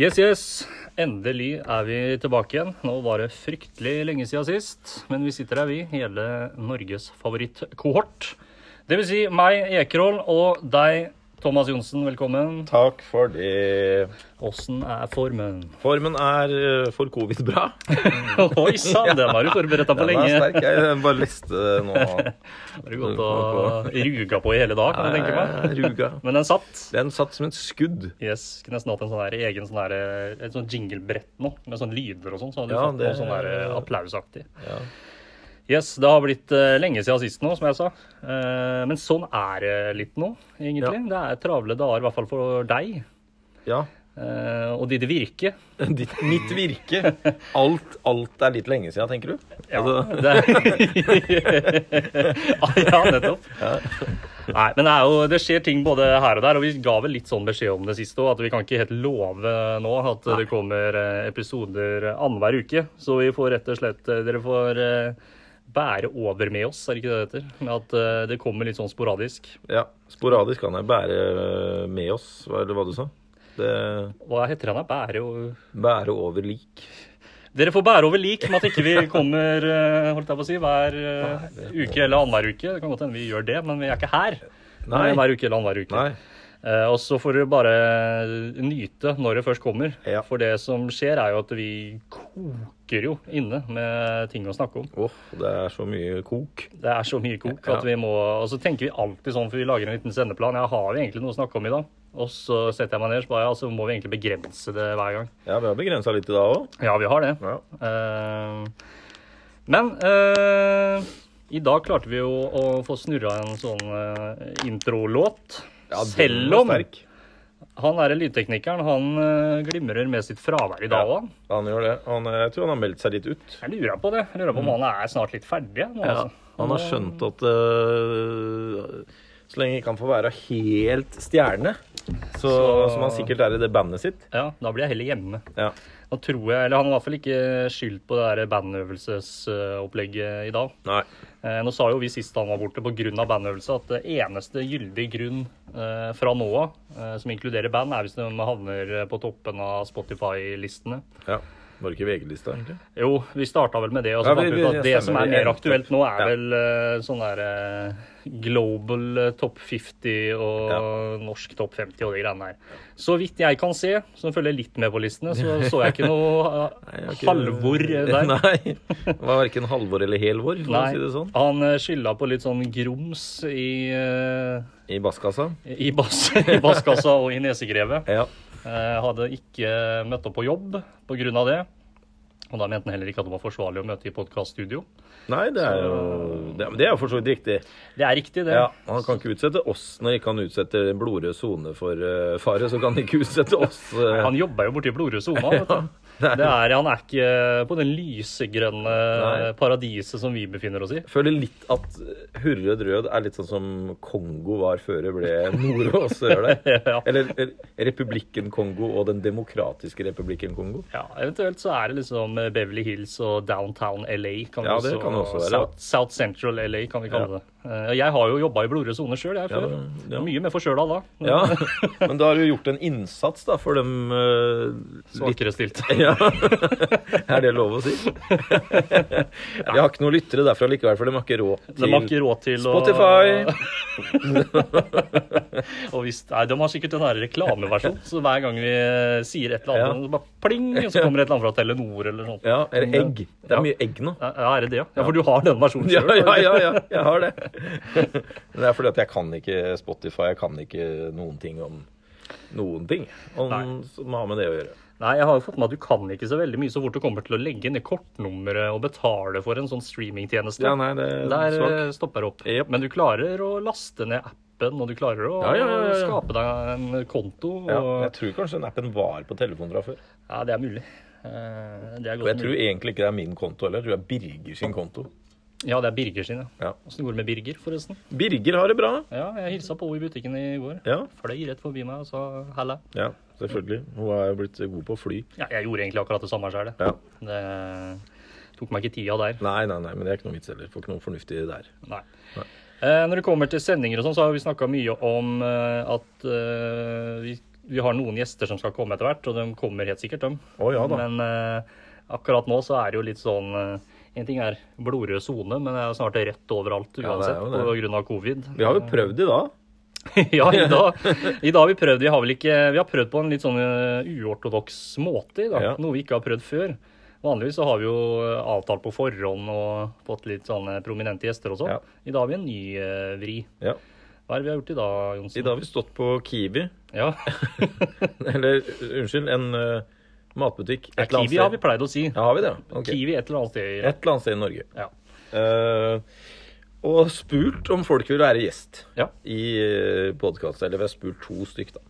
Yes, yes. Endelig er vi tilbake igjen. Nå var det fryktelig lenge siden sist, men vi sitter her, vi. Hele Norges favorittkohort. Det vil si meg, Ekerhol, og deg, Thomas Johnsen. Velkommen. Takk for det. Åssen er formen? Formen er eh, for covid bra. Oi sann, den var du forberedt på Den er lenge. sterk. Jeg bare leste det nå. Den har du gått og ruga på i hele dag, kan jeg tenke meg. Eh, Ruga. Men den satt. Den satt som et skudd. Yes, Skulle nesten hatt en sånn her egen sånn her, et sånn jinglebrett nå, med sånn lyder og sånn. Så hadde Ja, du fått det- noe sånn her applausaktig. Ja. Yes, det har blitt eh, lenge siden sist nå, som jeg sa. Eh, men sånn er det litt nå, egentlig. Det er travle dager, i hvert fall for deg. ja. eh, og de det virker. Ditt, mitt virke. Alt, alt er litt lenge siden, tenker du? Ja, Altså, det Ah, ja nettopp. Nei, men det, er jo, det skjer ting både her og der, og vi ga vel litt sånn beskjed om det siste òg, at vi kan ikke helt love nå at det kommer eh, episoder annenhver uke. Så vi får rett og slett eh, Dere får eh, bære over med oss, er det ikke det det heter? Med at eh, det kommer litt sånn sporadisk. ja. Sporadisk kan jeg bære eh, med oss, hva- eller hva du sa. Det, Hva heter han da? Bære og bære over lik. Dere får bære over lik med at ikke vi kommer eh, holdt jeg på å si, hver eh, uke eller annenhver uke. Det kan godt hende vi gjør det, men vi er ikke her. Eh, Nei. Hver uke eller annenhver uke. Nei. Eh, og så får dere bare nyte når det først kommer. Ja. For det som skjer, er jo at vi koker jo inne med ting å snakke om. Åh, det er så mye kok. Det er så mye kok Ja. at vi må Og så tenker vi alltid sånn, for vi lager en liten sendeplan. Ja, har vi egentlig noe å snakke om i dag? Og så setter jeg meg ned, så bare ja, så må vi egentlig begrense det hver gang. Ja, vi har begrensa litt i dag òg. Ja, vi har det. Ja. Eh, men eh, i dag klarte vi jo å få snurra en sånn eh, introlåt. Ja, den Selv var om sterk. han er lydteknikeren, han eh, glimrer med sitt fravær i dag Ja. òg. Han gjør det. Han, eh, jeg tror han har meldt seg litt ut. Jeg lurer på det. Jeg lurer på om han er snart litt ferdig. Nå, Mm. Ja, altså. han har skjønt at øh, så lenge ikke han får være helt stjerne, så, Så- som han sikkert er i det bandet sitt ja, da blir jeg heller hjemme. ja. Da tror jeg, eller Han har i hvert fall ikke skyldt på det der bandøvelsesopplegget i dag. Nei. Eh, Nå sa jo vi sist han var borte pga. bandøvelse at det eneste gyldig grunn eh, fra nå av, eh, som inkluderer band, er hvis de havner eh, på toppen av Spotify-listene. Ja. Var det ikke VG-lista, egentlig? Jo, vi starta vel med det. Og så Ja, vi- fant vi vi- ut at det stemmer, som er vi mer endte aktuelt nå, er Ja. vel eh, sånn der eh, global eh, topp 50 og norsk topp 50 og de greiene der. Så vidt jeg kan se, som følger litt med på listene, så så jeg ikke noe Nei, jeg eh, har ikke- Halvor eh, der. Nei. Det var verken Halvor eller Helvor, for å Nei, si det sånn. han eh, skylda på litt sånn grums i eh, I basskassa. I, bass, i basskassa og i nesegrevet. Ja. Eh, hadde ikke møtt opp på jobb pga. det. Og da mente han heller ikke at det var forsvarlig å møte i podkaststudio. Nei, det er jo det, men det er jo for så vidt riktig. Det er riktig, det. Ja, Han kan ikke utsette oss når ikke han utsetter den blodrøde sone for eh, fare. Så kan han ikke utsette oss. eh. Han jobber jo borti blodrød sone. vet du. det er- Det er, han er ikke på den lysegrønne Nei. paradiset som vi befinner oss i. føler litt at Hurred Rød er litt sånn som Kongo var før det ble Nord- og Sør der. Ja. Eller eller Republikken Kongo og Den demokratiske republikken Kongo. Ja, Eventuelt så er det liksom Beverly Hills og Downtown LA. Kan Ja, vi det kan det også være. South, South Central LA kan vi kalle Ja. det. Eh, Jeg har jo jobba i blodrød sone sjøl, jeg, før. ja. Mye mer forkjøla da. Ja, Men da har du gjort en innsats da for dem eh, litt Svakere stilt. ja. Er det lov å si? De har ikke noen lyttere derfra likevel, for de har ikke råd til De har ikke råd til Spotify. å og hvis, Nei, De har sikkert en sånn her reklameversjon, så hver gang vi eh, sier et eller annet, Ja. så bare pling, så kommer det et eller annet fra Telenor eller noe sånt. Ja, Eller egg. Det Ja. er mye egg nå. Ja, er det det? ja? Ja, for du har den versjonen Ja, selv ja, ja, ja, jeg har det. Men det er fordi at jeg kan ikke Spotify, jeg kan ikke noen ting om noen ting om, Nei. som har med det å gjøre. Nei, jeg har jo fått med at du kan ikke så veldig mye så fort du kommer til å legge ned kortnummeret og betale for en sånn streamingtjeneste. Ja, nei, det er Der svak. eh, stopper det opp. Jep. Men du klarer å laste ned appen, og du klarer å Ja, ja, ja, ja, ja. skape deg en konto. Og... Ja, jeg tror kanskje den appen var på telefonen fra før. Ja, det er mulig. Eh, Det er Og godt jeg tror mulig. egentlig ikke det er min konto heller, jeg tror det er Birger sin konto. Ja, det er Birger sin, ja. Ja. Åssen går det med Birger, forresten? Birger har det bra. Ja, jeg hilsa på henne i butikken i går. Ja, Fløy rett forbi meg og sa halla. ja selvfølgelig. Hun er jo blitt god på å fly. Ja, jeg gjorde egentlig akkurat det samme sjøl. Ja. Det tok meg ikke tida der. Nei, nei, nei, men det er ikke noe vits heller. Får ikke noe fornuftig der. Nei. Eh, når det kommer til sendinger og sånn, så har vi snakka mye om eh, at eh, vi vi har noen gjester som skal komme etter hvert, og de kommer helt sikkert, dem. Å, ja da. Men eh, akkurat nå så er det jo litt sånn eh, En ting er blodrød sone, men det er jo snart rødt overalt Ja, det er uansett jo på det. grunn av covid. Vi har jo prøvd i dag. ja, i dag, i dag har vi prøvd. Vi har vel ikke Vi har prøvd på en litt sånn eh, uortodoks måte i dag. Ja. Noe vi ikke har prøvd før. Vanligvis så har vi jo eh, avtalt på forhånd og fått litt sånne prominente gjester og sånn. Ja. I dag har vi en ny eh, vri. Ja. Hva er det vi har gjort i dag, Johnsen? I dag har vi stått på Kiwi. Ja, Eller unnskyld, en eh, matbutikk. et eller annet Kiwi har sted. vi pleid å si. Ja, har vi det? Ok. Kiwi et eller annet sted. i- Et eller annet sted i Norge. Ja. Eh, og spurt om folk vil være gjest Ja. i podkast. Eller vi har spurt to stykk, da.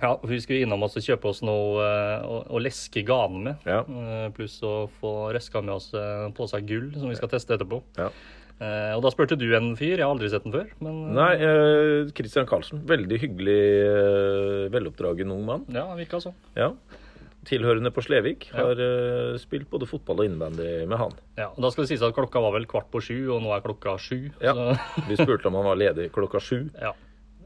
ja, for vi skulle innom oss og kjøpe oss noe eh, å, å leske ganen med. Ja. Eh, Pluss å få røska med oss eh, en pose gull som vi skal teste etterpå. Ja. Eh, Og da spurte du en fyr, jeg har aldri sett den før. Men Nei, eh, Christian Karlsen. Veldig hyggelig, eh, veloppdragen ung mann. ja, han virka sånn. Ja. Tilhørende på Slevik. Ja. Har eh, spilt både fotball og innebandy med han. Ja, og da skal det sies at klokka var vel kvart på sju, og nå er klokka sju. Ja. Så, Vi spurte om han var ledig klokka sju. ja.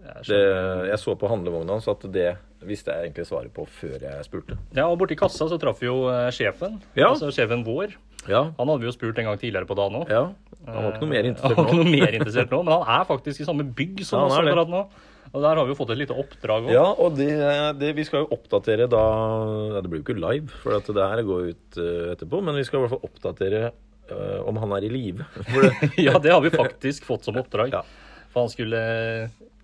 Jeg Det, skjønner. eh, jeg så på handlevogna hans at det visste jeg egentlig svaret på før jeg spurte. ja, og borti kassa så traff vi jo eh, sjefen. Ja. Altså sjefen vår. Ja, Han hadde vi jo spurt en gang tidligere på dagen òg. ja. Han var ikke noe mer Eh, Han var interessert ikke nå. noe mer interessert nå, men han er faktisk i samme bygg som Ja, oss han er det. akkurat nå. Og der har vi jo fått et lite oppdrag òg. Ja, og det, det, vi skal jo oppdatere da ja, Det blir jo ikke live, for at det her går ut eh, etterpå. Men vi skal i hvert fall oppdatere eh, om han er i live. For det, Ja, det har vi faktisk fått som oppdrag. Ja. For han skulle,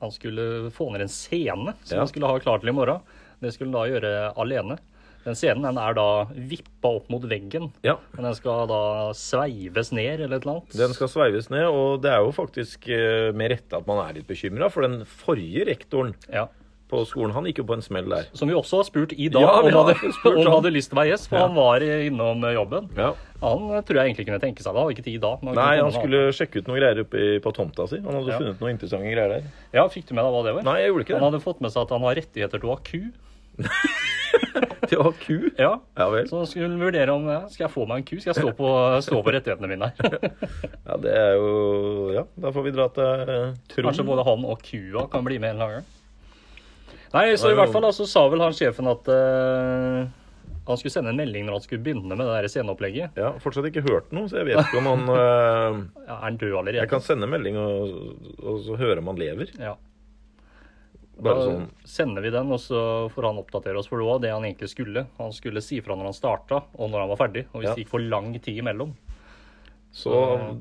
han skulle få ned en scene som Ja. han skulle ha klar til i morgen. Det skulle han da gjøre alene. Den scenen den er da vippa opp mot veggen. ja, Men den skal da sveives ned eller et eller annet. Den skal sveives ned, og det er jo faktisk eh, med rette at man er litt bekymra. For den forrige rektoren Ja. på skolen, han gikk jo på en smell der. Som vi også har spurt i dag Ja, vi om han har hadde, spurt om han han. hadde lyst til å være gjest, for Ja. han var innom jobben. Ja. Han eh, tror jeg egentlig kunne tenke seg det. Han hadde ikke tid da. men kunne Nei, komme han da. skulle sjekke ut noen greier oppe i- på tomta si. Han hadde Ja. funnet noen interessante greier der. Ja, fikk du med deg hva det var? Nei, jeg gjorde ikke Han det. hadde fått med seg at han har rettigheter til å ha ku. Til å ha ku. Ja. Ja vel. Så skulle han vurdere om ja, skal jeg få meg en ku, skal jeg stå på, stå på rettighetene mine her. Ja, det er jo Ja, da får vi dra til eh, Kanskje Trond. både han og kua kan bli med en eller annen gang. Nei, så Nei, i hvert men- fall da, så sa vel han sjefen at eh, han skulle sende en melding når han skulle begynne med det der sceneopplegget. Ja, fortsatt ikke hørt noe, så jeg vet ikke om han eh, Ja, er han død Jeg allerede? kan sende melding og, og så høre om han lever. Ja. Bare da sånn. sender vi den, og så får han oppdatere oss. For det var det han egentlig skulle. Han skulle si fra når han starta, og når han var ferdig. Og hvis Ja. det gikk for lang tid imellom. Så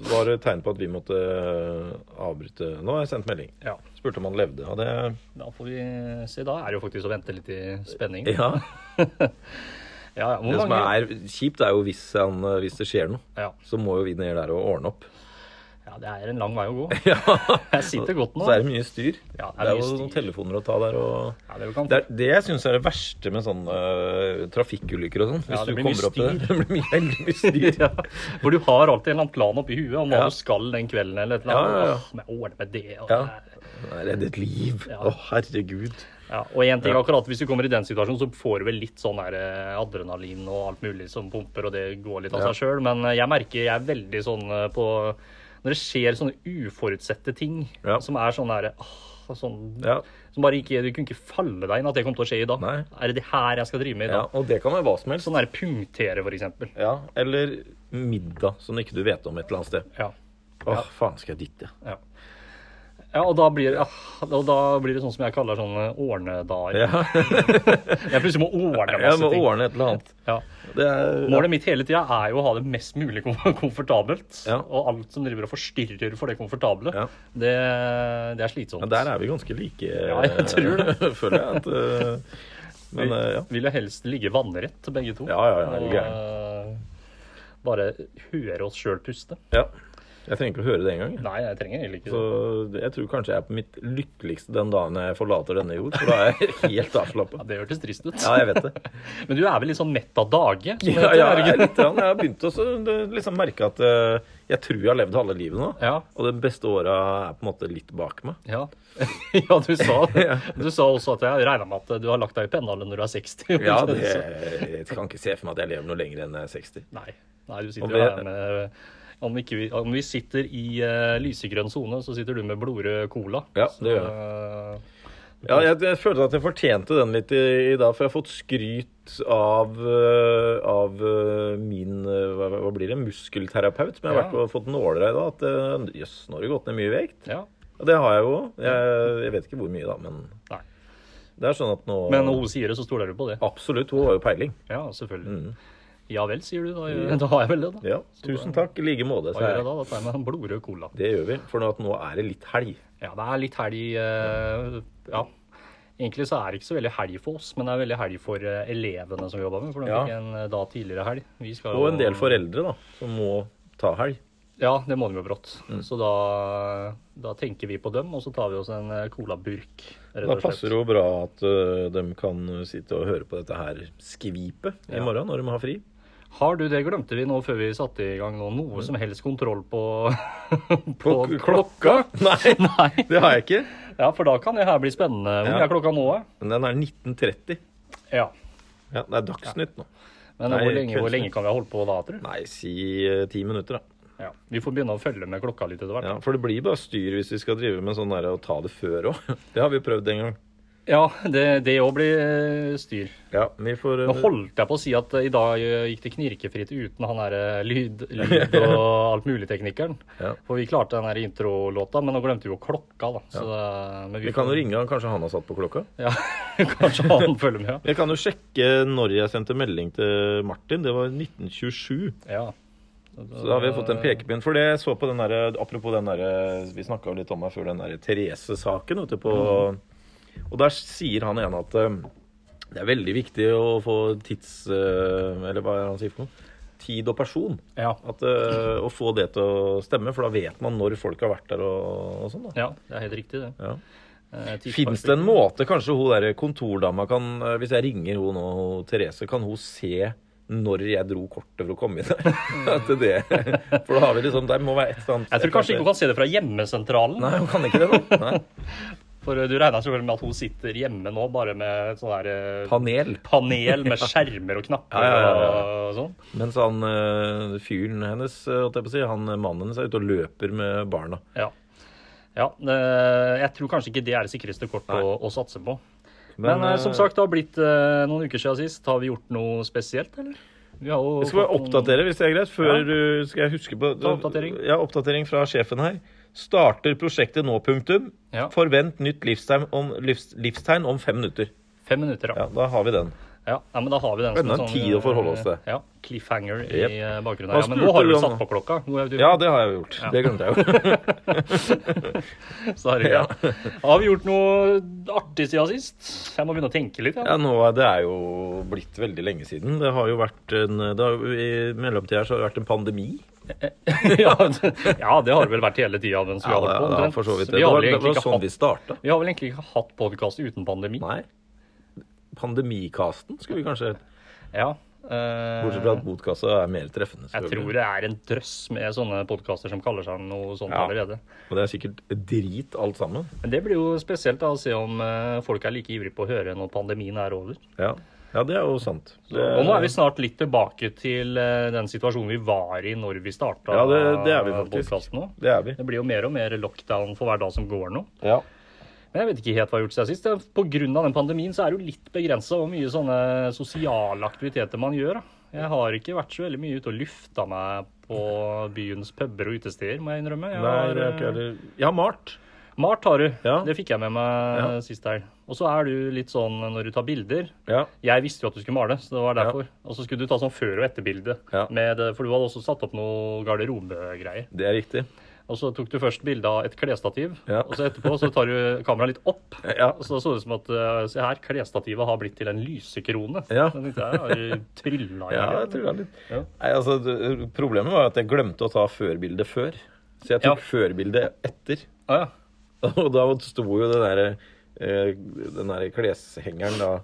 var det tegn på at vi måtte eh, avbryte Nå har jeg sendt melding. Ja. Spurte om han levde. Ja, det Da får vi se. Da er det jo faktisk å vente litt i spenning. Ja. Ja, ja. Hvor Det som mange er kjipt, er jo hvis, han, eh, hvis det skjer noe. ja. Så må jo vi ned der og ordne opp. ja, det er en lang vei å gå. Jeg sitter godt nå. Så er det mye styr. Ja, det er, mye jo styr. noen telefoner å ta der og Ja, det er jo kan... Det er det jeg syns er det verste med sånne øh, trafikkulykker og sånn. Hvis Ja, det du blir mye kommer opp til det. Det blir mye, veldig mye styr. ja, for du har alltid en eller annen plan oppi huet om hva Ja. du skal den kvelden eller et eller Ja, annet. ja, ja. Åh, må jeg ordne med det. Og, Ja. Jeg er redd et liv. Å, Ja. herregud. Ja, og en ting akkurat Hvis du kommer i den situasjonen, så får du vel litt sånn der eh, adrenalin og alt mulig som pumper, og det går litt av Ja. seg sjøl. Men eh, jeg merker jeg er veldig sånn eh, på Når det skjer sånne uforutsette ting Ja. som er sånn derre sånn, Ja. Som bare ikke Du kunne ikke falle deg inn at det kom til å skje i dag. Nei. Er det det her jeg skal drive med i ja. dag? Og det kan være hva som helst. Sånn der punktere, for eksempel. Ja. Eller middag som ikke du vet om et eller annet sted. Ja. Åh, faen skal jeg dit, ja. Ja. Ja, og da blir, ah, og da blir det sånn som jeg kaller sånne ordnedager. Ja. Jeg plutselig må ordne Jeg masse må ting. ordne et eller annet. Ja. Det er Målet mitt hele tida er jo å ha det mest mulig kom komfortabelt. Ja. Og alt som driver og forstyrrer for det komfortable, Ja. det, det er slitsomt. ja, Der er vi ganske like, eh, Ja, jeg tror føler jeg. At, øh, men øh, ja. Vi vil jo helst ligge vannrett, begge to. Ja, ja, ja, er du Og, eh, bare høre oss sjøl puste. ja. Jeg trenger ikke å høre det engang. jeg. Nei, jeg trenger egentlig ikke Så det- jeg tror kanskje jeg er på mitt lykkeligste den dagen jeg forlater denne jord, for da er jeg helt avslappa. ja, Det hørtes trist ut. Ja, jeg vet det. Men du er vel litt sånn mett av dage? som det Ja, heter, ja, er det jeg, er ikke? litt, grann. jeg har begynt å så- det- liksom merke at eh, jeg tror jeg har levd halve livet nå. ja. Og de beste åra er på en måte litt bak meg. Ja. ja, du sa det. Du sa også at jeg regna med at du har lagt deg i pennalen når du er 60. Ja, det, jeg kan ikke se for meg at jeg lever noe lenger enn eh, jeg er 60. Nei. Nei, du sitter Og jo det- her med om, ikke vi, om vi sitter i eh, lysegrønn sone, så sitter du med blodrød cola. Ja, det gjør jeg. Ja, jeg, jeg følte at jeg fortjente den litt i, i dag, for jeg har fått skryt av, øh, av øh, min øh, hva, hva blir det, muskelterapeut, som jeg har Ja. vært og fått nåler av i dag. At øh, jøss, nå har du gått ned mye vekt. Ja. Og det har jeg jo. Jeg, jeg vet ikke hvor mye, da, men Nei. det er sånn at nå Men når hun sier det, så stoler du på det. Absolutt, hun har jo peiling. Ja, selvfølgelig. Ja vel, sier du. Da, da har jeg vel det, da. Mm. Ja, Tusen takk. I like måte. Hva gjør jeg sier jeg. da? Da tar jeg meg en blodrød cola. Det gjør vi. For nå, at nå er det litt helg. Ja, det er litt helg eh, Ja. Egentlig så er det ikke så veldig helg for oss, men det er veldig helg for eh, elevene som vi jobber med. For de Ja. fikk en eh, da tidligere helg. Vi skal Og en jo- del foreldre, da, som må ta helg. Ja, det må de jo brått. Mm. Så da, da tenker vi på dem, og så tar vi oss en eh, colaburk, rett Da og slett. passer det jo bra at øh, de kan sitte og høre på dette her skvipet i Ja. morgen når de har fri. Har du, det glemte vi nå før vi satte i gang nå, Mm. noe som helst kontroll på, På k- Nei, Nei. det har jeg ikke. Ja, for da kan det her bli spennende. Hvor Ja. er klokka nå? eh? Men den er 1930. Ja. Ja, det er Dagsnytt nå. Men Nei, hvor, lenge, hvor Kveldsnytt. lenge kan vi ha holdt på da, tror du? Nei, si eh, ti minutter, da. Ja. Vi får begynne å følge med klokka litt etter hvert. Ja, For det blir bare styr hvis vi skal drive med sånn der å ta det før òg. Det har vi prøvd en gang. Ja, det det òg blir eh, styr. Ja, vi får eh, Nå holdt jeg på å si at eh, i dag eh, gikk det knirkefritt uten han derre lyd, lyd og alt mulig-teknikeren. Ja. For vi klarte den her introlåta, men nå glemte vi jo klokka, da. Så, eh, men Vi kan jo får- ringe han, kanskje han har satt på klokka? Ja, kanskje han følger med. Jeg kan jo sjekke når jeg sendte melding til Martin. Det var 1927. Ja. Så da har vi fått en pekepinn. For det jeg så på den der, Apropos den der eh, Vi snakka litt om det før, den der Therese-saken ute på Og der sier han ene at eh, det er veldig viktig å få tids... eh, Eller hva er det han sier for noe? Tid og person. Ja. At, eh, å få det til å stemme, for da vet man når folk har vært der og, og sånn. da. ja, det er helt riktig, det. Ja. Eh, tidsperspektiv. Fins det en måte kanskje hun der kontordama kan eh, Hvis jeg ringer hun nå, hun Therese, kan hun se når jeg dro kortet for å komme inn der? At det, for da har vi liksom Det må være et eller annet Mm. Jeg tror kanskje ikke hun kan se det fra hjemmesentralen. Nei, hun kan ikke det, da. Nei. For eh, du regner selvfølgelig med at hun sitter hjemme nå bare med et sånn der eh, Panel. panel med skjermer og knapper Ja, ja, ja, og sånn. Mens han eh, fyren hennes, eh, holdt jeg på å si, han eh, mannen hennes er ute og løper med barna. Ja. ja eh, jeg tror kanskje ikke det er det sikreste kortet Nei. å, å satse på. Men, eh, som eh, sagt, det har blitt eh, noen uker siden sist. Har vi gjort noe spesielt, eller? Vi har jo Jeg skal bare fått noen- oppdatere, hvis det er greit, før Ja. du skal jeg huske på Ta oppdatering. Ja, oppdatering fra sjefen her. Starter prosjektet nå, punktum. Ja. Forvent nytt livstegn om, livs, livstegn om fem minutter. Fem minutter, da. Ja, da har vi den. Ja. nei, men da har vi den som sånn, eh, Enda en tid å forholde oss til. Ja, cliffhanger Jep. i eh, bakgrunnen. Hva her. Ja, men spurte nå har du du om satt nå? på klokka. Hvor er du? Ja, det har jeg jo gjort. Det glemte jeg jo. Så er det Ja. greit. Har vi gjort noe artig siden sist? Jeg må begynne å tenke litt. Ja, nå er det er jo blitt veldig lenge siden. Det har jo vært en det har, jo- I mellomtida så har det vært en pandemi. ja, det- ja, det har det vel vært hele tida mens vi har holdt på. det omtrent. for så vidt. Vi Det har var, vel det egentlig var ikke sånn vi hatt- starta. vi har vel egentlig ikke hatt podkast uten pandemi. Nei. Pandemikasten skulle vi kanskje hett. Ja, eh, Bortsett fra at botkassa er mer treffende. jeg tror det er en drøss med sånne podkaster som kaller seg noe sånt Ja. allerede. Og det er sikkert drit alt sammen. Men det blir jo spesielt da, å se om eh, folk er like ivrige på å høre når pandemien er over. Ja, ja det er jo sant. Det, Og nå er vi snart litt tilbake til eh, den situasjonen vi var i når vi starta Ja, det- det er vi faktisk. podkasten nå. det er vi. Det blir jo mer og mer lockdown for hver dag som går nå. Ja. Men jeg vet ikke helt hva jeg har gjort siden sist. Det- På grunn av den pandemien så er det jo litt begrensa hvor mye sånne sosiale aktiviteter man gjør. da. Jeg har ikke vært så veldig mye ute og lufta meg på byens puber og utesteder, må jeg innrømme. Jeg Nei, det er ikke eh, heller Ja, Mart. Mart har du. Ja. Det fikk jeg med meg Ja. sist helg. Og så er du litt sånn når du tar bilder Ja. Jeg visste jo at du skulle male, så det var Ja. derfor. Og så skulle du ta sånn før- og etterbilde. Ja. Med, eh, for du hadde også satt opp noe garderobegreier. Det er riktig. Og så tok du først bilde av et klesstativ, Ja. og så etterpå så tar du kameraet litt opp. Ja. Og så så det ut som at eh, se her, klesstativet har blitt til en lysekrone. Ja. Så tenkte jeg, har du trylla i Ja, jeg det? tror det er litt Ja. Nei, altså, det- Problemet var at jeg glemte å ta førbildet før. Så jeg tok Ja. førbildet etter. Ah, ja. Og da sto jo den derre eh, den der kleshengeren da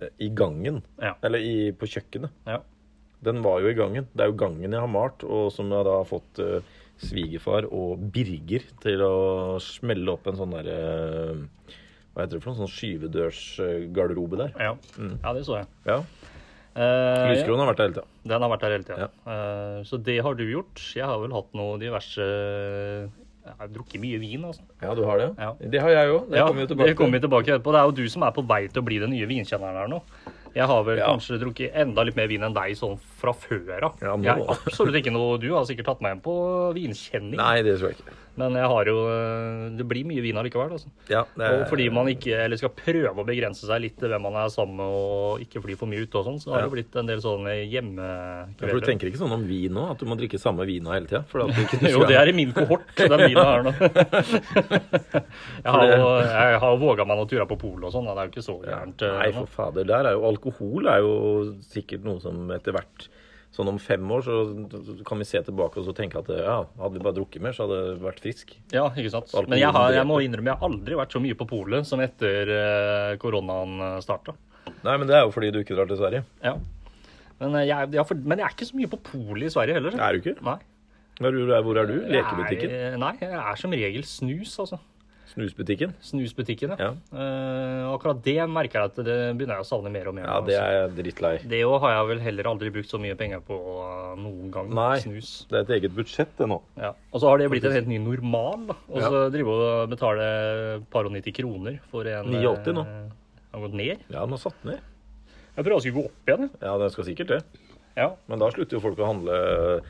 eh, i gangen. Ja. Eller i, på kjøkkenet. ja. Den var jo i gangen. Det er jo gangen jeg har malt, og som jeg da har fått eh, svigerfar og Birger til å smelle opp en sånn derre Hva heter det for noe? Sånn skyvedørsgarderobe der. Ja. Mm. ja, det så jeg. Ja. Eh, ja. Lyskronen har vært der hele tida. Den har vært der hele tida. Eh, så det har du gjort. Jeg har vel hatt noe diverse Jeg har drukket mye vin, altså. Ja, du har det? Ja. Det har jeg òg. Det Ja, kommer vi tilbake det kommer vi tilbake etterpå. Det er jo du som er på vei til å bli den nye vinkjenneren her nå. Jeg har vel Ja. kanskje drukket enda litt mer vin enn deg sånn fra før av. Ja, nå. jeg er absolutt ikke noe Du har sikkert tatt meg med på vinkjenning, Nei, det tror jeg ikke. men jeg har jo øh, Det blir mye vin allikevel, altså. Ja, det Og fordi man ikke eller skal prøve å begrense seg litt til hvem man er sammen med og ikke fly for mye ute og sånn, så har det blitt en del sånne ja, for Du hjemmekvelder. tenker ikke sånn om vin nå, at du må drikke samme vina hele tida? Jo, det er i min kohort. så Det er mine her nå. Jeg har jo, jeg har jo våga meg noen turer på polet og sånn. da. Det er jo ikke så gærent. eh, Nei, nå. for fader. Der er jo alkohol er jo sikkert noe som etter hvert Sånn om fem år så kan vi se tilbake og så tenke at ja, hadde vi bare drukket mer, så hadde det vært frisk. Ja, ikke sant. Alkoholen Men jeg, har, jeg må dreper. innrømme jeg har aldri vært så mye på polet som etter eh, koronaen starta. Nei, men det er jo fordi du ikke drar til Sverige. Ja. Men, eh, jeg, jeg, har for- men jeg er ikke så mye på polet i Sverige heller. Er du ikke? Nei. Hvor er, hvor er du? Lekebutikken? Jeg er- Nei, jeg er som regel snus, altså. Snusbutikken? Snusbutikken, Ja. Eh, og akkurat det merker jeg at det begynner jeg å savne mer og mer. Ja, nå, det altså. er jeg drittlei. Det òg har jeg vel heller aldri brukt så mye penger på eh, noen gang. Nei. Snus. Det er et eget budsjett, det nå. Ja. Og så har det blitt en helt ny normal. da. Og Ja. så drive og betale et par og 90 kroner for en 89 nå. eh, Har gått ned. Ja, den har satt ned. Jeg tror jeg skulle gå opp igjen. jeg. Ja, den skal sikkert det. Ja. Men da slutter jo folk å handle eh,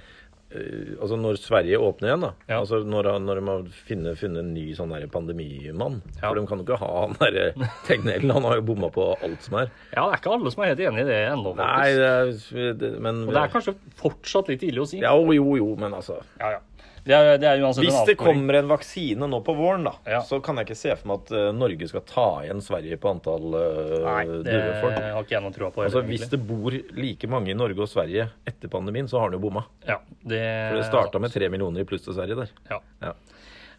Altså når Sverige åpner igjen, da. Ja. Altså når, når de har funnet, funnet en ny sånn der pandemimann. Ja. For de kan jo ikke ha han derre Tegnell. Han har jo bomma på alt som er. ja, det er ikke alle som er helt enig i det ennå. Nei, faktisk. det er, det, men Og det er kanskje fortsatt litt tidlig å si. ja, jo, jo, men altså ja. ja. Det, er, det er uansett Hvis en det avsporing. kommer en vaksine nå på våren, da, Ja. så kan jeg ikke se for meg at eh, Norge skal ta igjen Sverige på antall uh, Nei, det døde folk. har ikke jeg noe trua på. heller, Altså, Hvis egentlig. det bor like mange i Norge og Sverige etter pandemien, så har han jo bomma. ja, det, For det starta med tre millioner i pluss til Sverige der. Ja. Ja.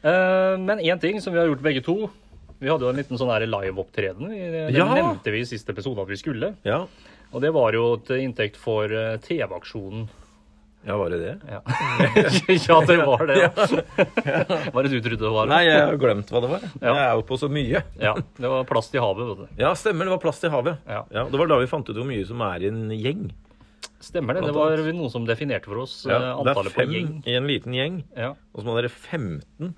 Eh, men én ting som vi har gjort begge to Vi hadde jo en liten sånn her live-opptreden. Vi- Det Ja! nevnte vi i siste episode at vi skulle. Ja, Og det var jo til inntekt for eh, TV-aksjonen. ja var det det? Ja. ja, det var det. Var det du trodde det var? Nei, jeg har glemt hva det var. Ja. Jeg er jo på så mye. Ja, det var plast i havet, vet du. Ja, stemmer. Det var plast i havet. Ja. Det var da vi fant ut hvor mye som er i en gjeng. Stemmer det. Det Blant var noen som definerte for oss eh, Ja, det er antallet på fem gjeng. i en liten gjeng, Ja, og så må dere 15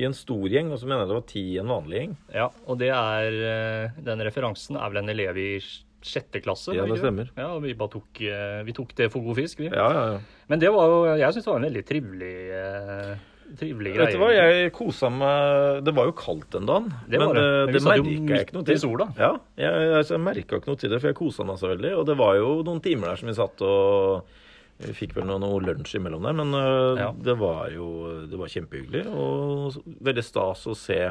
i en stor gjeng, og så mener jeg det var 10 i en vanlig gjeng. ja, og det er eh, Den referansen er vel en elev i sj- sjette klasse? Ja, var det ikke stemmer. Ja, og vi bare tok, eh, vi tok det for god fisk, vi. Ja, ja, ja. Men det var jo Jeg syns det var en veldig trivelig eh, Trivelig greie. Vet du hva, jeg kosa meg Det var jo kaldt den dagen. Det var men det. eh, Men vi det satt jo merka jeg midt ikke noe i til. sola. Ja, jeg, jeg, altså, jeg merka ikke noe til det, for jeg kosa meg så veldig. Og det var jo noen timer der som vi satt og vi fikk vel noe, noe lunsj imellom der, men eh, Ja. det var jo det var kjempehyggelig. Og så- veldig stas å se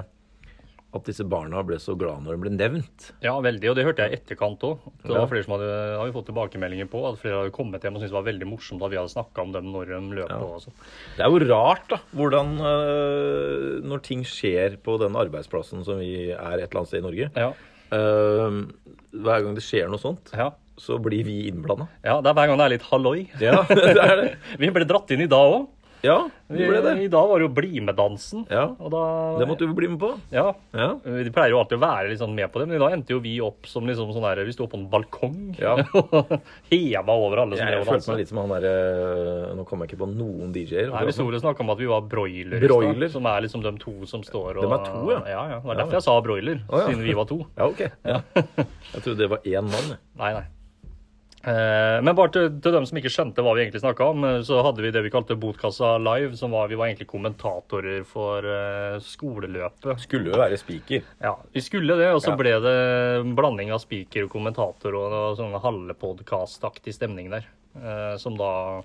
at disse barna ble så glad når de ble nevnt. Ja, veldig. Og det hørte jeg i etterkant òg. Det Ja. var flere som hadde, har vi fått tilbakemeldinger på. At flere hadde kommet hjem og syntes det var veldig morsomt at vi hadde snakka om dem når de løp Ja. på. og sånn. Det er jo rart, da, hvordan eh, Når ting skjer på den arbeidsplassen som vi er et eller annet sted i Norge Ja. eh, Hver gang det skjer noe sånt, Ja. så blir vi innblanda. ja, det er hver gang det er litt halloi. Ja, det er det. Vi ble dratt inn i dag òg. Ja, det ble det. I dag var det jo BlimE-dansen. Ja, Og da det måtte du bli med på. Ja. Ja. De pleier jo alltid å være litt sånn med på det, men i dag endte jo vi opp som liksom sånn der Vi sto på en balkong Ja. og heva over alle som Jeg, drev og dansa. følte meg litt som han derre eh, Nå kommer jeg ikke på noen DJ-er. Nei, Vi sto vel og snakka om at vi var broiler, i Broiler? stad, som er liksom de to som står og Dem er to, ja. ja, ja. Det var Ja. derfor jeg sa broiler, Å, ja. siden vi var to. sånn. Ja, ok. Ja. Jeg trodde det var én mann. jeg. Nei, nei. Eh, Men bare til, til dem som ikke skjønte hva vi egentlig snakka om, eh, så hadde vi det vi kalte Botkassa live, som var vi var egentlig kommentatorer for eh, skoleløpet. Skulle jo være speaker. Ja, Vi skulle det, og så Ja. ble det en blanding av speaker og kommentator og noe sånn halvpodkastaktig stemning der. eh, Som da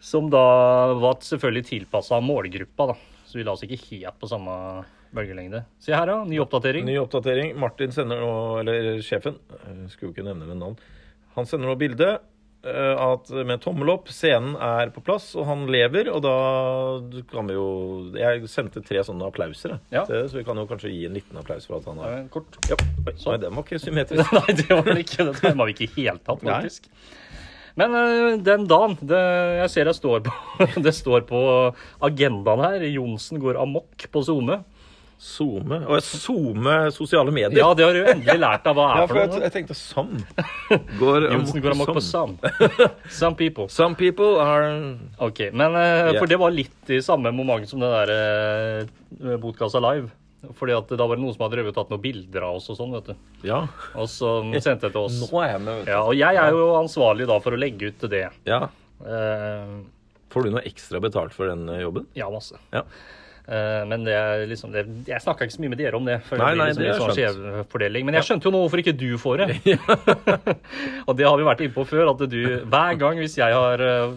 Som da var selvfølgelig tilpassa målgruppa, da. Så vi la oss ikke helt på samme bølgelengde. Se her, ja. Ny oppdatering. Ny oppdatering. Martin sender nå, eller sjefen, eh, skulle jo ikke nevne med navn, han sender nå bilde eh, at med tommel opp. Scenen er på plass, og han lever. Og da kan vi jo Jeg sendte tre sånne applauser, jeg, Ja. til det, så vi kan jo kanskje gi en liten applaus for at han har Eh, Kort. ja. Oi, Nei, den var ikke symmetrisk. Nei, det var det ikke. Det timet vi ikke i hele tatt, Nei. faktisk. Men eh, den dagen det, Jeg ser det står, på, det står på agendaen her. Johnsen går amok på SoMe. SoMe Å, SoMe sosiale medier. Ja, det har du jo endelig lært av hva Ja, er for for jeg, noe. jeg tenkte Sam går Johnsen går amok på Sam. Sam. Some people. Some people are Ok, men eh, Ja. for det var litt i samme moment som det der eh, Botkassa Live. Fordi at da var det noen som hadde drevet og tatt noen bilder av oss og sånn, vet du. Ja. Og så sendte det til oss. Nå er jeg med, vet du. Ja, og jeg er jo ansvarlig da for å legge ut det. Ja. Eh, Får du noe ekstra betalt for den eh, jobben? ja, masse. Ja. Eh, Men det er liksom det, Jeg snakka ikke så mye med dere om det. For Nei, det blir nei, liksom det litt har jeg sånn skjevfordeling. Men jeg skjønte jo nå hvorfor ikke du får det. og det har vi vært inne på før. At du hver gang hvis jeg har eh,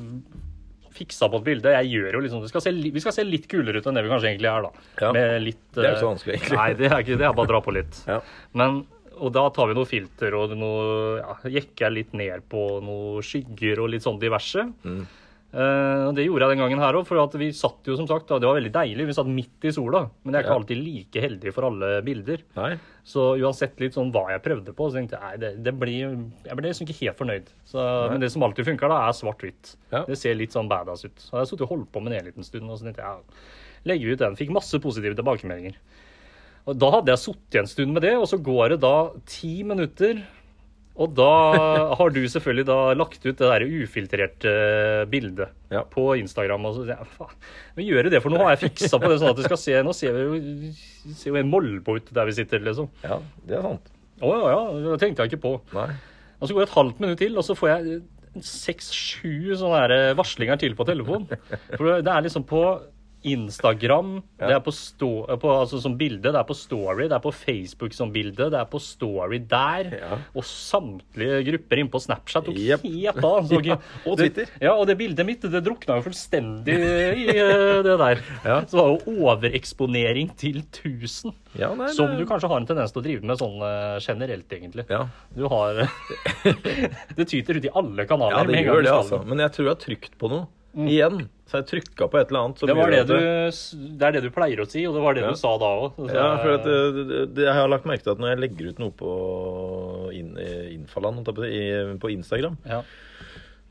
fiksa på et bilde Jeg gjør jo liksom det skal se, li- Vi skal se litt kulere ut enn det vi kanskje egentlig er, da. Ja. Med litt Det er eh, ikke så vanskelig, egentlig. Nei, det er ikke det. Jeg bare drar på litt. Ja. Men og da tar vi noe filter og noe ja, Jekker jeg litt ned på noe skygger og litt sånn diverse. Mm. Eh, og Det gjorde jeg den gangen her òg, for at vi satt jo som sagt da, Det var veldig deilig. Vi satt midt i sola, men jeg er ikke Ja. alltid like heldig for alle bilder. Nei. Så uansett litt sånn hva jeg prøvde på, så tenkte jeg nei, det, det blir Jeg ble liksom ikke helt fornøyd. Så, men det som alltid funker, da, er svart-hvitt. Ja. Det ser litt sånn badass ut. Så jeg har sittet og holdt på med det en liten stund, og så tenkte jeg ja, legger vi ut den. Fikk masse positive tilbakemeldinger. Og da hadde jeg sittet en stund med det, og så går det da ti minutter. Og da har du selvfølgelig da lagt ut det der ufiltrerte bildet Ja. på Instagram. Og så sier jeg, faen, vi gjør det, for nå har jeg fiksa på det sånn at det skal se Nå ser vi jo, ser jo en molbo ut der vi sitter, liksom. Ja, det er sant. Å ja, ja, det tenkte jeg ikke på. Nei. Og så går det et halvt minutt til, og så får jeg seks-sju sånne her eh, varslinger til på telefonen. For det er liksom på Instagram, det er på, stå, på altså som bilde, det er på Story, det er på Facebook som bilde, det er på Story der. Ja. Og samtlige grupper inne på Snapchat tok Jep. helt av. Så, Ja, og Twitter. Det, ja, og det bildet mitt, det drukna jo fullstendig i eh, det der. Ja. Så det var jo overeksponering til 1000. Ja, nei, Som det- du kanskje har en tendens til å drive med sånn eh, generelt, egentlig. Ja. Du har Det tyter ut i alle kanaler. ja, med det en gang gjør du det, Mm. skal. altså. Men jeg tror jeg har trykt på noe. Igjen. Så jeg trykka på et eller annet. som Det, var gjør det, at du, det er det du pleier å si, og det var det Ja. du sa da òg. Ja, for at, eh, det- det- jeg har lagt merke til at når jeg legger ut noe på in, eh, Infaland, holdt jeg på å si, i- på Instagram, ja.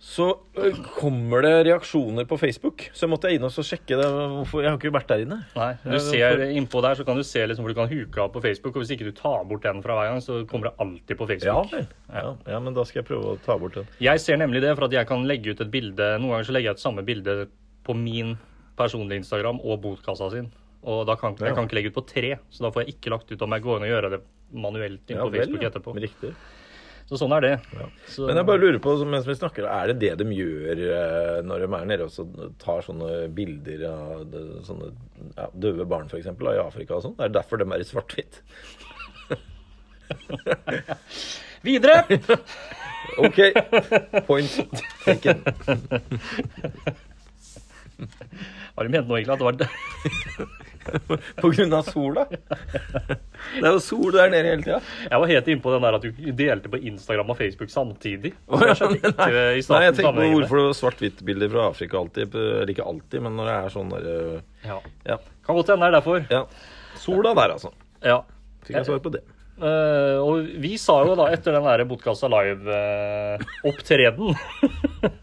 så eh, kommer det reaksjoner på Facebook. Så måtte jeg inn og så sjekke det. Hvorfor? Jeg har ikke vært der inne. Nei, Ja, du ser Innpå der så kan du se liksom hvor du kan huke av på Facebook. Og hvis ikke du tar bort den fra hver gang, så kommer det alltid på Ja Facebook. vel. Ja, ja, men da skal jeg prøve å ta bort den. Jeg ser nemlig det, for at jeg kan legge ut et bilde Noen ganger så legger jeg ut samme bilde på min personlige Instagram og botkassa sin. Og da kan Ja. jeg kan ikke legge ut på tre, så da får jeg ikke lagt ut om jeg går inn og gjør det manuelt inn Ja, på vel, Facebook ja. etterpå. Riktig. Så sånn er det. Så- Men jeg bare lurer på, så mens vi snakker, er det det de gjør eh, når de er nede og så tar sånne bilder av det- sånne ja, døve barn f.eks. i Afrika og sånn? Er det derfor de er i svart-hvitt? Videre! OK, point taken. Har du ment nå egentlig at det var På grunn av sola? Det er jo sol der nede hele tida. Jeg var helt innpå den der at du delte på Instagram og Facebook samtidig. Å, Jeg skjønte ikke Nei, eh, i Nei, jeg starten tenker på sammenhengen der. hvorfor det var svart-hvitt-bilder fra Afrika alltid. eh, Eller ikke alltid, men når det er sånn der eh, ja. Ja. Kan godt hende det er derfor. ja. Sola der, altså. Ja. Fikk jeg svar på det. Eh, og vi sa jo da, etter den der Botkassa Live-opptreden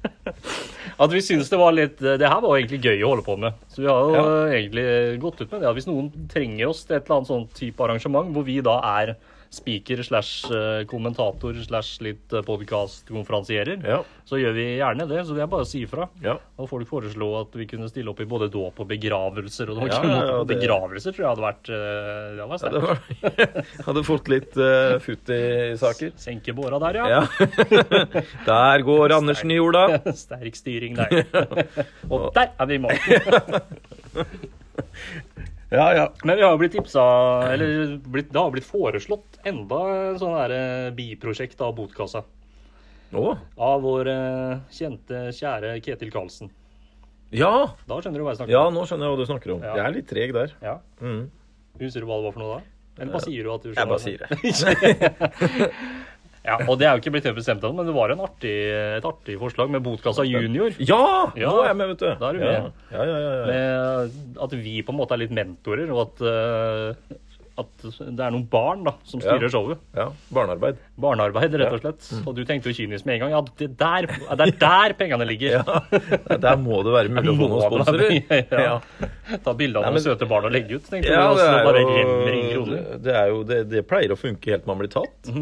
At vi syntes det var litt eh, Det her var jo egentlig gøy å holde på med. Så vi har jo Ja. eh, egentlig gått ut med det. at Hvis noen trenger oss til et eller annet sånn type arrangement hvor vi da er speaker slash eh, kommentator slash litt podkastkonferansierer, Ja. så gjør vi gjerne det. Så det er bare å si ifra. Ja. Og folk foreslo at vi kunne stille opp i både dåp og begravelser. Og det var Ja, ikke ja, noe ja, på det- begravelser tror jeg hadde vært eh, Det hadde vært Ja, det sterkt. var, hadde fått litt eh, futt i saker. Senke båra der, ja. Ja. Der går Andersen i jorda. Sterk styring der. og der er vi i mål. Ja, ja. Men vi har jo blitt tipsa, eller blitt, det har blitt foreslått enda en sånn her eh, biprosjekt av botkassa. Å, Av vår eh, kjente, kjære Ketil Karlsen. ja. Da skjønner du hva jeg snakker ja, om. nå skjønner jeg hva du snakker om. Ja. Jeg er litt treg der. Ja. Mm. Eh, Husker du hva det var for noe da? Eller bare sier du at du Jeg bare sier det. Ja, og det er jo ikke blitt helt bestemt ennå, men det var en artig, et artig forslag med Botkassa junior. Ja! Ja, Nå er jeg med, vet du. da er du ja. med. Ja, ja, ja, ja. Med at vi på en måte er litt mentorer, og at, eh, at det er noen barn da, som styrer Ja. showet. Ja, Barnearbeid. Barnearbeid, rett og slett. Og du tenkte jo kynisk med en gang. Ja, det, der, det er der pengene ligger! Der må det være mulig å få noen Må da bli- sponsorer. ja. Ja. Ta bilde av Nei, noen men- søte barn og legge ut. tenkte Ja, du. det Altså, det bare renner inn er jo, kroner. Mhm. det, er jo det, det pleier å funke helt til man blir tatt.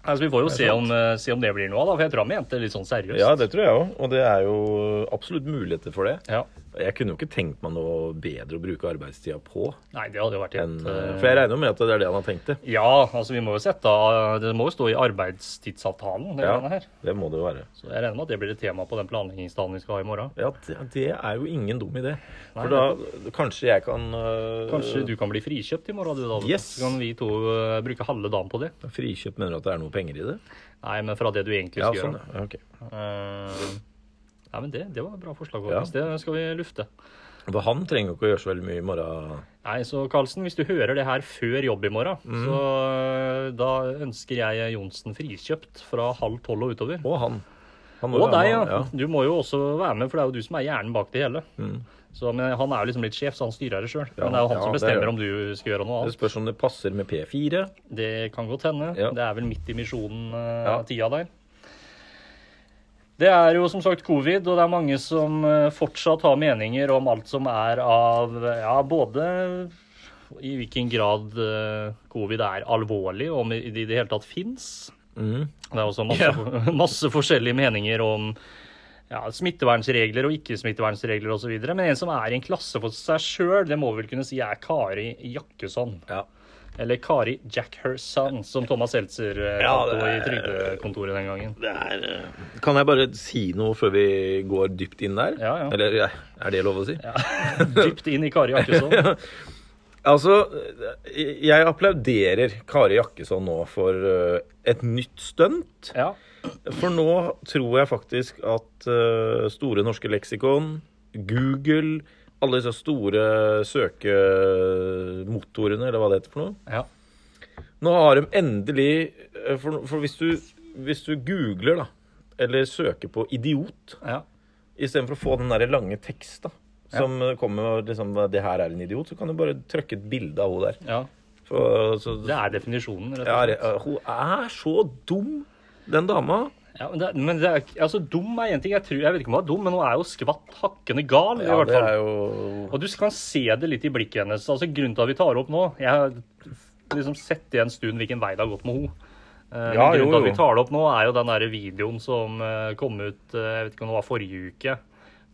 Altså, vi får jo er se sant. om, eh, se om det blir noe av, da. For jeg tror han mente det litt sånn seriøst. Ja, det tror jeg òg. Og det er jo absolutt muligheter for det. Ja. Jeg kunne jo ikke tenkt meg noe bedre å bruke arbeidstida på. Nei, det hadde jo vært Enn, helt eh, for jeg regner jo med at det er det han har tenkt det. Ja, altså vi må jo sette av Det må jo stå i arbeidstidsavtalen, det Ja, greiene her. det må det jo være. Så jeg regner med at det blir et tema på den planleggingsdagen vi skal ha i morgen. Ja, det, det er jo ingen dum idé. Nei, For da kanskje jeg kan øh, Kanskje du kan bli frikjøpt i morgen, du, da. Yes. Så kan vi to eh, bruke halve dagen på det. Frikjøpt mener du at det er noe penger i det? Nei, men fra det du egentlig Ja, skal sånn, gjøre. ja. ok. Eh, Nei, men det, det var et bra forslag. Ja. Håkon. Det skal vi lufte. For han trenger jo ikke å gjøre så veldig mye i morgen. Nei, så Karlsen, hvis du hører det her før jobb i morgen, Mm. så eh, da ønsker jeg Johnsen frikjøpt fra halv tolv og utover. Og han. han må Og jo deg, være ja. med, Du må jo også være med, for det er jo du som er hjernen bak det hele. Mm. Så, men han er jo liksom litt sjef, så han styrer det sjøl. Ja, men det er jo han ja, som det er bestemmer det. om du skal gjøre noe Det annet. spørs om det passer med P4. Det kan godt hende. Ja. Det er vel midt i misjonen eh, Ja. tida der. Det er jo som sagt covid, og det er mange som eh, fortsatt har meninger om alt som er av eh, Ja, både i hvilken grad eh, covid er alvorlig, og om det i det hele tatt fins. Mhm. Det er også masse, masse forskjellige meninger om ja, smittevernregler og ikke-smittevernregler osv. Men en som er i en klasse for seg sjøl, det må vi vel kunne si er Kari Jakkesson. Ja. Eller Kari Jackherson, som Thomas Seltzer eh, Ja, kalte henne i det er- Trygdekontoret den gangen. Det er, eh, kan jeg bare si noe før vi går dypt inn der? Ja, ja. Eller eh, er det lov å si? Dypt inn i Kari Jakkesson. Altså, eh, jeg applauderer Kari Jakkesson nå for eh, et nytt stunt. Ja. For nå tror jeg faktisk at eh, Store norske leksikon, Google, alle disse store søkemotorene, eller hva det heter for noe ja. Nå har de endelig eh, For, for hvis, du, hvis du googler, da, eller søker på 'idiot' ja. Istedenfor å få den der lange teksta som eh, kommer med liksom, 'det her er en idiot', så kan du bare trykke et bilde av henne der. ja. For, så, Det er definisjonen, rett og ja, slett. det- hun er så dum, den dama. Ja, men det, er- men det er, ikke- altså, dum er én ting. Jeg, tror, jeg vet ikke om hun er dum, men hun er jo skvatt hakkende gal. i hvert fall. jo Og du kan se det litt i blikket hennes. Altså Grunnen til at vi tar opp nå Jeg har liksom sett i en stund hvilken vei det har gått med henne. Eh, Ja, men grunnen jo, til at jo. vi tar det opp nå, er jo den der videoen som eh, kom ut eh, Jeg vet ikke om det var forrige uke.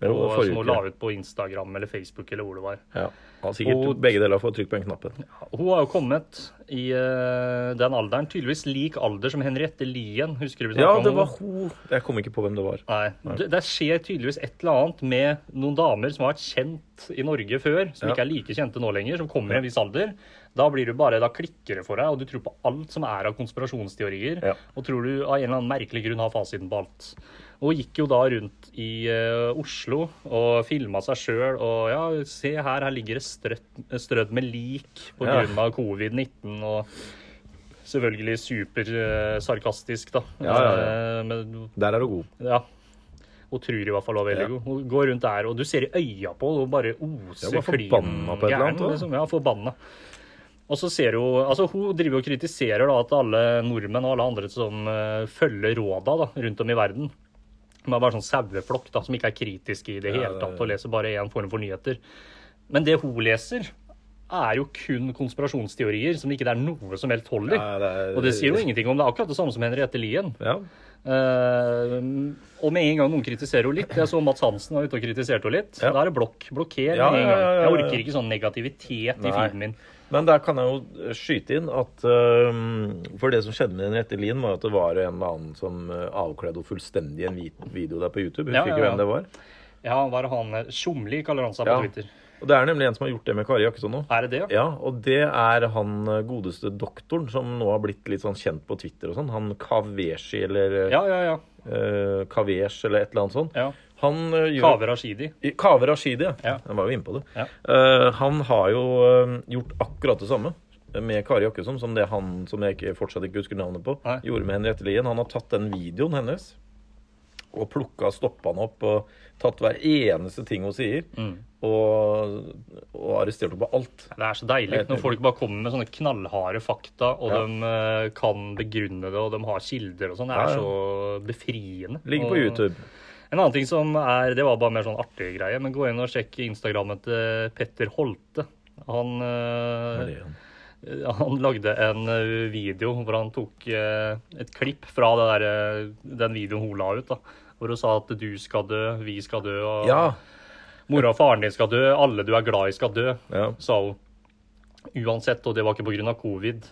Jo, og, forrige som hun uke. la ut på Instagram eller Facebook eller hvor det var. ja. Ja, Sikkert Og- begge deler for å trykke på den knappen. Hun har jo kommet i eh, den alderen, tydeligvis lik alder som Henriette Lien. Husker du vi Ja, snakket om det var henne? hun. Jeg kom ikke på hvem det var. Nei. Det, det skjer tydeligvis et eller annet med noen damer som har vært kjent i Norge før, som Ja. ikke er like kjente nå lenger, som kommer i en viss alder. Da blir du bare, da klikker det for deg, og du tror på alt som er av konspirasjonsteorier. Ja. Og tror du av en eller annen merkelig grunn har fasiten på alt. Og hun gikk jo da rundt i eh, Oslo og filma seg sjøl og ja, se her, her ligger det strøtt, strødd med lik på Ja. grunn av covid-19 og selvfølgelig supersarkastisk, da. Ja, ja, ja. Eh, Men Der er hun god. ja. Hun tror i hvert fall hun er veldig Ja. god. Hun går rundt der, og du ser i øya på henne, hun bare Ja, oser hun er forbanna på et eller annet, da. Liksom. Ja, forbanna. Og så ser hun Altså, hun driver og kritiserer da at alle nordmenn og alle andre som eh, følger råda da, rundt om i verden som er bare sånn saueflokk da, som ikke er kritiske i det Ja, hele det- tatt og leser bare én form for nyheter. Men det hun leser, er jo kun konspirasjonsteorier som det ikke er noe som helst hold i. Ja, det er- Og det sier jo ingenting om. Det er akkurat det samme som Henriette Lien. Ja. Eh, og med en gang noen kritiserer henne litt Jeg så Mats Hansen var ute og kritiserte henne litt. Ja. Da er det blokk. Blokker med Ja, ja, en gang. ja, ja, ja. Jeg orker ikke sånn negativitet i Nei. feeden min. Men der kan jeg jo skyte inn at øhm, For det som skjedde med Henriette Lien, var at det var en eller annen som øh, avkledde henne fullstendig i en hvit video der på YouTube. Husker Ja, ja, ikke ja. hvem det var. Ja, hva er det han eh, Tjomli kaller han seg Ja. på Twitter. Og det er nemlig en som har gjort det med Kari Jakkesson nå. Er det det, ja? Ja, og det er han eh, godeste doktoren som nå har blitt litt sånn kjent på Twitter og sånn. Han Kaveshi eller ja. Ja, ja, ja. Kavesh eller et eller annet sånt. ja. Han eh, gjør Kaveh Rashidi. I- Kaveh Rashidi, ja. Ja. Han var jo inne på det. Ja. Eh, han har jo eh, gjort akkurat det samme med Kari Jakkesson som det han som jeg ikke, fortsatt ikke husker navnet på, Nei. gjorde med Henriette Lien. Han har tatt den videoen hennes og plukka Mm. stoppa han opp og tatt hver eneste ting hun sier, og, og arrestert på alt. Det er så deilig når folk bare kommer med sånne knallharde fakta, og Ja. de eh, kan begrunne det, og de har kilder og sånn. Det Ja, er ja. så befriende. Ligger på Og- YouTube. En annen ting som er Det var bare mer sånn artig greie, men gå inn og sjekk Instagrammen til Petter Holte. Han, eh, Hva er det igjen? han lagde en eh, video hvor han tok eh, et klipp fra det der, eh, den videoen hun la ut. da. Hvor hun sa at du skal dø, vi skal dø, og Ja. mora og faren din skal dø, alle du er glad i skal dø, ja. sa hun. Uansett, og det var ikke pga. covid.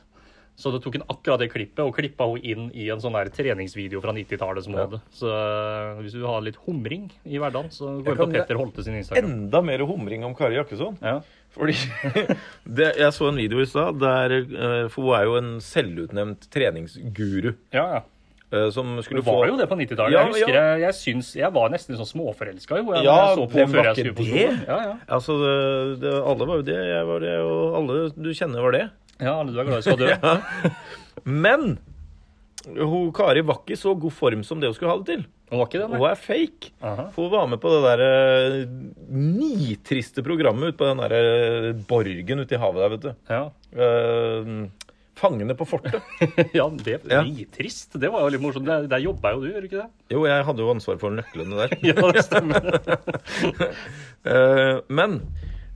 Så da tok hun akkurat det klippet og klippa hun inn i en sånn der treningsvideo fra 90-tallet. som hun Ja. hadde. Så eh, hvis du har litt humring i hverdagen, så gå Jeg inn på kan- Petter Holte sin Instagram. Enda mer humring om Kari Jakkesson. Ja. Fordi det, Jeg så en video i stad der eh, For hun er jo en selvutnevnt treningsguru ja, ja. eh, som skulle Det få var jo det på 90-tallet. Ja, jeg husker ja. jeg, jeg, syns, jeg var nesten sånn småforelska jo. Jeg, Ja, jeg så på hvem før var jeg skulle ikke på det? skolen. Ja, ja. Altså, det, det, alle var jo det. Jeg var det, og alle du kjenner var det. ja, alle du er glad i skal dø. Men hun Kari var ikke i så god form som det hun skulle ha det til. Hun var ikke det, Hun nei. er fake. Aha. For hun var med på det der eh, nitriste programmet ute på den der eh, borgen ute i havet der, vet du. Ja. Eh, Fangene på fortet. ja, det Ja. er trist. Det var jo litt morsomt. Der, der jobba jo du, gjør du ikke det? Jo, jeg hadde jo ansvar for nøklene der. Ja, det stemmer. Eh, men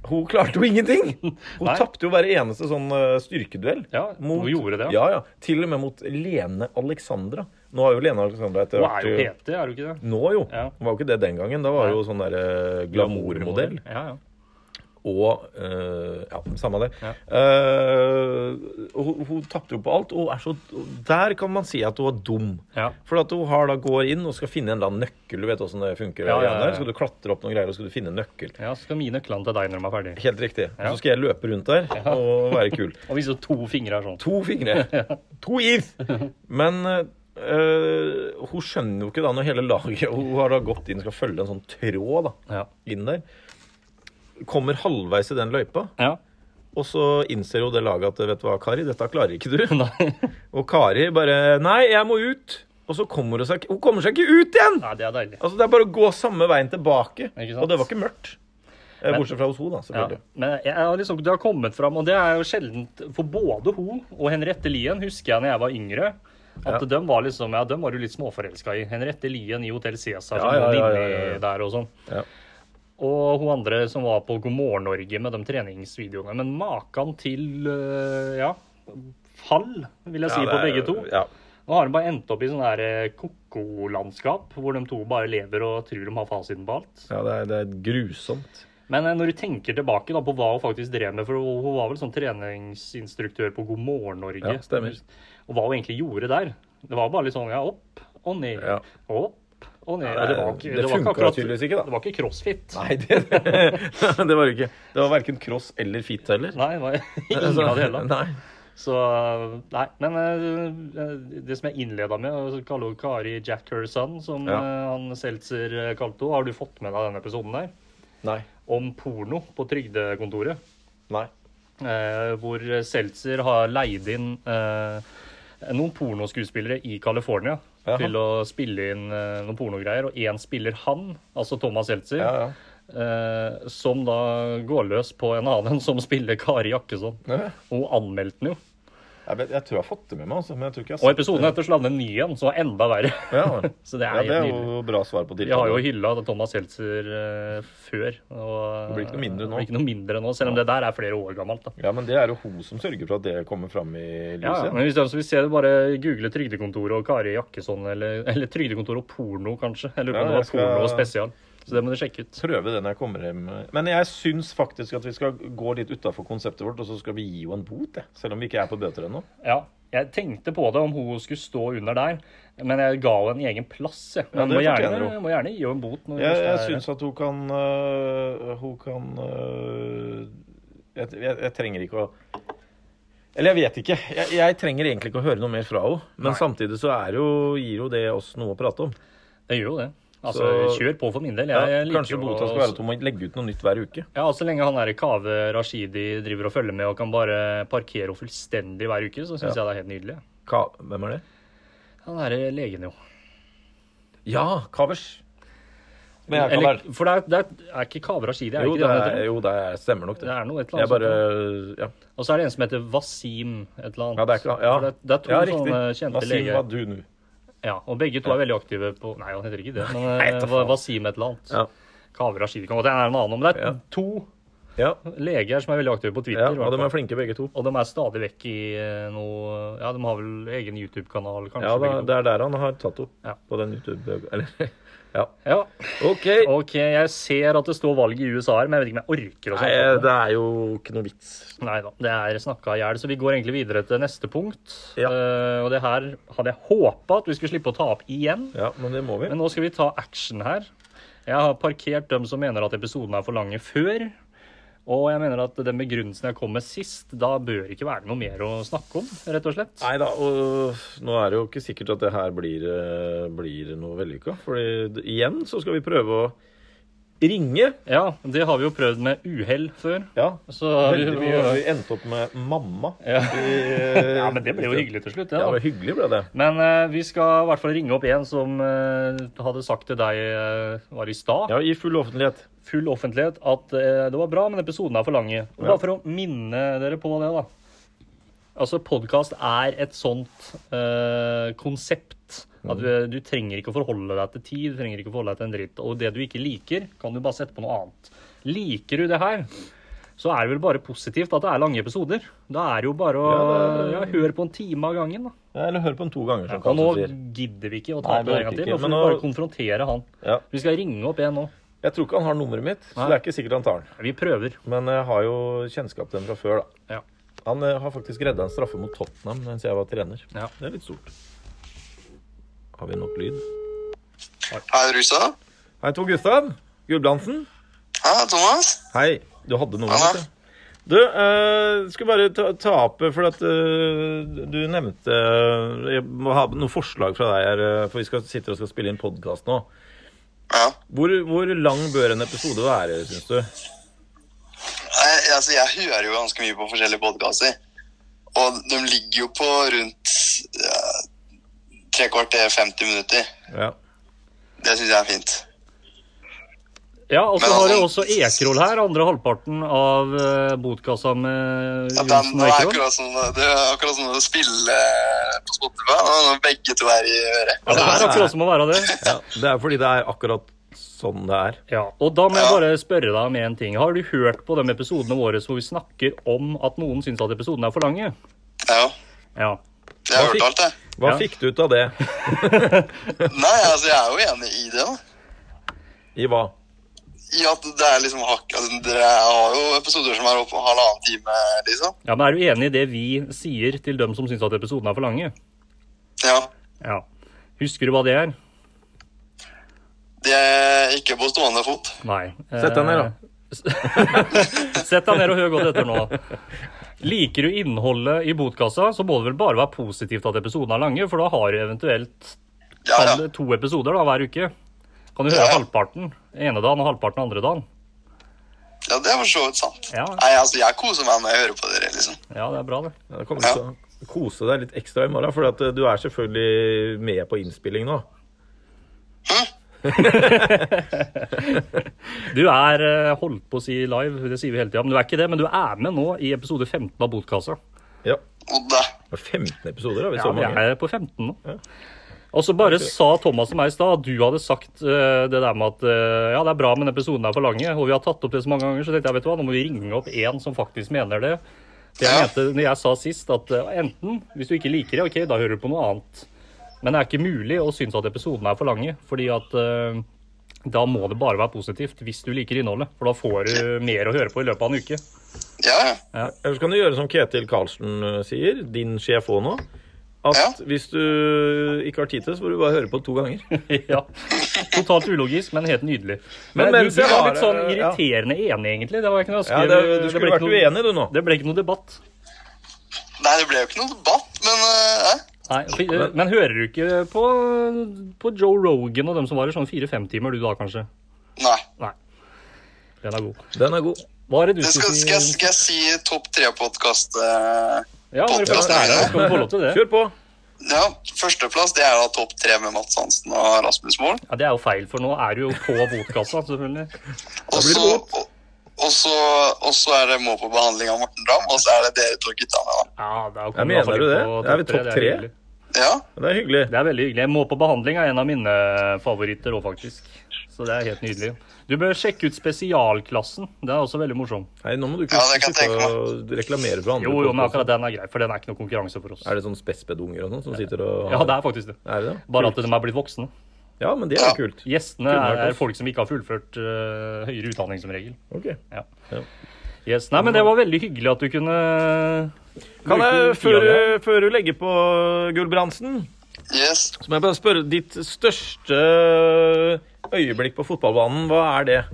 hun klarte jo ingenting! Hun Nei. tapte jo hver eneste sånn eh, styrkeduell. Ja, hun gjorde det, ja. ja, Til og med mot Lene Alexandra. Nå har jo Lene Alexandra etter Du er jo PT, er du ikke det? Nå jo. Ja. Hun var jo ikke det den gangen. Da var hun jo sånn der eh, glamourmodell. Ja, ja. Og eh, Ja, samme det. Ja. Eh, hun hun tapte jo på alt. Og er så, der kan man si at hun var dum. Ja. For at hun har da går inn og skal finne en eller annen nøkkel. Du vet åssen det funker. Ja, ja, ja, ja. der. Skal du klatre opp noen greier, og skal du finne en nøkkel. Ja, så skal mine nøklene til deg når de er ferdig. Helt riktig. Ja. Så skal jeg løpe rundt der og være kul. Og vise to fingre er sånn. To fingre. To if! Men eh, hun skjønner jo ikke da når hele laget Hun har da gått inn og skal følge en sånn tråd da, Ja. inn der. Kommer halvveis i den løypa, ja. og så innser jo det laget at vet du hva, Kari, dette klarer ikke du. Nei. Og Kari bare Nei, jeg må ut! Og så kommer hun seg Hun kommer seg ikke ut igjen! Nei, det er deilig. Altså, Det er bare å gå samme veien tilbake. Ikke sant? Og det var ikke mørkt. Eh, Men- Bortsett fra hos henne, da. Ja, selvfølgelig. men jeg har liksom, det har kommet fram, og det er jo sjeldent For både hun og Henriette Lien husker jeg når jeg var yngre. At Ja. de var liksom, ja, dem var du litt småforelska i. Henriette Lien i Hotell Cæsar som Ja, var ja, ja, inne ja, ja, ja. der og sånn. Ja. Og hun andre som var på God morgen Norge med de treningsvideoene. Men maken til øh, ja, fall, vil jeg si, det på er- begge to. Ja. Nå har de bare endt opp i sånn her eh, koko-landskap, hvor de to bare lever og tror de har fasiten på alt. Ja, det er, det er grusomt. Men eh, når du tenker tilbake da, på hva hun faktisk drev med, for hun hun var vel sånn treningsinstruktør på God morgen Norge. Ja, stemmer. Og hva hun egentlig gjorde der. Det var bare litt sånn ja, opp og ned, Ja. opp og ned. Ja, det var, det- ikke- det var funka akkurat- tydeligvis ikke, da. Det var ikke crossfit. Nei, det, det var det ikke. Det var verken cross eller fit heller. Altså, Nei, det var ingen av det hele. Nei. Så Nei. Men eh, det som jeg innleda med, og så kaller hun Kari Jackerson, som Ja. eh, han Seltzer eh, kalte henne. Har du fått med deg denne episoden der? Nei. Om porno på trygdekontoret. Nei. eh, hvor Seltzer har leid inn eh, noen pornoskuespillere i California Jaha. til å spille inn eh, noen pornogreier. Og én spiller han, altså Thomas Seltzer, Ja, ja. eh, som da går løs på en annen som spiller Kari Jakkesson. Ja. Og anmeldte den jo. Jeg, vet, jeg tror jeg har fått det med meg, altså, men jeg tror ikke jeg Og har sett episoden etter slandet en ny en, som var enda verre. Ja. Så det er ja, det helt er nydelig. jo bra svar på Vi har jo tiltalen. hylla Thomas Seltzer eh, før. Og, Det blir ikke noe mindre nå. det blir ikke noe mindre nå. Selv om det der er flere år gammelt. da. Ja, men det er jo hun som sørger for at det kommer fram i Ja, lyset. men hvis de som vil se det, bare google Trygdekontoret og Kari Jakkesson, eller, eller Trygdekontoret og porno, kanskje. Eller Ja, om det jeg var skal- porno og spesial. Så det må du sjekke ut. Prøve det når jeg kommer hjem. Men jeg syns faktisk at vi skal gå litt utafor konseptet vårt, og så skal vi gi henne en bot, jeg. selv om vi ikke er på bøter ennå. Ja, jeg tenkte på det om hun skulle stå under der, men jeg ga henne en egen plass. Jeg. Men må, det fortjener gjerne, hun. må gjerne gi henne en bot. Når vi Jeg, først jeg er- syns at hun kan øh, Hun kan øh, jeg, jeg, jeg trenger ikke å Eller jeg vet ikke. Jeg, jeg trenger egentlig ikke å høre noe mer fra henne. Men samtidig så er jo, gir jo det oss noe å prate om. Jeg gjør jo det. Altså, Så- kjør på for min del. Ja, Jeg, jeg liker kanskje jo bota å- skal være at hun må legge ut noe nytt hver uke. Ja, og Så lenge han der Kave Rashidi driver og følger med og kan bare parkere henne fullstendig hver uke, så syns jeg det er helt nydelig. Ka Hvem er det? Han derre legen, jo. Ja, Kavers. Men jeg kan Eller, være- for det er, det er, er ikke Kavra Shiri, er det ikke Jo, det det han er, heter? jo, det er, stemmer nok, Det det. er noe et eller Jeg annet. bare sånt. Ja, Og så er det en som heter Wasim et eller annet. ja det er ikke For ja. det, det er to ja, sånne kjente Wasim leger. Wadunu. Ja, og begge to er veldig aktive på Nei, han heter ikke det, men Nei, ta eh, faen. Wasim et eller annet. Ja. Kavra Shiri kan godt hende det er en annen, men det Ja. er to Ja, leger som er veldig aktive på Twitter. i ja, hvert og de fall. er flinke begge to. Og de er stadig vekk i eh, noe Ja, de har vel egen YouTube-kanal, kanskje? Ja, da, begge to. det er der han har tatt opp. Ja. På den YouTube Eller Ja. Ja, OK! OK, jeg ser at det står valg i USA her, men jeg vet ikke om jeg orker å Nei, snakke om det. det er jo ikke noe vits. Nei da, det er snakka i hjel, så vi går egentlig videre til neste punkt. Ja. Eh, og det her hadde jeg håpa at vi skulle slippe å ta opp igjen, Ja, men det må vi. men nå skal vi ta action her. Jeg har parkert dem som mener at episodene er for lange før. Og jeg mener at den begrunnelsen jeg kom med sist, da bør ikke være noe mer å snakke om, rett og slett. Nei da, og nå er det jo ikke sikkert at det her blir, eh, blir noe vellykka. For igjen så skal vi prøve å ringe. Ja, det har vi jo prøvd med uhell før. Ja. Så Veldig mye. Vi endte opp med mamma. Ja. I, Ja, men det ble jo hyggelig til slutt, det. da. Ja, men hyggelig ble det. Men eh, vi skal i hvert fall ringe opp en som eh, hadde sagt til deg eh, var i stad, Ja, i full offentlighet. full offentlighet, at eh, det var bra, men episodene er for lange. Og Ja. Bare for å minne dere på det, da. Altså, podkast er et sånt eh, konsept Mm. at du, du trenger ikke å forholde deg til tid, du trenger ikke å forholde deg til en dritt. Og det du ikke liker, kan du bare sette på noe annet. Liker du det her, så er det vel bare positivt at det er lange episoder. Da er det jo bare å ja, Ja, høre på en time av gangen, da. Ja, Eller hør på den to ganger, som Og nå Karlsen sier. gidder vi ikke å Nei, ta opp vi det en gang orker til. ikke, Nå får men vi nå- bare konfrontere han. Ja. Vi skal ringe opp en nå. Jeg tror ikke han har nummeret mitt, så Nei. det er ikke sikkert han tar den. Vi prøver. Men jeg har jo kjennskap til den fra før, da. Ja. Han eh, har faktisk redda en straffe mot Tottenham mens jeg var trener. Ja. Det er litt stort. Har vi nok lyd? Hei, Rusa. Hei, Tor Gustav. Gulbrandsen. Hei, Thomas. Hei. Du hadde noe Ja. med det. Du, uh, skulle bare ta, ta opp eh, For at eh, du nevnte eh, Jeg må ha noen forslag fra deg her, eh, for vi skal, sitter og skal spille inn podkast nå. Ja. Hvor, hvor lang bør en episode være, syns du? Jeg, altså, jeg hører jo ganske mye på forskjellige podkaster. Og de ligger jo på rundt ja, tre kvarter, 50 minutter. Ja. Det syns jeg er fint. Ja, og så Men har altså- jeg også Ekerol her. Andre halvparten av eh, botkassa med Ja, den, Johnsen det, og er Ekerol. akkurat som, det er akkurat som å spille eh, på Spotify nå når begge to er i øret. Ja, det er akkurat som å være det. ja. Det er fordi det er akkurat sånn det er. Ja, og da må jeg Ja. bare spørre deg om en ting. Har du hørt på de episodene våre hvor vi snakker om at noen syns at episodene er for lange? Ja, Ja. jeg Hva har fikk- hørt alt, jeg. Hva Ja. fikk du ut av det? Nei, altså, jeg er jo enig i det. da. I hva? I at det er liksom hakk altså, Dere har jo episoder som er oppe på halvannen time, liksom. ja, Men er du enig i det vi sier til dem som syns at episodene er for lange? Ja. Ja. Husker du hva det er? Det er ikke på stående fot. Nei. Eh, Sett deg ned, da. Sett deg ned og hør godt etter nå. Liker du innholdet i botkassa, så må det vel bare være positivt at episodene er lange, for da har du eventuelt Ja, ja. kall det to episoder da, hver uke. Kan du Ja, høre ja. halvparten ene dagen og halvparten andre dagen? Ja, det er for så vidt sant. Ja. Nei, altså, jeg koser meg med å høre på dere, liksom. Ja, det er bra, det. Ja, Da kommer du til å kose deg litt ekstra i morgen, for at eh, du er selvfølgelig med på innspilling nå. Du er eh, holdt på å si live, det sier vi hele tida, men du er ikke det. Men du er med nå i episode 15 av Botkassa. Ja. Og da, Det var 15 episoder, da. Vi Ja, så vi mange. er på 15 nå. Og så bare sa Thomas til meg i stad at du hadde sagt eh, det der med at eh, ja, det er bra, men episoden er for lange, og vi har tatt opp det så mange ganger, så tenkte jeg vet du hva, nå må vi ringe opp én som faktisk mener det. Det jeg Ja. mente når jeg sa sist, at eh, enten hvis du ikke liker det, ok, da hører du på noe annet. Men det er ikke mulig å synes at episodene er for lange, fordi at eh, da må det bare være positivt hvis du liker innholdet. For da får du mer å høre på i løpet av en uke. ja, ja. Eller så kan du gjøre som Ketil Karlsen eh, sier, din sjef òg nå. At Ja. hvis du ikke har tid til det, så får du bare høre på det to ganger. ja. Totalt ulogisk, men helt nydelig. Men, Men mens du, jeg du var har- litt sånn ja. irriterende enig, egentlig. Det var ikke noe Ja, det, det- du det skulle ble ikke vært noe- uenig, du nå. Det ble ikke noe debatt. Nei, det ble jo ikke noen debatt, men eh, eh, Nei, for, men hører du ikke på, på Joe Rogan og dem som var i sånn fire-fem timer, du da kanskje? nei. Nei. Den er god. Den er god. Hva er det du Det skal, skulle si? skal, jeg- skal jeg si topp eh, tre-podkast? Ja, når du først er her, skal vi få lov til det. Kjør på. Ja, førsteplass det er jo da topp tre med Mats Hansen og Rasmus Mohl. Ja, Det er jo feil, for nå er du jo på botkassa, selvfølgelig. Og blir det så og- og så- og så er det må på behandling av Morten Dam, og så er det dere to gutta med, da. Ja, da Ja, kom mener iallfall du litt det? på Er vi topp det tre? hyggelig. Ja, Det er hyggelig. Det er veldig hyggelig. Jeg må på behandling er en av mine favoritter òg, faktisk. Så det er helt nydelig. Du bør sjekke ut Spesialklassen. Det er også veldig morsom. Nei, nå må du ikke Ja, det kan sitte jeg og reklamere for andre. Jo, jo, men podcaster. akkurat den er grei, for den er ikke noe konkurranse for oss. Er det sånn spespeddunger og sånn som sitter og Ja, det er faktisk det. Er det det? Bare at Kult. de er blitt voksne. Ja, men det er jo kult. Gjestene Kunne er, vært er oss. folk som ikke har fullført øh, høyere utdanning, som regel. Ok. Ja. Ja. Yes. Nei, men det var veldig hyggelig at du kunne Kan jeg, bruke tida før, di. før du legger på Gulbrandsen, yes. så må jeg bare spørre Ditt største øyeblikk på fotballbanen, hva er det?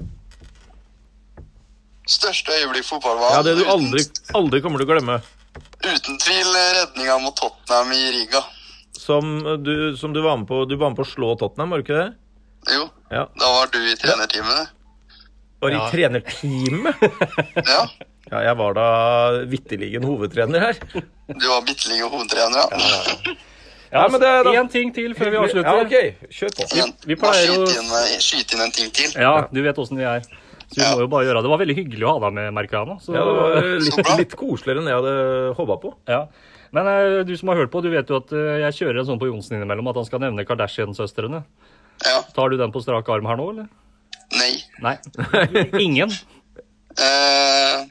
Største øyeblikk Ja, fotballbanen. Det du aldri, aldri kommer til å glemme. Uten, uten tvil redninga mot Tottenham i Riga. Som du, som du var med på Du var med på å slå Tottenham, var du ikke det? Jo, Ja. da var du i trenerteamet. Var i Ja. trenerteamet? Ja. Ja, jeg var da vitterlig en hovedtrener her. Du var bitte lille hovedtrener, ja. Ja, Nei, men det er da- Én ting til før vi avslutter. Ja, ok, kjør på. Men vi bare pleier å- skyte inn, eh, Skyte inn en ting til. Ja, du vet åssen vi er. Så vi Ja. må jo bare gjøre det. Det var veldig hyggelig å ha deg med, Mercano. Så, Ja, det var Så litt, bra. litt koseligere enn jeg hadde håpa på. ja. Men eh, du som har hørt på, du vet jo at eh, jeg kjører en sånn på Johnsen innimellom at han skal nevne Kardashian-søstrene. Ja. Tar du den på strak arm her nå, eller? Nei. Nei. Ingen? Eh,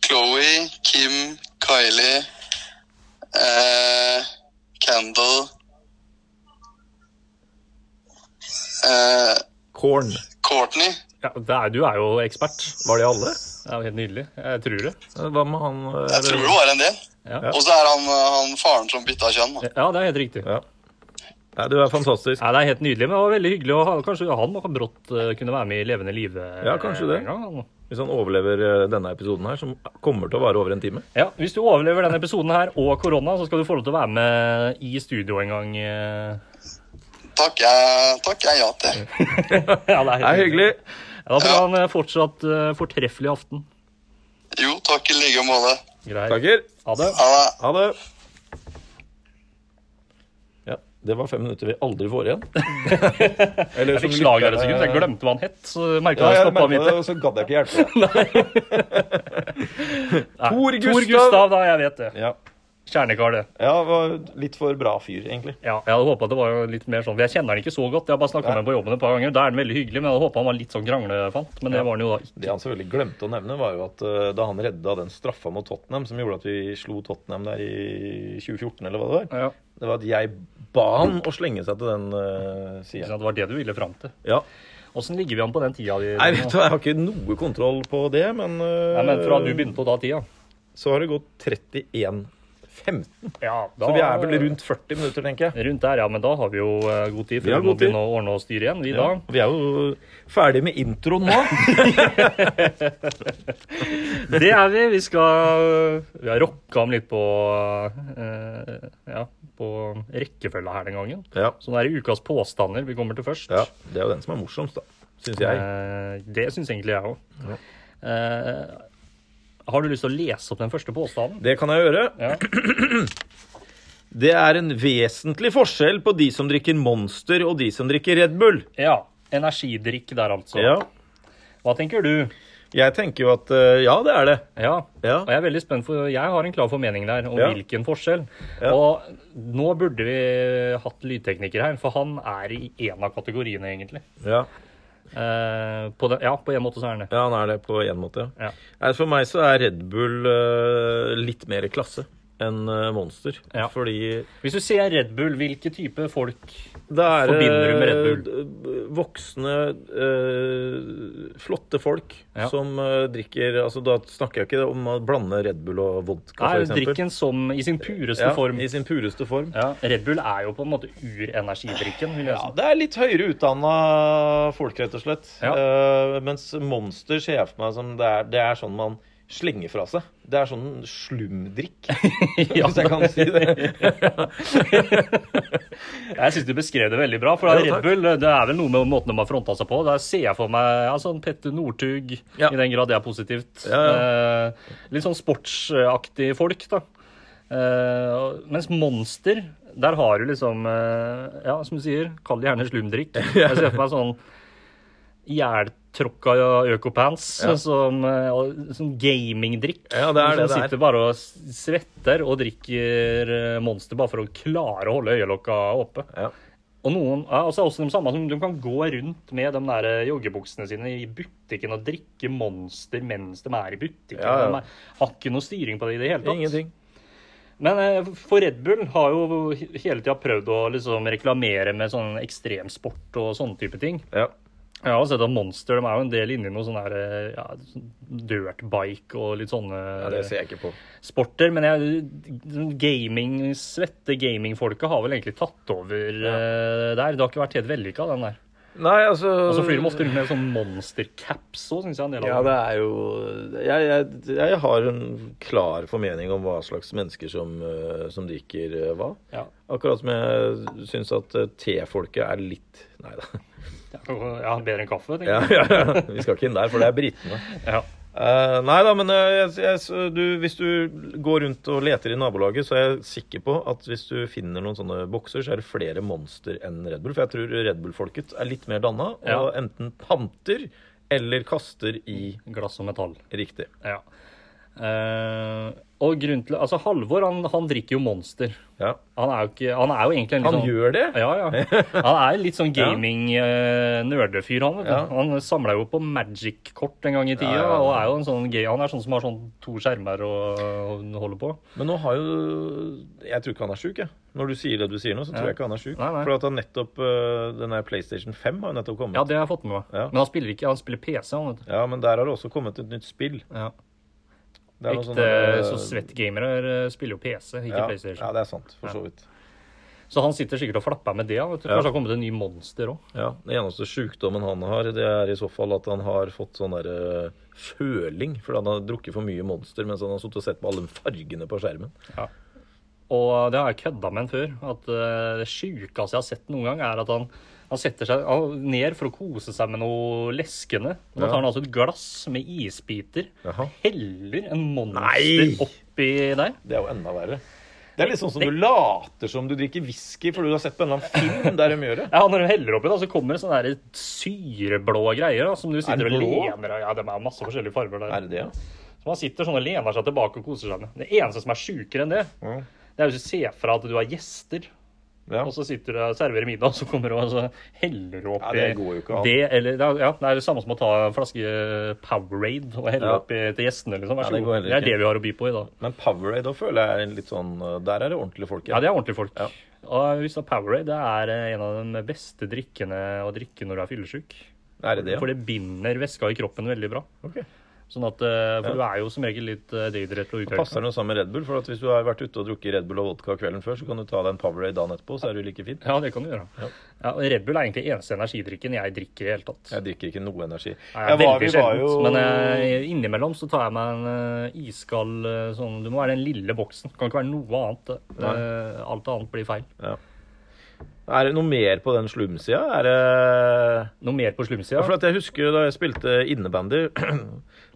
Chloé, Kim, Kylie, eh, Kendall eh, Corn. Courtney. Ja, det er, du er jo ekspert. Var de alle? Det er jo helt nydelig. Jeg tror det. Eh, Hva med han Jeg tror det var en del. Ja. Og så er han, eh, han faren som bytta kjønn. da. Ja, det er helt riktig. Ja. Nei, du er fantastisk. Ja, det er helt nydelig, men det var veldig hyggelig å ha Kanskje han kan brått eh, kunne være med i Levende live eh, Ja, kanskje det. en gang. Hvis han overlever eh, denne episoden her, som kommer til å vare over en time. Ja, Hvis du overlever denne episoden her og korona, så skal du få lov til å være med i studio en gang. eh. Takk, jeg, takk, jeg ja til. Ja, det er helt Det er hyggelig. Ja, Da får Ja. han eh, fortsatt eh, fortreffelig aften. Jo, takk i like måte. Greit. Takker. Ha det. Ha det. Ha det. Ja, det var fem minutter vi aldri får igjen. Eller Jeg fikk slag der et sekund, så jeg glemte hva han het. Så merket jeg eh, jeg stoppa merket midt det, og så gadd jeg ikke hjelpe deg. Tor Tor Gustav. Gustav, da. Jeg vet det. Ja. Kjernekar, det. ja, var litt for bra fyr, egentlig. Ja, jeg hadde håpet at det var jo litt mer sånn Jeg kjenner han ikke så godt. Jeg har bare snakket med han på jobben et par ganger. Da er han veldig hyggelig, men jeg hadde håpet han var litt sånn kranglefant. Men det var han jo da ikke. Det han selvfølgelig glemte å nevne, var jo at eh, da han redda den straffa mot Tottenham, som gjorde at vi slo Tottenham der i 2014, eller hva det var, Ja, det var at jeg ba han å slenge seg til den uh, ikke sida. sant, Det var det du ville fram til. Ja. Åssen ligger vi an på den tida di? Nei, nå? vet du, hva, jeg har ikke noe kontroll på det, men, eh, Nei, men fra du begynte å ta tida? så har det gått 31.15. Ja, da, Så vi er vel rundt 40 minutter, tenker jeg. Rundt der, ja. Men da har vi jo eh, god tid Vi før har vi må god tid. begynne å ordne og styre igjen, vi Ja, da. vi er jo ferdig med introen nå. Det er vi. Vi skal Vi har rocka om litt på eh, Ja, på rekkefølga her den gangen. ja. Så nå er det ukas påstander vi kommer til først. ja. Det er jo den som er morsomst, da. Syns jeg. Eh, det syns egentlig jeg òg. har du lyst til å lese opp den første påstanden? Det kan jeg gjøre. Ja. Det er en vesentlig forskjell på de som drikker Monster og de som drikker Red Bull. ja. Energidrikk der, altså. Ja. Hva tenker du? Jeg tenker jo at eh, ja, det er det. Ja. Ja. Og jeg er veldig spent, for jeg har en klar formening der om Ja. hvilken forskjell. Ja. Og nå burde vi hatt lydtekniker her, for han er i en av kategoriene, egentlig. Ja, Eh, på den, ja, på en måte så er han det. ja han er det på én måte. Ja. Nei, For meg så er Red Bull eh, litt mer klasse enn eh, Monster. Ja. Fordi Hvis du ser Red Bull, hvilke type folk da er det Forbinder du med Red eh, voksne, eh, flotte folk Ja. som eh, drikker altså Da snakker jeg ikke om å blande Red Bull og vodka, er f.eks. drikken som i sin pureste ja, form? I sin pureste form. Ja, Red Bull er jo på en måte urenergidrikken, vil jeg Ja, si. det er litt høyere utdanna folk, rett og slett. Ja. Eh, mens Monster ser jeg for meg som det er, det er sånn man slenger fra seg. Det er sånn slumdrikk, Ja. hvis jeg kan si det. Jeg syns du beskrev det veldig bra. For Ja, Red takk. Bull, det er vel noe med måten de har fronta seg på. Der ser jeg for meg ja, sånn Petter Northug, Ja. i den grad det er positivt. Ja, Eh, litt sånn sportsaktig folk, da. Eh, og- mens Monster, der har du liksom eh, Ja, som du sier, kall det gjerne slumdrikk. Jeg ser for meg sånn jævltråkka økopants Ja. som, eh, og- som gamingdrikk. Ja, det er det som det er. sitter bare og s- svetter og drikker eh, Monster bare for å klare å holde øyelokka oppe. Ja. Og noen, ja, altså også de samme som de kan gå rundt med de der eh, joggebuksene sine i butikken og drikke Monster mens de er i butikken. Ja, ja. De er, har ikke noe styring på det i det hele tatt. Ingenting. Men eh, for Red Bull har jo hele tida prøvd å liksom reklamere med sånn ekstremsport og sånne type ting. Ja. Jeg har sett at Monster de er jo en del inni noe sånn der eh, ja, sånn dirtbike og litt sånne eh, ja, det ser jeg ikke på. sporter, men jeg, gaming, svette gamingfolket har vel egentlig tatt over eh, der. Det har ikke vært helt vellykka, den der. Nei, altså Og så flyr de ofte rundt med sånn monstercaps òg, syns jeg. en del Ja, av det er jo jeg, jeg, jeg har en klar formening om hva slags mennesker som, eh, som liker eh, hva. Ja. Akkurat som jeg syns at eh, tefolket er litt Nei da. Ja, bedre enn kaffe, Ja, tenker jeg. ja, ja. Vi skal ikke inn der, for det er britene. Ja. Eh, nei da, men eh, jeg, jeg, så du, hvis du går rundt og leter i nabolaget, så er jeg sikker på at hvis du finner noen sånne bokser, så er det flere monster enn Red Bull. For jeg tror Red Bull-folket er litt mer danna, Ja. og enten panter eller kaster i Glass og metall. riktig. Ja. Eh, og grunnen til Altså, Halvor, han, han drikker jo Monster. Ja. Han er jo ikke Han er jo egentlig en litt Han sånn gjør det? Ja, ja. Han er litt sånn Ja. gaming-nerdefyr, han. vet du. Ja. Han samla jo på Magic-kort en gang i tida, Ja, ja, ja. og er jo en sånn gay, han er sånn som har sånn to skjermer og, og holder på. Men nå har jo Jeg tror ikke han er sjuk, jeg. Når du sier det du sier nå, så tror jeg ikke han er sjuk. Nei, nei. For at han nettopp øh, Den der PlayStation 5 har jo nettopp kommet. Ja, det har jeg fått med meg. Ja. Men han spiller ikke, han spiller PC, han, vet du. Ja, men der har det også kommet et nytt spill. Ja. Det er noe Ekte sånn, øh, eh, så svettgamere eh, spiller jo PC, ikke ja, PlayStation. Ja, det er sant. For så vidt. Så han sitter sikkert og flapper med det. han, Vet du. Ja. Kanskje det har kommet en ny monster òg. Ja, Den eneste sjukdommen han har, det er i så fall at han har fått sånn derre føling. Fordi han har drukket for mye Monster mens han har sittet og sett på alle fargene på skjermen. Og det har jeg kødda med en før. At eh, det sjukeste jeg har sett noen gang, er at han, han setter seg han, ned for å kose seg med noe leskende. Og Da Ja. tar han altså et glass med isbiter, Jaha. heller en monster Nei! oppi der. Det er jo enda verre. Det er litt sånn som du later som du drikker whisky fordi du har sett på en eller annen film der de gjør det. Ja, Når de heller oppi, da, så kommer det sånne der syreblå greier da, som du sitter og blå? lener av. Ja, de er masse forskjellige farger der. Er det det, ja? Så man sitter sånn og lener seg tilbake og koser seg med. Det eneste som er sjukere enn det, Ja. det er hvis du ser fra at du har gjester. Ja. Og så sitter du og serverer middag, og så kommer du og så heller du opp Ja, det går jo ikke an. det, eller, det er- ja, det er det samme som å ta en flaske Powerade og helle Ja. opp i, til gjestene. Liksom. Vær Ja, så det god. det, går heller er det vi har å by på i dag. Men Powerade da føler jeg er litt sånn Der er det ordentlige folk. Ja, det er ordentlige folk. Ja. Og hvis det er Powerade det er eh, en av de beste drikkene å drikke når du er fyllesyk. Er det det, ja? For det binder væska i kroppen veldig bra. Ok. Sånn at, eh, for du er jo som regel litt eh, dehydrert og uthørt. Passer det noe sammen med Red Bull? For at hvis du har vært ute og drukket Red Bull og vodka kvelden før, så kan du ta deg en Powerade dagen etterpå, så er du like fin. Ja, det kan du gjøre. Ja. og Red Bull er egentlig eneste energidrikken jeg drikker i det hele tatt. Jeg drikker ikke noe energi. Nei, jeg er Jeg var- veldig vi var sjeldent, men eh, innimellom så tar jeg meg en eh, iskald eh, sånn Du må være den lille boksen. Det kan ikke være noe annet. eh. Eh, alt annet blir feil. ja. Er det noe mer på den slumsida? Er det Noe mer på slumsida? Ja, For at jeg husker da jeg spilte innebandy,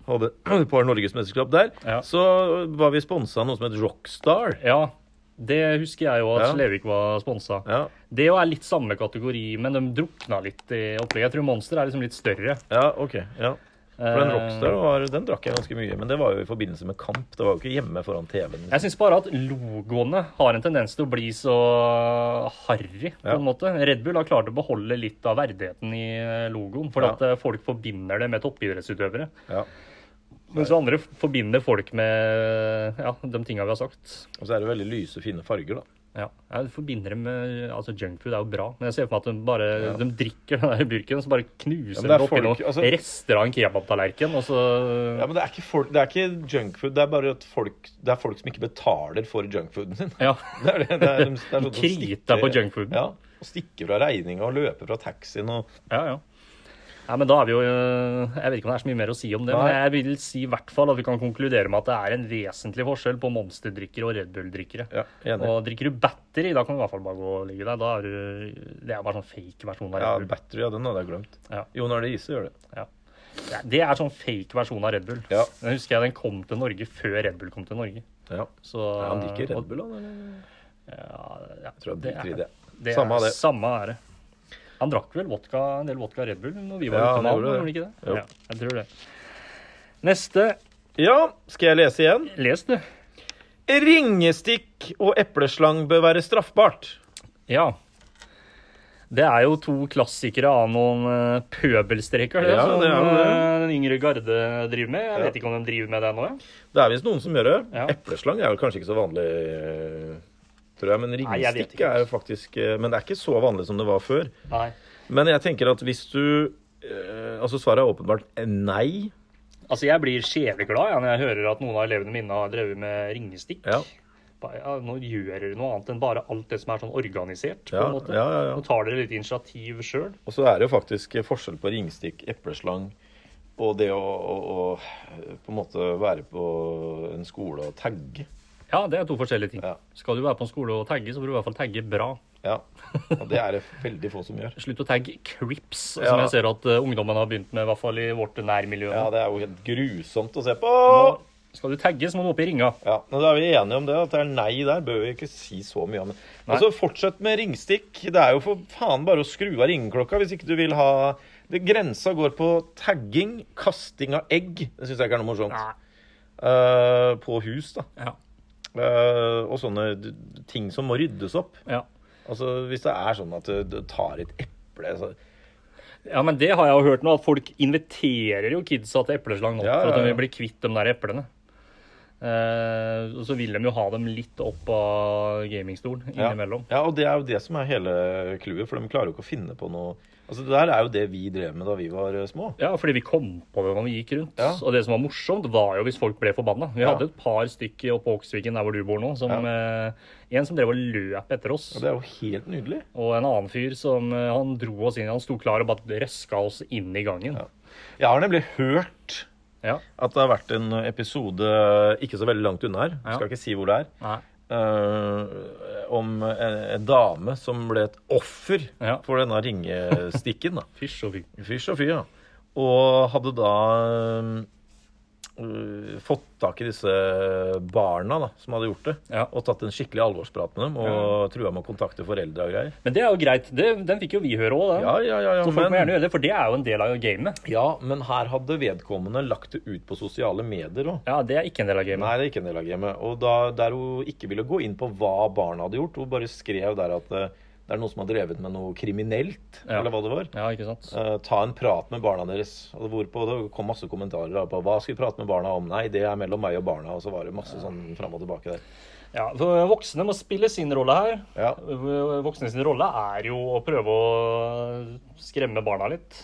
hadde et par norgesmesterskap der, Ja. så var vi sponsa av noe som het Rockstar. Ja, det husker jeg jo at Ja. Slevik var sponsa. Ja. Det jo er litt samme kategori, men de drukna litt i opplegget. Jeg tror Monster er liksom litt større. ja, OK. ja. For den Eh, Rockstar var, den drakk jeg ganske mye, men det var jo i forbindelse med kamp. Det var jo ikke hjemme foran TV-en. Jeg syns bare at logoene har en tendens til å bli så harry, på Ja. en måte. Red Bull har klart å beholde litt av verdigheten i eh, logoen, for Ja. at eh, folk forbinder det med toppidrettsutøvere. Ja. Mens andre f- forbinder folk med ja, de tinga vi har sagt. Og så er det veldig lyse, fine farger, da. Ja, jeg forbinder det med altså Junkfood er jo bra, men jeg ser for meg at de bare de drikker den der burken, så bare Ja, knuser men de det er oppi folk- noen altså- rester av en kebabtallerken, og så Ja, men det er ikke, folk, det er ikke junkfood, det er bare at folk, det er folk som ikke betaler for junkfooden sin. Ja. Det er det. det, er, de, det er sånn som Krita stikker- på junkfooden. Ja. Og stikke fra regninga og løpe fra taxien og Ja, ja. Nei, men da er vi jo eh, Jeg vet ikke om det er så mye mer å si om det, men Nei. jeg vil si i hvert fall at vi kan konkludere med at det er en vesentlig forskjell på monsterdrikkere og Red Bull-drikkere. Ja, enig. og drikker du battery, da kan du i hvert fall bare gå og ligge der. Da er du Det er bare sånn fake versjon av Ja, Red Bull. battery, ja, den hadde jeg glemt. Ja. Jo, når det er is, så gjør det. Ja. Det er sånn fake versjon av Red Bull. Ja. Den husker jeg den kom til Norge før Red Bull kom til Norge. Ja. Så, Er han liker og- Red Bull, han? eller? Ja, ja, Jeg tror han driter i det. det er- Samme av det. Samme er det. Han drakk vel vodka, en del vodka Red Bull når vi var Ja, ute med han, han gjorde gjorde han det. ikke det? Jo. Ja, jeg tror det. Neste. Ja, skal jeg lese igjen? Les, du. Ringestikk og epleslang bør være straffbart. Ja. Det er jo to klassikere av noen eh, pøbelstreker det, Ja, som det er jo det. eh, den yngre garde driver med. Jeg Ja. vet ikke om de driver med det nå. jeg. Det er visst noen som gjør det. Ja. Epleslang er vel kanskje ikke så vanlig, eh, tror jeg. Men Nei, jeg vet ringestikk ikke. er jo faktisk eh, Men det er ikke så vanlig som det var før. Nei. Men jeg tenker at hvis du eh, Altså svaret er åpenbart nei. Altså, jeg blir skjevglad ja, når jeg hører at noen av elevene mine har drevet med ringestikk. Ja. Ba- Ja, nå gjør dere noe annet enn bare alt det som er sånn organisert. på Ja, en måte. ja, ja, ja. Nå tar dere litt initiativ sjøl. Og så er det jo faktisk forskjell på ringstikk, epleslang og det å, å, å på en måte være på en skole og tagge. Ja, det er to forskjellige ting. Ja. Skal du være på en skole og tagge, så bør du i hvert fall tagge bra. Ja. Og det er det veldig få som gjør. Slutt å tagge crips, som Ja. jeg ser at eh, ungdommen har begynt med, i hvert fall i vårt nærmiljø. Ja, det er jo helt grusomt å se på. Og Skal du tagge, så må du opp i ringa. Ja, men Da er vi enige om det, at det er nei der. Bør vi ikke si så mye om det. Nei. Altså, Fortsett med ringstikk. Det er jo for faen bare å skru av ringeklokka hvis ikke du vil ha det, Grensa går på tagging, kasting av egg. Det syns jeg ikke er noe morsomt. Eh, på hus, da. Ja. Eh, og sånne d- ting som må ryddes opp. Ja. Altså Hvis det er sånn at du- du tar et eple så, ja, men det har jeg jo hørt nå, at folk inviterer jo kidsa til epleslang nå Ja, for ja, at de ja. vil bli kvitt de der eplene. Eh, og så vil de jo ha dem litt opp av gamingstolen ja. innimellom. ja, og det er jo det som er hele clouet, for de klarer jo ikke å finne på noe Altså Det der er jo det vi drev med da vi var eh, små. Ja, fordi vi kom på det når vi gikk rundt. Ja. Og det som var morsomt, var jo hvis folk ble forbanna. Vi Ja. hadde et par stykker oppe på Åksviken, der hvor du bor nå, som eh, En som drev og løp etter oss, Og det er jo helt nydelig. og en annen fyr som eh, Han dro oss inn. Han sto klar og bare røska oss inn i gangen. Ja. Jeg har nemlig hørt Ja. at det har vært en episode ikke så veldig langt unna her, Ja. skal ikke si hvor det er, Nei. eh, om en, en dame som ble et offer Ja. for denne ringestikken. da Fysj og fy. Fysj og fy, ja. Og hadde da øh, fått tak i disse barna da, som hadde gjort det, Ja. og tatt en skikkelig alvorsprat med dem og trua med å kontakte foreldre og greier. Men det er jo greit. Det, den fikk jo vi høre òg, den. Ja, ja, ja, ja, Så folk må gjerne men, gjøre det, for det er jo en del av gamet. ja, men her hadde vedkommende lagt det ut på sosiale medier òg. Ja, det er ikke en del av Nei, gamet. det er ikke en del av gamet. Og da, der hun ikke ville gå inn på hva barna hadde gjort, hun bare skrev der at øh, det er noen som har drevet med noe kriminelt, Ja. eller hva det var. Ja, ikke sant? Eh, ta en prat med barna deres. Og hvorpå det kom masse kommentarer da på hva skal vi prate med barna om. Nei, det er mellom meg og barna. Og så var det masse sånn fram og tilbake der. Ja, for Voksne må spille sin rolle her. Ja. Voksne sin rolle er jo å prøve å skremme barna litt.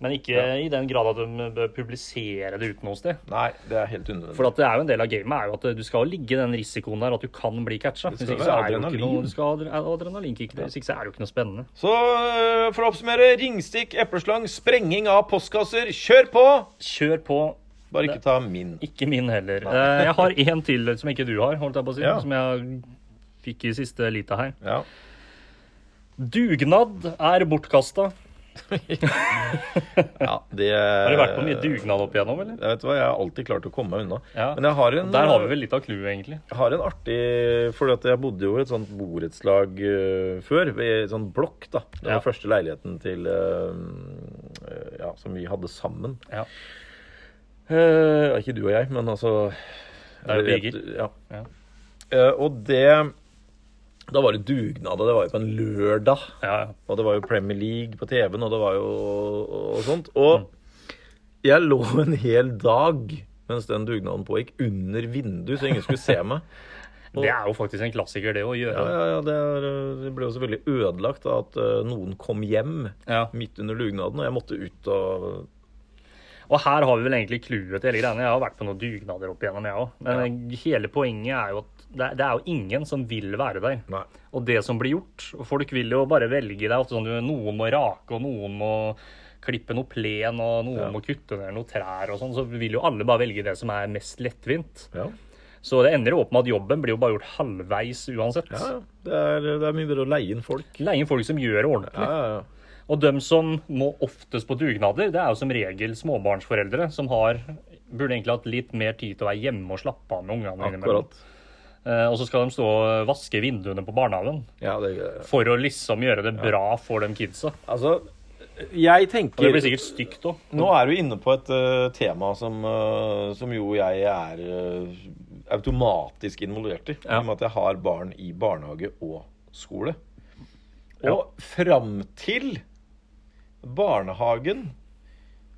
Men ikke i den grad at de bør publisere det uten noe sted. Nei, det er helt unødvendig. For at det er jo en del av gamet er jo at du skal jo ligge i den risikoen der at du kan bli catcha. Det Hvis skal ikke så være er det jo ikke adrenalin. noe, du skal ha adre- adrenalinkick. Hvis ikke så er det jo ikke noe spennende. Så eh, for å oppsummere. Ringstikk, epleslang, sprenging av postkasser. Kjør på! Kjør på. Bare ikke ta min. Ikke min heller. Eh, Jeg har én til som ikke du har, holdt jeg på å si. Ja. Som jeg fikk i siste lita her. Ja. Dugnad er bortkasta. ja det Har du vært på mye dugnad opp igjennom, eller? Jeg vet hva, jeg har alltid klart å komme meg unna. Ja. Men jeg har en, Der har vi vel litt av clouet, egentlig. jeg har en artig Fordi at jeg bodde jo i et sånt borettslag eh, før. I en sånn blokk, da. Det var Ja. første leiligheten til eh, eh, Ja, som vi hadde sammen. Ja. Eh, ikke du og jeg, men altså Det er jo jeg vet- Egil. Ja. Ja. Eh, og det Da var det dugnad, og det var jo på en lørdag. Ja, Og det var jo Premier League på TV-en, og det var jo og, og sånt. Mm. Og jeg lå en hel dag mens den dugnaden pågikk, under vinduet, så ingen skulle se meg. Det er jo faktisk en klassiker, det å Ja, gjøre. ja, ja, det, er, eh, det ble jo selvfølgelig ødelagt av at eh, noen kom hjem Ja. midt under dugnaden, og jeg måtte ut og Og her har vi vel egentlig clouet til hele greiene. Jeg har vært på noen dugnader opp igjennom, jeg òg. Men hele poenget er jo at det er, det er jo ingen som vil være der. Nei. Og det som blir gjort og Folk vil jo bare velge det. er Ofte sånn, du- noen må rake, og noen må klippe noe plen, og noen må kutte ned noen trær og sånn. Så vil jo alle bare velge det som er mest lettvint. Ja, Så det ender jo opp med at jobben blir jo bare gjort halvveis uansett. ja. ja. Det, er, det er mye bedre å leie inn folk. Leie inn folk som gjør det ordentlig. Ja, ja, ja. Og de som må oftest på dugnader, det er jo som regel småbarnsforeldre som har Burde egentlig hatt litt mer tid til å være hjemme og slappe av med ungene. innimellom. Akkurat. Eh, Og så skal de stå og vaske vinduene på barnehagen Ja, det, for å liksom gjøre det bra for de kidsa. altså, jeg Og det blir tenker sikkert stygt òg. Nå er du inne på et eh, tema som, eh, som jo jeg er eh, automatisk involvert i. I Ja. og med at jeg har barn i barnehage og skole. Og Ja. fram til barnehagen,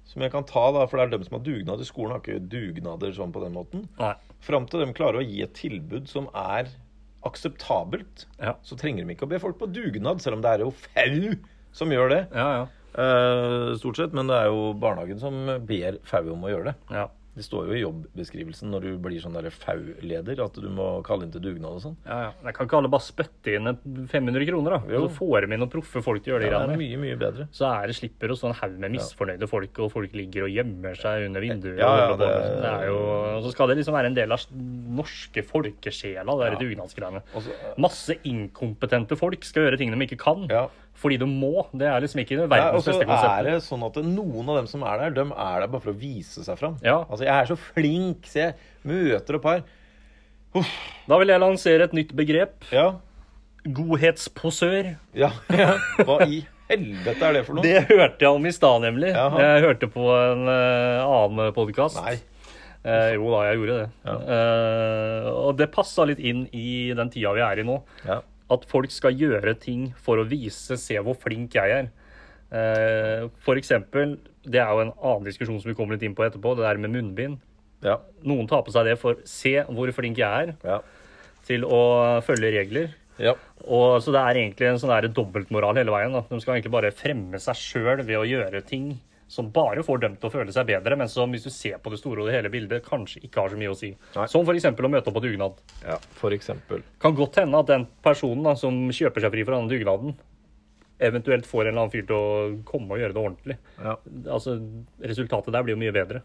som jeg kan ta, da, for det er dem som har dugnad i skolen, har ikke dugnader sånn på den måten. Nei. Fram til de klarer å gi et tilbud som er akseptabelt, Ja. så trenger de ikke å be folk på dugnad, selv om det er jo fau som gjør det. Ja, ja. Eh, stort sett, men det er jo barnehagen som ber FAU om å gjøre det. ja. Det står jo i jobbeskrivelsen når du blir sånn der FAU-leder, at du må kalle inn til dugnad og sånn. Ja, ja. Jeg kan ikke alle bare spytte inn et 500 kroner, da. Jo. Så får de inn noen proffe folk til å gjøre Det de er greiene. mye, mye bedre. Så er det slipper å stå en haug med misfornøyde folk, og folk ligger og gjemmer seg under vinduer. Ja, ja, og holder på med det- sånt. det er jo, og så skal det liksom være en del av s- norske folkesjela, det der dugnadsgreiene. Og så- Masse inkompetente folk skal gjøre ting de ikke kan. Ja. Fordi de må. Det er liksom ikke Nei, og verdens så beste er konsept. det sånn at noen av dem som er der, de er der bare for å vise seg fram. Ja. Altså, jeg er så flink, se, jeg møter opp her. Da vil jeg lansere et nytt begrep. Ja, Godhetsposør. ja, ja. Hva i helvete er det for noe? Det hørte jeg om i stad, nemlig. Jaha. Jeg hørte på en eh, annen podkast. Nei. Eh, jo da, jeg gjorde det. Eh, og det passa litt inn i den tida vi er i nå. Ja. At folk skal gjøre ting for å vise, se hvor flink jeg er. Eh, for eksempel, det er jo en annen diskusjon som vi kommer litt inn på etterpå, det der med munnbind. Ja. Noen tar på seg det for se hvor flink jeg er, Ja. til å følge regler. Ja. Og, så det er egentlig en sånn der dobbeltmoral hele veien. At de skal egentlig bare fremme seg sjøl ved å gjøre ting som bare får dem til å føle seg bedre, men som hvis du ser på det store og det hele bildet, kanskje ikke har så mye å si. Nei. Som f.eks. å møte opp på dugnad. ja. For eksempel. Kan godt hende at den personen da, som kjøper seg fri fra denne dugnaden, eventuelt får en eller annen fyr til å komme og gjøre det ordentlig. Ja, Altså, Resultatet der blir jo mye bedre.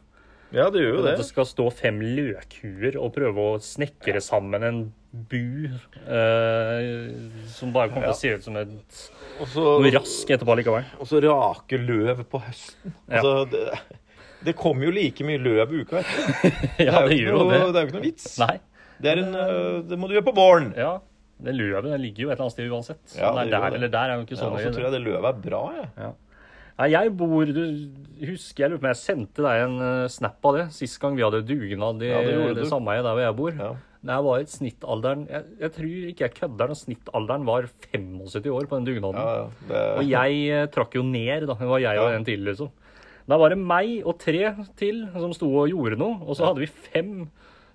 ja det gjør jo det. Det skal stå fem løkhuer og prøve å snekre sammen en bu eh, som bare kommer til å se ut som et Og så- noe rask etterpå likevel. Og så rake løv på høsten. Ja. Altså, det, det kommer jo like mye løv i uka. vet du. Ja, det Det er jo gjør ikke jo noe, det. det er jo ikke noe vits. Nei. Det, er en, øh, det må du gjøre på våren. Ja. Den løven den ligger jo et eller annet sted uansett. Så Ja, den det er gjør der det. eller der er jo ikke Ja, sånn. og så tror jeg det løvet er bra. Jeg. Nei, jeg bor Du husker jeg lurer på om jeg sendte deg en eh, snap av det sist gang vi hadde dugnad i Ja, det det, gjorde du. sameiet der hvor jeg bor. Ja. Da jeg var i snittalderen jeg, jeg tror ikke jeg kødder når snittalderen var 75 år på den dugnaden. Ja, ja, det, Og jeg eh, trakk jo ned, da. Det var jeg og Ja. en til, liksom. Da var det meg og tre til som sto og gjorde noe. Og så hadde vi fem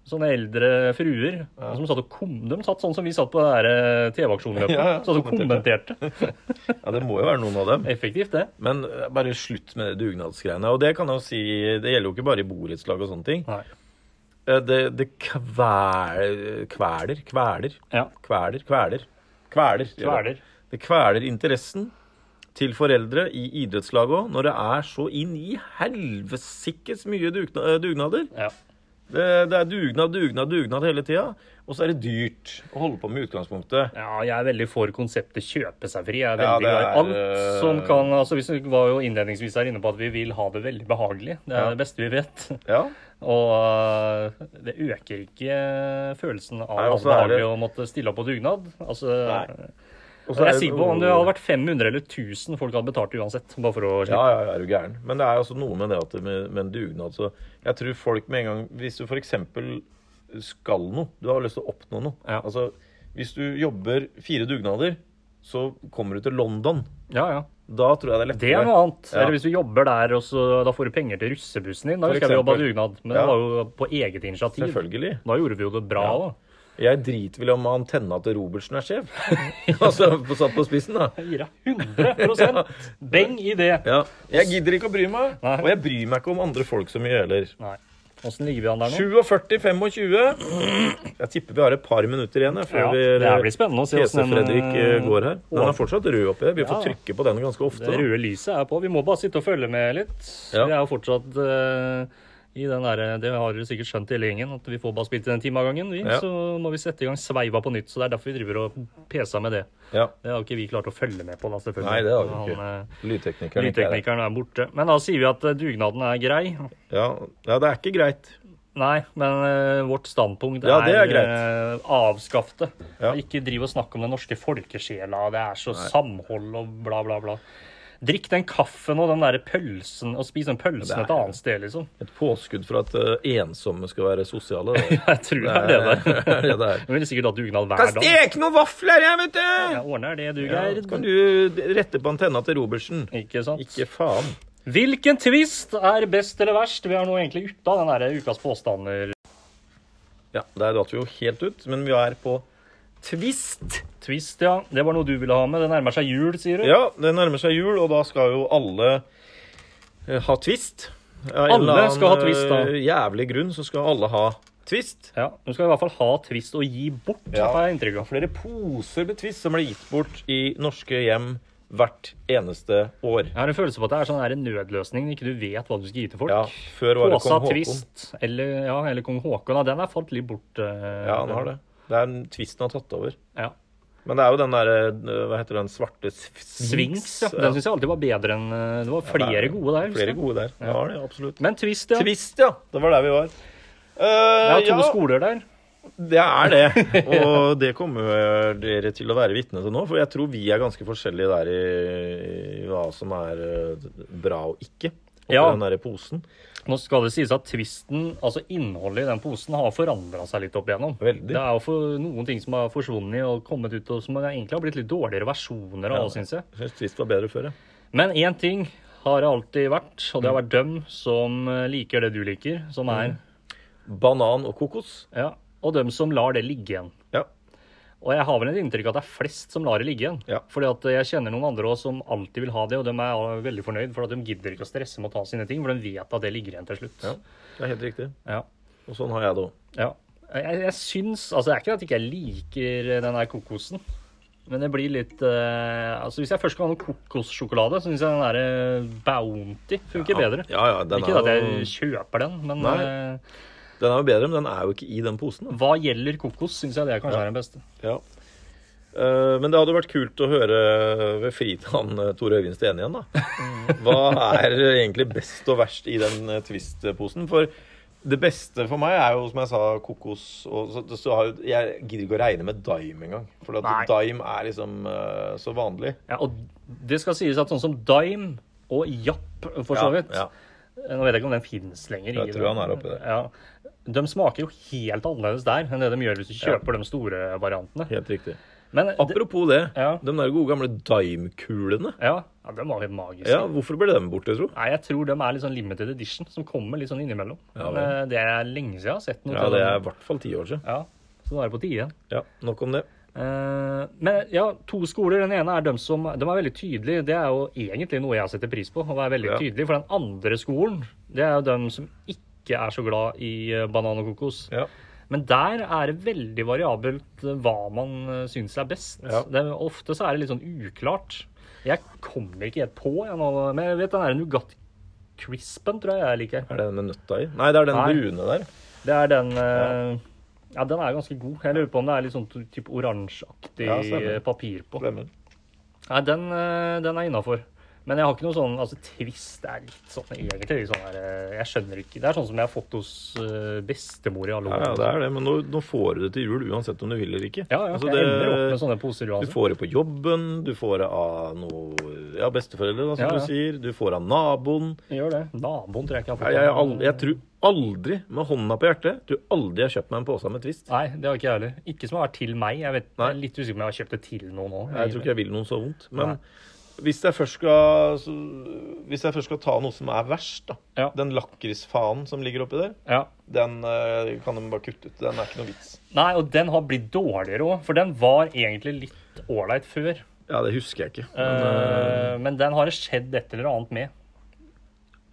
sånne eldre fruer som satt og kom, de satt sånn som vi satt på det der eh, TV-aksjonløpet. Ja, ja, satt og kommenterte. ja, det må jo være noen av dem. Effektivt, det. Men øh, bare slutt med det dugnadsgreiene. Og det kan jeg jo si, det gjelder jo ikke bare i borettslag og sånne ting. Nei. Eh, Det, det kvel, kveler, kveler, Ja. kveler, kveler, kveler. Kveler. Det kveler interessen til foreldre i idrettslag òg, når det er så inn i helvesikkes mye dugna, eh, dugnader. ja. Det, det er dugnad, dugnad, dugnad hele tida. Og så er det dyrt å holde på med utgangspunktet. Ja, jeg er veldig for konseptet kjøpe seg fri. Jeg er Ja, veldig det glad i er, eh, alt som kan altså Vi var jo innledningsvis her inne på at vi vil ha det veldig behagelig. Det er Ja. det beste vi vet. Ja. Og øh, det øker ikke eh, følelsen av Nei, og at så det er er det- behagelig å måtte stille opp på dugnad. Altså, Nei. Og så jeg er er det- sikker på om det hadde vært 500 eller 1000 folk hadde betalt uansett. Bare for å Ja, slippe. ja, ja, er du gæren. Men det er også noe med det at det med, med en dugnad så Jeg tror folk med en gang Hvis du f.eks. skal noe, du har lyst til å oppnå noe Ja. Altså, Hvis du jobber fire dugnader, så kommer du til London. Ja, ja. Da tror jeg det er lettere. Det er noe annet. Ja. Eller hvis du jobber der, og så, da får du penger til russebussen din. Da For husker jeg vi jobba eksempel. dugnad, men Ja. det var jo på eget initiativ. Selvfølgelig. Da gjorde vi jo det bra òg. Jeg driter vel om antenna til Robertsen er skjev. altså på- satt på spissen, da. Gira 100 Beng i det. Ja. Jeg gidder ikke å bry meg, Nei. og jeg bryr meg ikke om andre folk så mye heller. Nei. Åssen ligger vi an der nå? 47-25. Jeg tipper vi har et par minutter igjen jeg, før Ja, vi det her blir spennende å se PC hvordan den, Fredrik eh, går her. Den Åh. er fortsatt rød oppi der. Vi får Ja. trykke på den ganske ofte. Det da. røde lyset er på. Vi må bare sitte og følge med litt. Ja. Vi er jo fortsatt eh, i den der, det har dere sikkert skjønt i hele gjengen, at vi får bare spilt inn en time av gangen. Vi, Ja. Så må vi sette i gang sveiva på nytt. Så det er derfor vi driver og peser med det. Ja. Det har jo ikke vi klart å følge med på, da, selvfølgelig. Nei, det har vi ikke. Han, eh, Lydteknikeren ikke er her. Lydteknikeren er borte. Men da sier vi at eh, dugnaden er grei. Ja. ja, det er ikke greit. Nei, men eh, vårt standpunkt Ja, det er eh, avskaff det. Ja. Ikke driv og snakk om den norske folkesjela, det er så samhold og bla, bla, bla. Drikk den kaffen og den der pølsen, og spis den pølsen Ja, det er- et annet sted, liksom. Et påskudd for at eh, ensomme skal være sosiale. da. Jeg tror det er det der. det er det der. Hun ville sikkert hatt dugnad Kan hver dag. steke noen vafler her, vet du! Jeg ordner det, du, Ja, Geir. så kan du rette på antenna til Robertsen. Ikke sant? Ikke faen. Hvilken twist er best eller verst? Vi er nå egentlig ute av den der ukas påstander. Ja, der datt vi jo helt ut, men vi er på twist. Twist, ja. Det var noe du ville ha med. Det nærmer seg jul, sier du. Ja, det nærmer seg jul, og da skal jo alle eh, ha twist. Av en Alle eller annen, skal ha twist, da. eh, Jævlig grunn, så skal alle ha twist. Ja, Du skal i hvert fall ha twist og gi bort, Ja. får jeg inntrykk av. Flere poser med twist som ble gitt bort i norske hjem hvert eneste år. Jeg har en følelse på at det er sånn her en nødløsning når ikke du vet hva du skal gi til folk. Ja, før var det Åsa kong Håkon. Twist eller, ja, eller kong Håkon. Ja, den er falt litt bort. eh, Ja, han har det. Det er den twisten han har tatt over. Ja. Men det er jo den der, eh, hva heter den, svarte s- Swings, ja. Den syns jeg alltid var bedre enn eh, Det var flere det er- gode der. husker Flere jeg. gode der. Ja, det, er absolutt. Men twist, ja. Twist, ja. Det var der vi var. Det Eh, er to skoler der. Det er det. Og det kommer eh, dere til å være vitne til nå, for jeg tror vi er ganske forskjellige der i, i hva som er eh, bra og ikke. Oppi Ja. den der posen. Nå skal det sies at twisten, altså innholdet i den posen, har forandra seg litt opp igjennom. Veldig. Det er jo for noen ting som har forsvunnet og kommet ut, og som egentlig har blitt litt dårligere versjoner av, synes jeg. Jeg synes Twist var bedre før, ja. Men én ting har det alltid vært, og det har vært dem som eh, liker det du liker, som Mm. er Banan og kokos. Ja. Og dem som lar det ligge igjen. Ja. Og jeg har vel et inntrykk av at det er flest som lar det ligge igjen. Ja. Fordi at jeg kjenner noen andre også som alltid vil ha det, og de er veldig fornøyd, for at de gidder ikke å stresse med å ta sine ting, for de vet at det ligger igjen til slutt. ja. Det er helt riktig. Ja. Og sånn har jeg det òg. Ja. Jeg, jeg syns Altså, det er ikke at jeg ikke liker den der kokosen. Men det blir litt eh, Altså, hvis jeg først skal ha noe kokossjokolade, så syns jeg den der eh, Bounty funker bedre. Ja, ja, den ikke er, at jo, jeg kjøper den, men Nei. eh, den er jo bedre, men den er jo ikke i den posen. Da. hva gjelder kokos, syns jeg det kanskje er den beste. Ja. Eh, men det hadde vært kult å høre ved fritan eh, Tore Øyvind Steen igjen, da. Mm. Hva er egentlig best og verst i den eh, Twist-posen? For det beste for meg er jo, som jeg sa, kokos og så, så har, jo- Jeg gidder ikke å regne med Dime engang. For at Nei. Dime er liksom eh, så vanlig. Ja, og det skal sies at sånn som Dime og Japp, for så vidt Ja, Nå vet jeg ikke om den finnes lenger. Jeg ikke tror han sant? er oppi der. Ja. De smaker jo helt annerledes der enn det de gjør hvis du kjøper de store variantene. ja, helt riktig. Men det- Apropos det, Ja. de der gode gamle Dime-kulene. Ja, ja den var helt magisk. Ja, hvorfor ble de borte, tro? Nei, jeg tror de er litt sånn limited edition, som kommer litt sånn innimellom. Ja, Men, eh, det er lenge siden jeg har sett noe Ja, til det dem. er i hvert fall ti år siden. Ja, så da er det på tide igjen. Ja, Nok om det. Eh, men ja, to skoler. Den ene er de som de er veldig tydelige. Det er jo egentlig noe jeg setter pris på, å være veldig Ja. tydelig. For den andre skolen, det er jo dem som ikke er så glad i eh, banan og kokos. Ja. Men der er det veldig variabelt eh, hva man eh, syns er best. Ja. Det, er- ofte så er det litt sånn uklart. Jeg kommer ikke helt på, jeg nå, men jeg vet den der Nougat Crispen tror jeg jeg liker. Er det den med nøtta i? Nei, det er den Nei. brune der. Det er den eh, Ja, den er ganske god. Jeg lurer på om det er litt sånn t- typ oransjeaktig Ja, stemmer. eh, papir på. Stemmer. Nei, den, eh, den er innafor. Men jeg har ikke noe sånn altså Twist er litt sånn egentlig litt sånn der, eh, Jeg skjønner ikke. Det er sånn som jeg har fått hos eh, bestemor i alle Ja, år. ja, det er det, men nå, nå får du det til jul uansett om du vil eller ikke. Ja, ja, Altså, jeg ender opp med sånne poser Du uansett. får det på jobben, du får det av noe Ja, besteforeldre, da, som Ja, ja. du sier. Du får av naboen. Gjør det. Naboen tror jeg ikke har Ja, fått Jeg, jeg, den. aldri, jeg tror aldri, med hånda på hjertet, tror aldri jeg har kjøpt meg en pose med Twist. Nei, det har ikke jeg heller. Ikke som har vært til meg. Jeg, vet, jeg Nei. er litt usikker på om jeg har kjøpt det til noen òg. Jeg tror ikke jeg vil noen så vondt. Men Nei. hvis jeg først skal så, Hvis jeg først skal ta noe som er verst, da. Ja. Den lakrisfanen som ligger oppi der, Ja. den eh, kan de bare kutte ut. Den er ikke noe vits. Nei, og den har blitt dårligere òg, for den var egentlig litt ålreit før. Ja, det husker jeg ikke. Men, eh, Men, Eh, men den har det skjedd et eller annet med.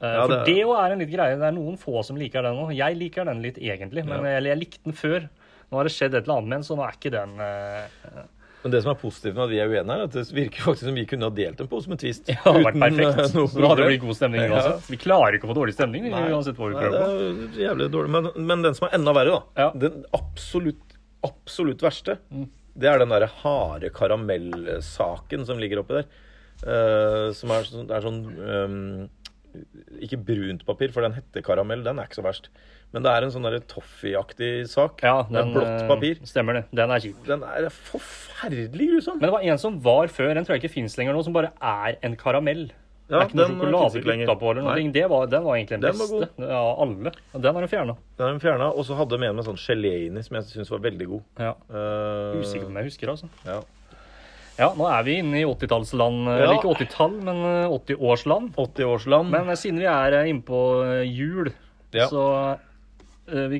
Eh, Ja, for det- det òg er en litt greie. Det er noen få som liker den òg. Jeg liker den litt egentlig, men Ja. eller jeg likte den før. Nå har det skjedd et eller annet med den, så nå er ikke den eh, Men det som er positivt med at vi er uenige her, er at det virker faktisk som vi kunne ha delt en pose med Twist. Det hadde vært eh, perfekt. noe Nå hadde det problem. blitt god stemning Ja. uansett. Vi klarer ikke å få dårlig stemning vi, Nei. uansett hva vi Nei, prøver på. det er jævlig dårlig. Men, men den som er enda verre, da. Ja. Mm. Den absolutt, absolutt verste, det er den derre harde karamellsaken som ligger oppi der. Eh, som er, sånn- det er sånn eh, Ikke brunt papir, for den hettekaramell, den er ikke så verst. Men det er en sånn derre toffeeaktig sak. Ja, med den, blått eh, papir. Stemmer det. Den er kjip. Den er forferdelig grusom. Men det var en som var før, den tror jeg ikke fins lenger nå, som bare er en karamell. det Ja, er ikke noe den eh, finnes sjokolade ikke lenger. utapå eller noe. Nei. Det var, den var egentlig den Den var beste av alle. Og Den har de fjerna. Den er fjerna. Og så hadde de en med sånn gelé inni, som jeg syns var veldig god. Ja. Eh, Usikker på om jeg husker, altså. Ja. Ja, nå er vi inne i 80-tallsland. eh, Eller Ja. ikke 80-tall, men eh, 80-årsland. 80-årsland. Men eh, siden vi er eh, inne på eh, jul, Ja. så eh, vi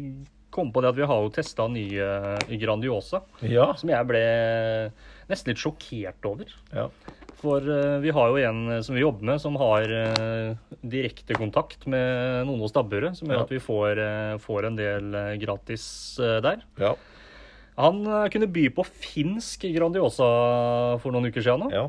kom på det at vi har jo testa nye eh, Grandiosa. Ja. Som jeg ble eh, nesten litt sjokkert over. ja. For eh, vi har jo en eh, som vi jobber med, som har eh, direkte kontakt med noen hos Stabburet, som gjør Ja. at vi får, eh, får en del eh, gratis eh, der. Ja. Han eh, kunne by på finsk Grandiosa for noen uker siden nå, ja.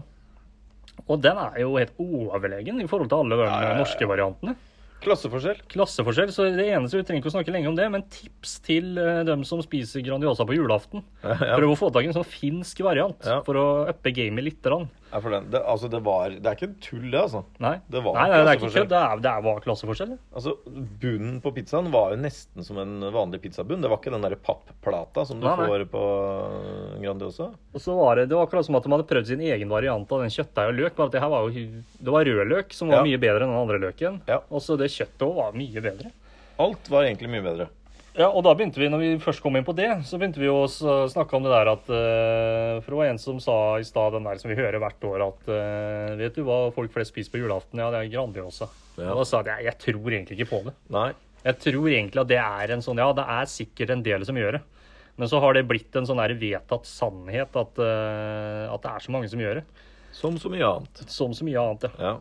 og den er jo helt overlegen i forhold til alle de ja, ja. norske variantene. Klasseforskjell. Klasseforskjell, så det eneste vi trenger ikke å snakke lenge om det, men tips til eh, dem som spiser Grandiosa på julaften. Ja, Prøv å få tak i en sånn finsk variant Ja. for å uppe gamet litt. Rann. ja, for den. Det, altså, det var Det er ikke tull, det, altså. Nei. Det var nei, nei, det er ikke klasseforskjell. kødd. Det, er- det er- var klasseforskjell. det. Altså, Bunnen på pizzaen var jo nesten som en vanlig pizzabunn. Det var ikke den derre papplata som du Nei, nei. får på Grandiosa. Og så var det, det var akkurat som at de hadde prøvd sin egen variant av den kjøttdeig og løk. Bare at det her var jo Det var rødløk som var Ja. mye bedre enn den andre løken. Ja. Og så det kjøttet òg var mye bedre. Alt var egentlig mye bedre. Ja, og da begynte vi, når vi først kom inn på det, så begynte vi å s- snakke om det der at eh, For det var en som sa i stad, den der som vi hører hvert år, at eh, Vet du hva folk flest spiser på julaften? Ja, det er Grandiosa. Ja. Og da sa jeg jeg tror egentlig ikke på det. Nei. Jeg tror egentlig at det er en sånn Ja, det er sikkert en del som gjør det. Men så har det blitt en sånn her vedtatt sannhet at, eh, at det er så mange som gjør det. Som så mye annet. Som så mye annet, ja. Ja.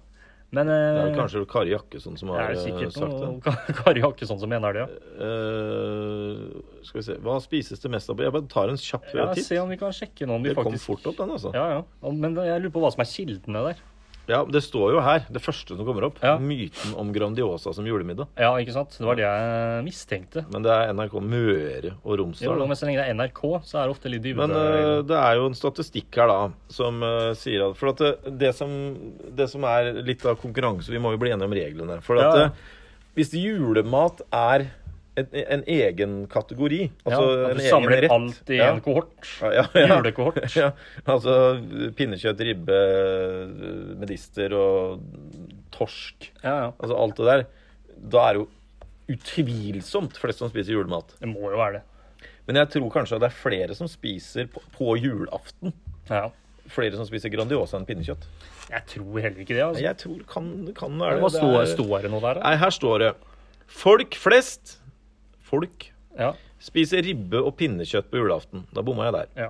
Men Det er eh, jo kanskje Kari Jakkesson som det er har jo eh, sikkert sagt det. noe Kari Jakkesson som mener det, ja. Eh, skal vi se Hva spises det mest av? Jeg bare tar en kjapp ja. titt. Se om vi kan sjekke noe om vi Det kom faktisk fort opp, den, altså. Ja, ja. Og- Men jeg lurer på hva som er kildene der. Ja, Det står jo her, det første som kommer opp. Ja. Myten om Grandiosa som julemiddag. Ja, ikke sant? Det var det jeg mistenkte. Men det er NRK Møre og Jo, Romsdal. da. men så lenge det er NRK, så er det ofte litt dybere. Men eh, det er jo en statistikk her, da, som eh, sier at For at det, det, som, det som er litt av konkurranse Vi må jo bli enige om reglene. For Ja, at ja. eh, hvis julemat er en, en egen kategori, altså ja, at en du egen samler rett alt i ja. en kohort. Ja, ja, ja. Julekort. Ja, altså pinnekjøtt, ribbe, medister og torsk. Ja, ja. Altså alt det der. Da er det jo utvilsomt flest som spiser julemat. Det må jo være det. Men jeg tror kanskje at det er flere som spiser på, på julaften. Ja, ja. Flere som spiser Grandiosa enn pinnekjøtt. Jeg tror heller ikke det. altså. Jeg tror kan, kan være Hva det. står, det er, står det noe der? da? nei, her står det Folk flest Folk Ja, spiser ribbe og pinnekjøtt på julaften. Da bomma jeg der. ja.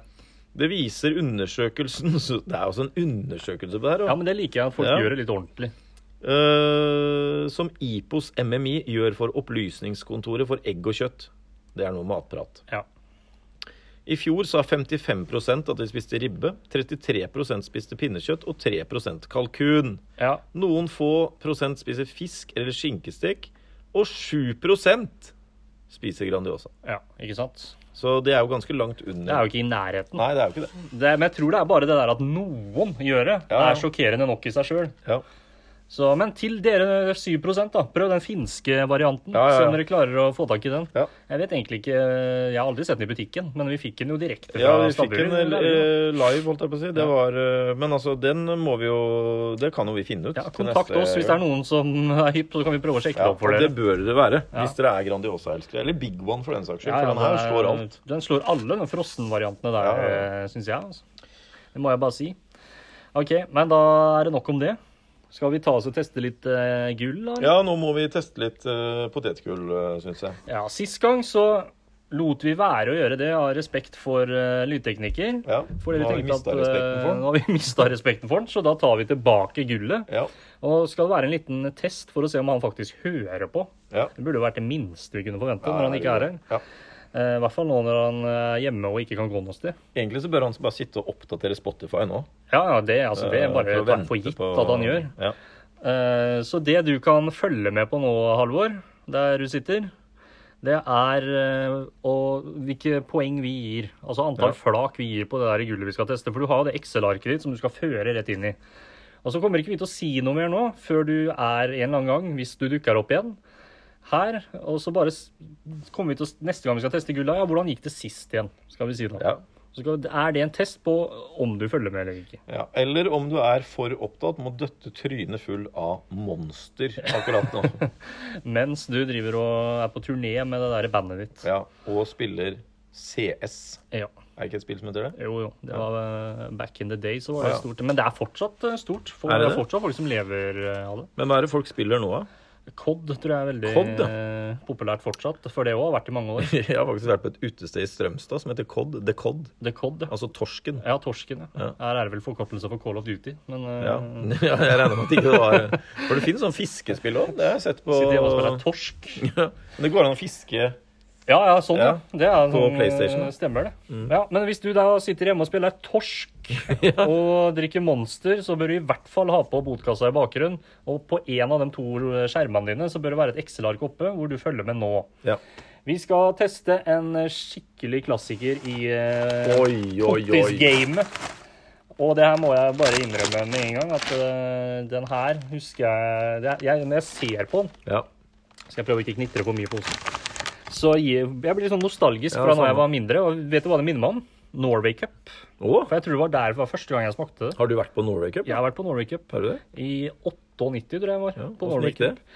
Det viser undersøkelsen så Det er altså en undersøkelse på det her. ja, også. men det liker jeg at folk Ja. gjør det litt ordentlig. Eh, som IPOS MMI gjør for Opplysningskontoret for egg og kjøtt. Det er noe matprat. Ja. I fjor sa 55 at de spiste ribbe, 33 spiste pinnekjøtt og 3 kalkun. ja. Noen få prosent spiser fisk eller skinkestek, og 7 spiser Grandiosa. Ja, ikke sant? Så det er jo ganske langt Det er under. jo ikke i nærheten. Nei, det er jo ikke det. Det, men jeg tror det er bare det der at noen gjør det, Ja, ja. er sjokkerende nok i seg sjøl. Ja. Men til dere 7 da, prøv den finske varianten. Ja, ja, ja. Se om dere klarer å få tak i den. Ja. Jeg vet egentlig ikke Jeg har aldri sett den i butikken, men vi fikk den jo direkte fra Ja, vi fikk Stabburet. en eh, live, holdt jeg på å si. Det var, eh, men altså, den må vi jo Det kan jo vi finne ut. ja, kontakt oss hvis det er noen som er hypp, så kan vi prøve å sjekke ja, det opp for og dere. Det bør det være. Ja. Hvis dere er Grandiosa-elskere. Eller Big One, for den saks skyld. Ja, ja, for den her er- slår alt. Den slår alle de frossenvariantene der, Ja, ja, syns jeg. Altså. Det må jeg bare si. OK, men da er det nok om det. Skal vi ta oss og teste litt eh, gull, da? Ja, nå må vi teste litt eh, potetgull, uh, syns jeg. Ja, Sist gang så lot vi være å gjøre det av respekt for eh, lydtekniker. Ja, Fordi nå vi har vi tenkte mistet at respekten for eh, den. nå har vi mista respekten for den, så da tar vi tilbake gullet. Ja. Og skal det være en liten test for å se om han faktisk hører på. ja. Det burde jo vært det minste vi kunne forvente når han ikke er her. Ja. Eh, Eh, I hvert fall nå når han eh, er hjemme og ikke kan gå noe sted. Egentlig så bør han bare sitte og oppdatere Spotify nå. Ja, ja, det, altså, det eh, er bare for å tatt for vente gitt på- at han gjør. Ja. Eh, Så det du kan følge med på nå, Halvor, der du sitter, det er eh, og hvilke poeng vi gir. Altså antall Ja. flak vi gir på det der gullet vi skal teste. For du har jo det Excel-arket ditt som du skal føre rett inn i. Og så kommer ikke vi til å si noe mer nå før du er en eller annen gang, hvis du dukker opp igjen her. Og så bare s- kommer vi til å s- Neste gang vi skal teste gullet, ja, hvordan gikk det sist igjen? Skal vi si da. Ja. Så skal, er det en test på om du følger med eller ikke? Ja. Eller om du er for opptatt med å døtte trynet full av monster akkurat nå. Mens du driver og er på turné med det der bandet ditt. Ja. Og spiller CS. Ja. Er det ikke et spill som heter det? Jo, jo. Det var eh, back in the day, så var Ja, det ja. stort. Men det er fortsatt eh, stort. For Er det, det er det? fortsatt folk som lever eh, av det. Men hva er det folk spiller nå, da? Cod tror jeg er veldig Cod, ja. eh, populært fortsatt. For det òg har vært i mange år. Jeg har faktisk vært på et utested i Strømstad som heter Cod. The Cod. The Cod, ja. Altså Torsken. Ja, Torsken. Ja. Ja. Her er det vel forkortelse for Call of Duty. Men eh, Ja. ja, jeg regner med at ikke det var For det finnes sånn fiskespill òg. Det har jeg sett på sitter hjemme og spiller torsk. Ja, Men det går an å fiske Ja, ja, sånn, ja. Ja. Det er, På sånn, PlayStation, Mm. da. Stemmer det. Ja, Men hvis du da sitter hjemme og spiller torsk og drikker Monster, så bør du i hvert fall ha på botkassa i bakgrunnen. Og på en av de to skjermene dine så bør det være et Excel-ark oppe hvor du følger med nå. ja. Vi skal teste en skikkelig klassiker i eh, Oi, oi, oi. Pottis-gamet. Og det her må jeg bare innrømme med en gang, at eh, den her husker jeg, det er- jeg Når jeg ser på den Ja. skal jeg prøve å ikke knitre for mye på osten. Så jeg, jeg blir sånn nostalgisk Ja, fra da jeg samme. var mindre. Og vet du hva det minner meg om? Norway Cup. Å, For jeg tror det var der det var første gang jeg smakte det. har du vært på Norway Cup? Jeg har vært på Norway Cup Har du det? i 98, tror jeg jeg var. Ja, på hvordan Norway gikk det? Cup.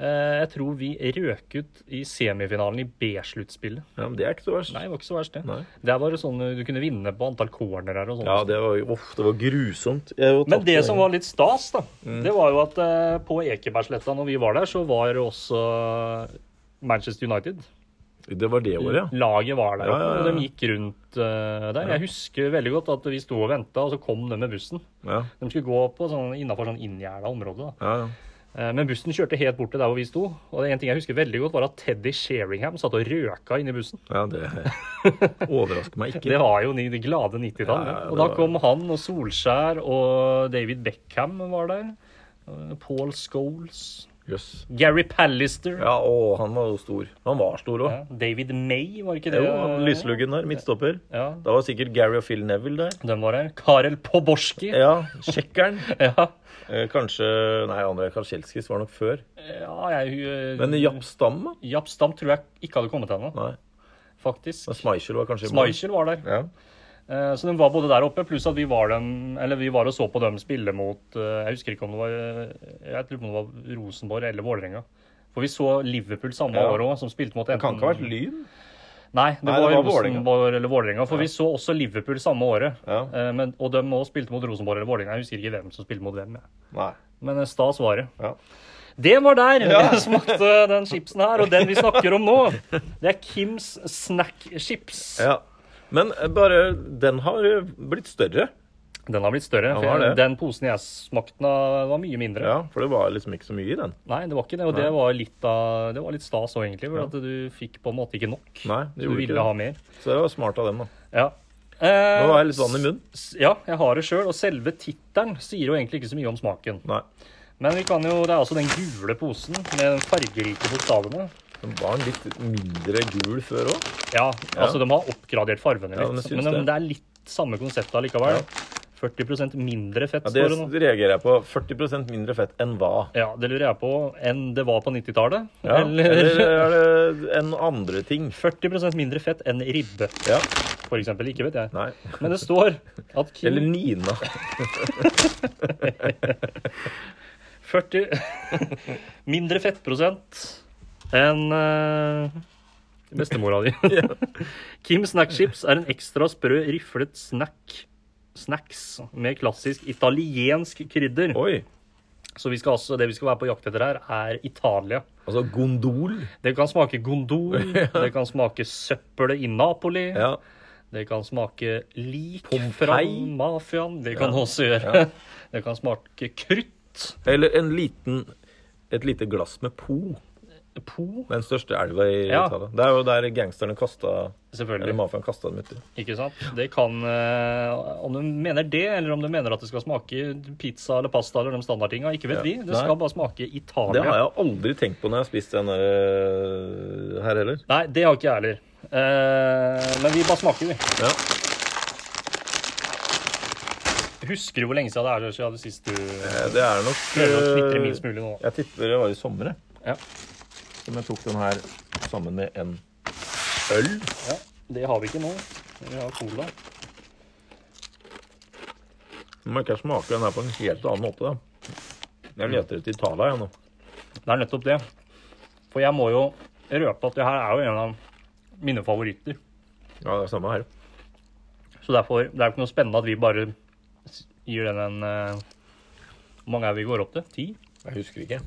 Eh, Jeg tror vi røk ut i semifinalen i B-sluttspillet. Ja, men Det er ikke så verst. Nei, det var ikke så verst, det. Nei. Der var det sånn eh, du kunne vinne på antall cornerer og sånn. Ja, det var, uff, det var grusomt. Jeg var Men det som var litt stas, da, Mm. det var jo at eh, på Ekebergsletta når vi var der, så var det også Manchester United. Det var det året, ja. Laget var der Ja, oppe, ja, ja. og de gikk rundt eh, der. Jeg husker veldig godt at vi sto og venta, og så kom de med bussen. Ja, De skulle gå på sånn, innafor sånn inngjerda område. Da. ja, ja. Eh, Men bussen kjørte helt bort til der hvor vi sto. Og det en ting jeg husker veldig godt, var at Teddy Sheringham satt og røka inni bussen. ja det overrasker meg Det ikke. var jo ni- det glade 90-tall. Ja, ja, og det da var- kom han og Solskjær og David Beckham var der. Eh, Paul Scholes. Jøss. Gary Pallister. Ja, å, han var jo stor. Han var stor òg. Ja, David May, var ikke det? Jo, han lysluggen der, midtstopper. Ja, Da var sikkert Gary og Phil Neville der. den var her. Karel Poborski. Ja, Tsjekkeren. Ja. Eh, Kanskje Nei, Andrej Karselskis var nok før. Ja, jeg eh, Men Japp Stam, da? Japp Stam tror jeg ikke hadde kommet ennå, Nei. faktisk. Men Schmeichel var kanskje i mål. Schmeichel var der. Ja. Eh, Så de var både der oppe, pluss at vi var, dem, eller vi var og så på dem spille mot eh, Jeg husker ikke om det var eh, Jeg tror det var Rosenborg eller Vålerenga. For vi så Liverpool samme Ja. år òg, som spilte mot Det kan ikke ha vært Lyn? Nei, det Nei, det var, var Vålerenga. Rosenborg eller Vålerenga. For vi så også Liverpool samme året. Ja. Eh, Men, og de òg spilte mot Rosenborg eller Vålerenga. Jeg husker ikke hvem som spilte mot hvem. jeg. Nei. Men eh, stas var det. Ja. Det var der Ja. jeg smakte den chipsen her, og den vi snakker om nå. Det er Kims Snack Chips. Ja. Men eh, bare Den har eh, blitt større. Den har blitt større. Ja, For det er jeg, det. den posen jeg smakte av, var mye mindre. Ja, for det var liksom ikke så mye i den. Nei, det var ikke det. Og det var litt, av, det var litt stas òg, egentlig. For at du fikk på en måte ikke nok. Nei, det du gjorde ville ikke det. ha mer. Så det var smart av dem, da. Ja. Eh, Nå har jeg litt vann i munnen. Ja, jeg har det sjøl. Og selve tittelen sier jo egentlig ikke så mye om smaken. Nei. Men vi kan jo, det er altså den gule posen med den fargerike bokstavene. Den var den litt mindre gul før òg. Ja, altså de har oppgradert fargene Ja, men litt. jeg men syns det. det. er litt samme konsept allikevel. 40 mindre fett, Ja, det står det nå. reagerer jeg på. 40 mindre fett enn hva? Ja, det lurer jeg på enn det var på 90-tallet. Ja, eller, eller er det en andre ting? 40 mindre fett enn ribbe, Ja. for eksempel. Ikke vet jeg. Nei. Men det står at Kim Eller Nina. 40 mindre fettprosent enn eh, bestemora di. Kim Snack Chips er en ekstra sprø, riflet snack. Snacks med klassisk italiensk krydder. Oi. Så vi skal altså, det vi skal være på jakt etter her, er Italia. Altså gondol. Det kan smake gondol, det kan smake søppelet i Napoli, Ja. det kan smake lik Pompeii. fra mafiaen, det kan også gjøre. Det kan smake krutt. Eller en liten Et lite glass med Po. Po, Den største elva i Ja. Italia. Det er jo der gangsterne kasta Eller selvfølgelig. mafiaen kasta dem uti. Ikke sant? Det kan eh, Om du mener det, eller om du mener at det skal smake pizza eller pasta eller de standardtinga, ikke vet Ja. vi. Det Nei. skal bare smake Italia. Det har jeg aldri tenkt på når jeg har spist den der, her heller. Nei, det har ikke jeg heller. Eh, men vi bare smaker, vi. Ja. Husker du hvor lenge siden det er siden sist du Eh, Det er nok prøver å knitre eh, minst mulig nå? Jeg tipper det var i sommer, jeg, Ja. som jeg tok den her sammen med en øl. ja. Det har vi ikke nå. Vi har cola. Nå må ikke jeg smake den her på en helt annen måte. da. Jeg leter etter Italia, jeg nå. Det er nettopp det. For jeg må jo røpe at det her er jo en av mine favoritter. Ja, det er samme her. Så derfor det er jo ikke noe spennende at vi bare s- gir den en eh, Hvor mange er vi går opp til? Ti? Jeg husker ikke.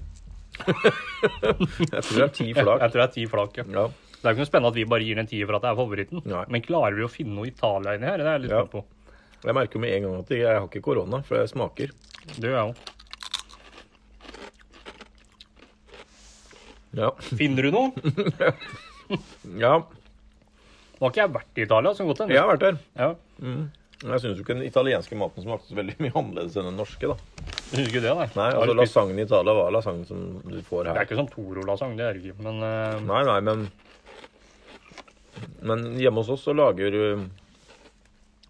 jeg tror det er ti flak. Jeg tror det er ti flak, ja. Ja. Det er jo ikke noe spennende at vi bare gir den en tier for at det er favoritten. Nei. Men klarer vi å finne noe Italia inni her? Det er jeg litt Ja. spent på. Jeg merker med en gang at jeg har ikke korona, for jeg smaker. Det gjør jeg òg. Ja. Finner du noe? ja. Nå har ikke jeg vært i Italia, så godt Jeg hende. har vært der. Ja. Jeg syns jo ikke den italienske maten smakte så veldig mye annerledes enn den norske, da. Jeg syns ikke det, nei. Nei, Jeg har altså spist- lasagne i Italia var lasagne som du får Det er her. ikke sånn Toro-lasagne, det er det ikke. Men eh, Nei, nei, men Men hjemme hos oss så lager uh,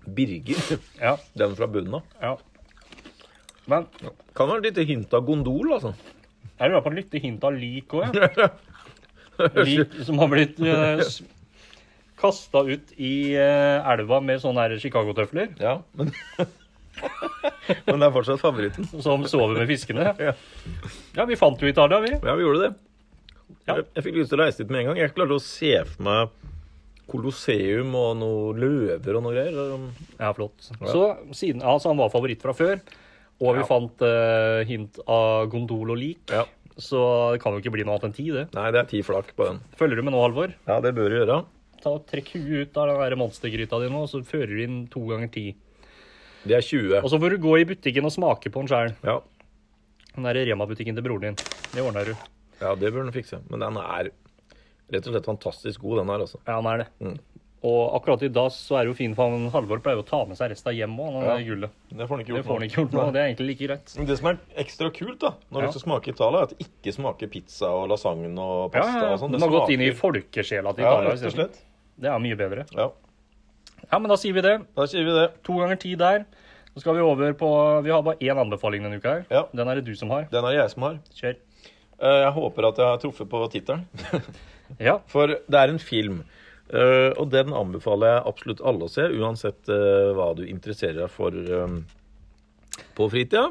Birger ja, den fra bunnen av. ja. Men Kan være et lite hint av gondol, altså. jeg lurer på et lite hint av lik òg, jeg. Lik som har blitt uh, kasta ut i eh, elva med sånne her Chicago-tøfler, Ja, men Men det er fortsatt favoritten. som sover med fiskene. Ja. Ja, vi fant jo Italia, vi. Ja, vi gjorde det. Ja. Jeg, jeg fikk lyst til å reise dit med en gang. Jeg klarte å se for meg Colosseum og noen løver og noe greier. Ja, flott. Så siden altså, han var favoritt fra før, og vi Ja. fant eh, hint av gondol og lik, Ja. så det kan jo ikke bli noe annet enn ti, det. Nei, det er ti flak på den. Følger du med nå, Halvor? Ja, det bør du gjøre. Ta og Trekk huet ut av den der monstergryta di nå, og så fører du inn to ganger ti. Det er 20. Og så får du gå i butikken og smake på den sjøl. Ja. Den der Rema-butikken til broren din. Det ordner du. ja, det bør den fikse. Men den er rett og slett fantastisk god, den her, altså. Ja, han er det. Mm. Og akkurat i dag så er det jo fint, for han Halvor pleier jo å ta med seg resten av hjemmet òg, det Ja. gullet. Det får den ikke Det får han ikke gjort nå, og det er egentlig like greit. Men det som er ekstra kult da, når Ja. du skal smake Italia, er at det ikke smaker pizza og lasagne og Ja, pasta ja, ja. og sånn. De har gått inn i folkesjela til ja, Italia. rett og isteden. slett. det er mye bedre. Ja, Ja, men da sier vi det. da sier vi det. To ganger ti der. Så skal vi over på Vi har bare én anbefaling denne uka her. Ja. Den er det du som har. Den er det jeg som har. Kjør. Eh, Jeg håper at jeg har truffet på tittelen. Ja. For det er en film, eh, og den anbefaler jeg absolutt alle å se, uansett eh, hva du interesserer deg for eh, på fritida.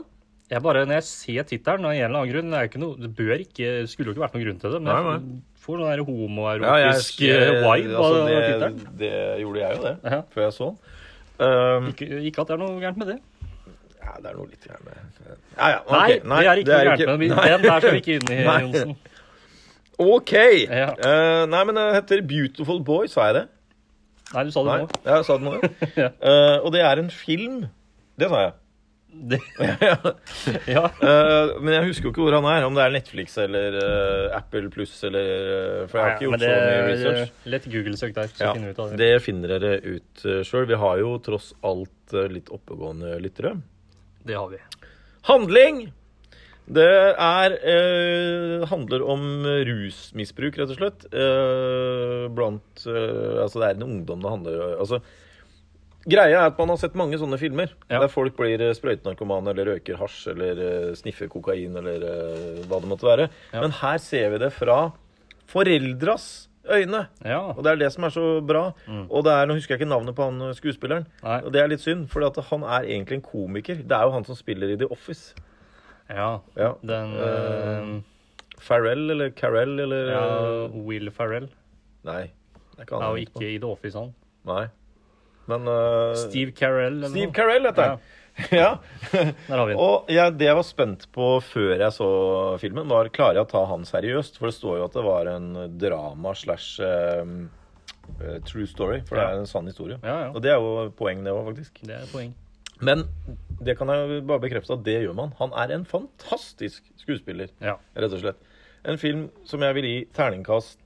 Jeg bare, Når jeg ser tittelen, av en eller annen grunn det, er jo ikke noe, det bør ikke, skulle jo ikke vært noen grunn til det, men Nei, jeg får sånn der homoerotisk ja, eh, vibe av altså, av tittelen. det, det gjorde jeg jo det, Ja. før jeg så den. Eh, Ikke, ikke at det er noe gærent med det. ja, det er noe litt gærent med ja, ja, Nei, det ok, er ikke noe gærent med det. nei. Vi- Den der skal vi ikke inn i, Nei. Johnsen. OK! Ja. Eh, nei, men det heter Beautiful Boy, sa jeg det? Nei, du sa det Nei, nå. jeg sa det nå. ja. Ja. Eh, og det er en film. Det sa jeg. Det- ja. Eh, men jeg husker jo ikke hvor han er. Om det er Netflix eller eh, Apple Pluss eller eh, For jeg har ikke men gjort det eh, så mye research. Lett Google-søk der, så Ja, finner vi ut av det. det finner dere ut uh, sjøl. Vi har jo tross alt eh, litt oppegående lyttere. Det har vi. Handling! Det er eh, handler om rusmisbruk, rett og slett. Eh, blant eh, Altså, det er en ungdom det handler om. Altså, greia er at man har sett mange sånne filmer Ja. der folk blir eh, sprøytenarkomane eller røyker hasj eller eh, sniffer kokain eller eh, hva det måtte være. Ja. Men her ser vi det fra foreldras øyne. Ja. Og det er det som er så bra. Mm. Og det er, nå husker jeg ikke navnet på han eh, skuespilleren. Nei. Og det er litt synd, for han er egentlig en komiker. Det er jo han som spiller i The Office. ja. Ja. Den Eh, eh, Farrell eller Carell eller ja, Will Farrell Nei. Det er ikke er han. jo jeg tenkte på. ikke i The Office, han. Nei. Men eh, Steve Carell. eller Steve noe. Carell heter han. Ja. Der har vi den. Og jeg, det jeg var spent på før jeg så filmen, var klarer jeg å ta han seriøst? For det står jo at det var en drama slash eh, eh, true story. For det Ja. er en sann historie. Ja, ja. Og det er jo poeng, det òg, faktisk. Det er et poeng. Men det kan jeg jo bare bekrefte at det gjør man. Han er en fantastisk skuespiller, Ja. rett og slett. En film som jeg vil gi terningkast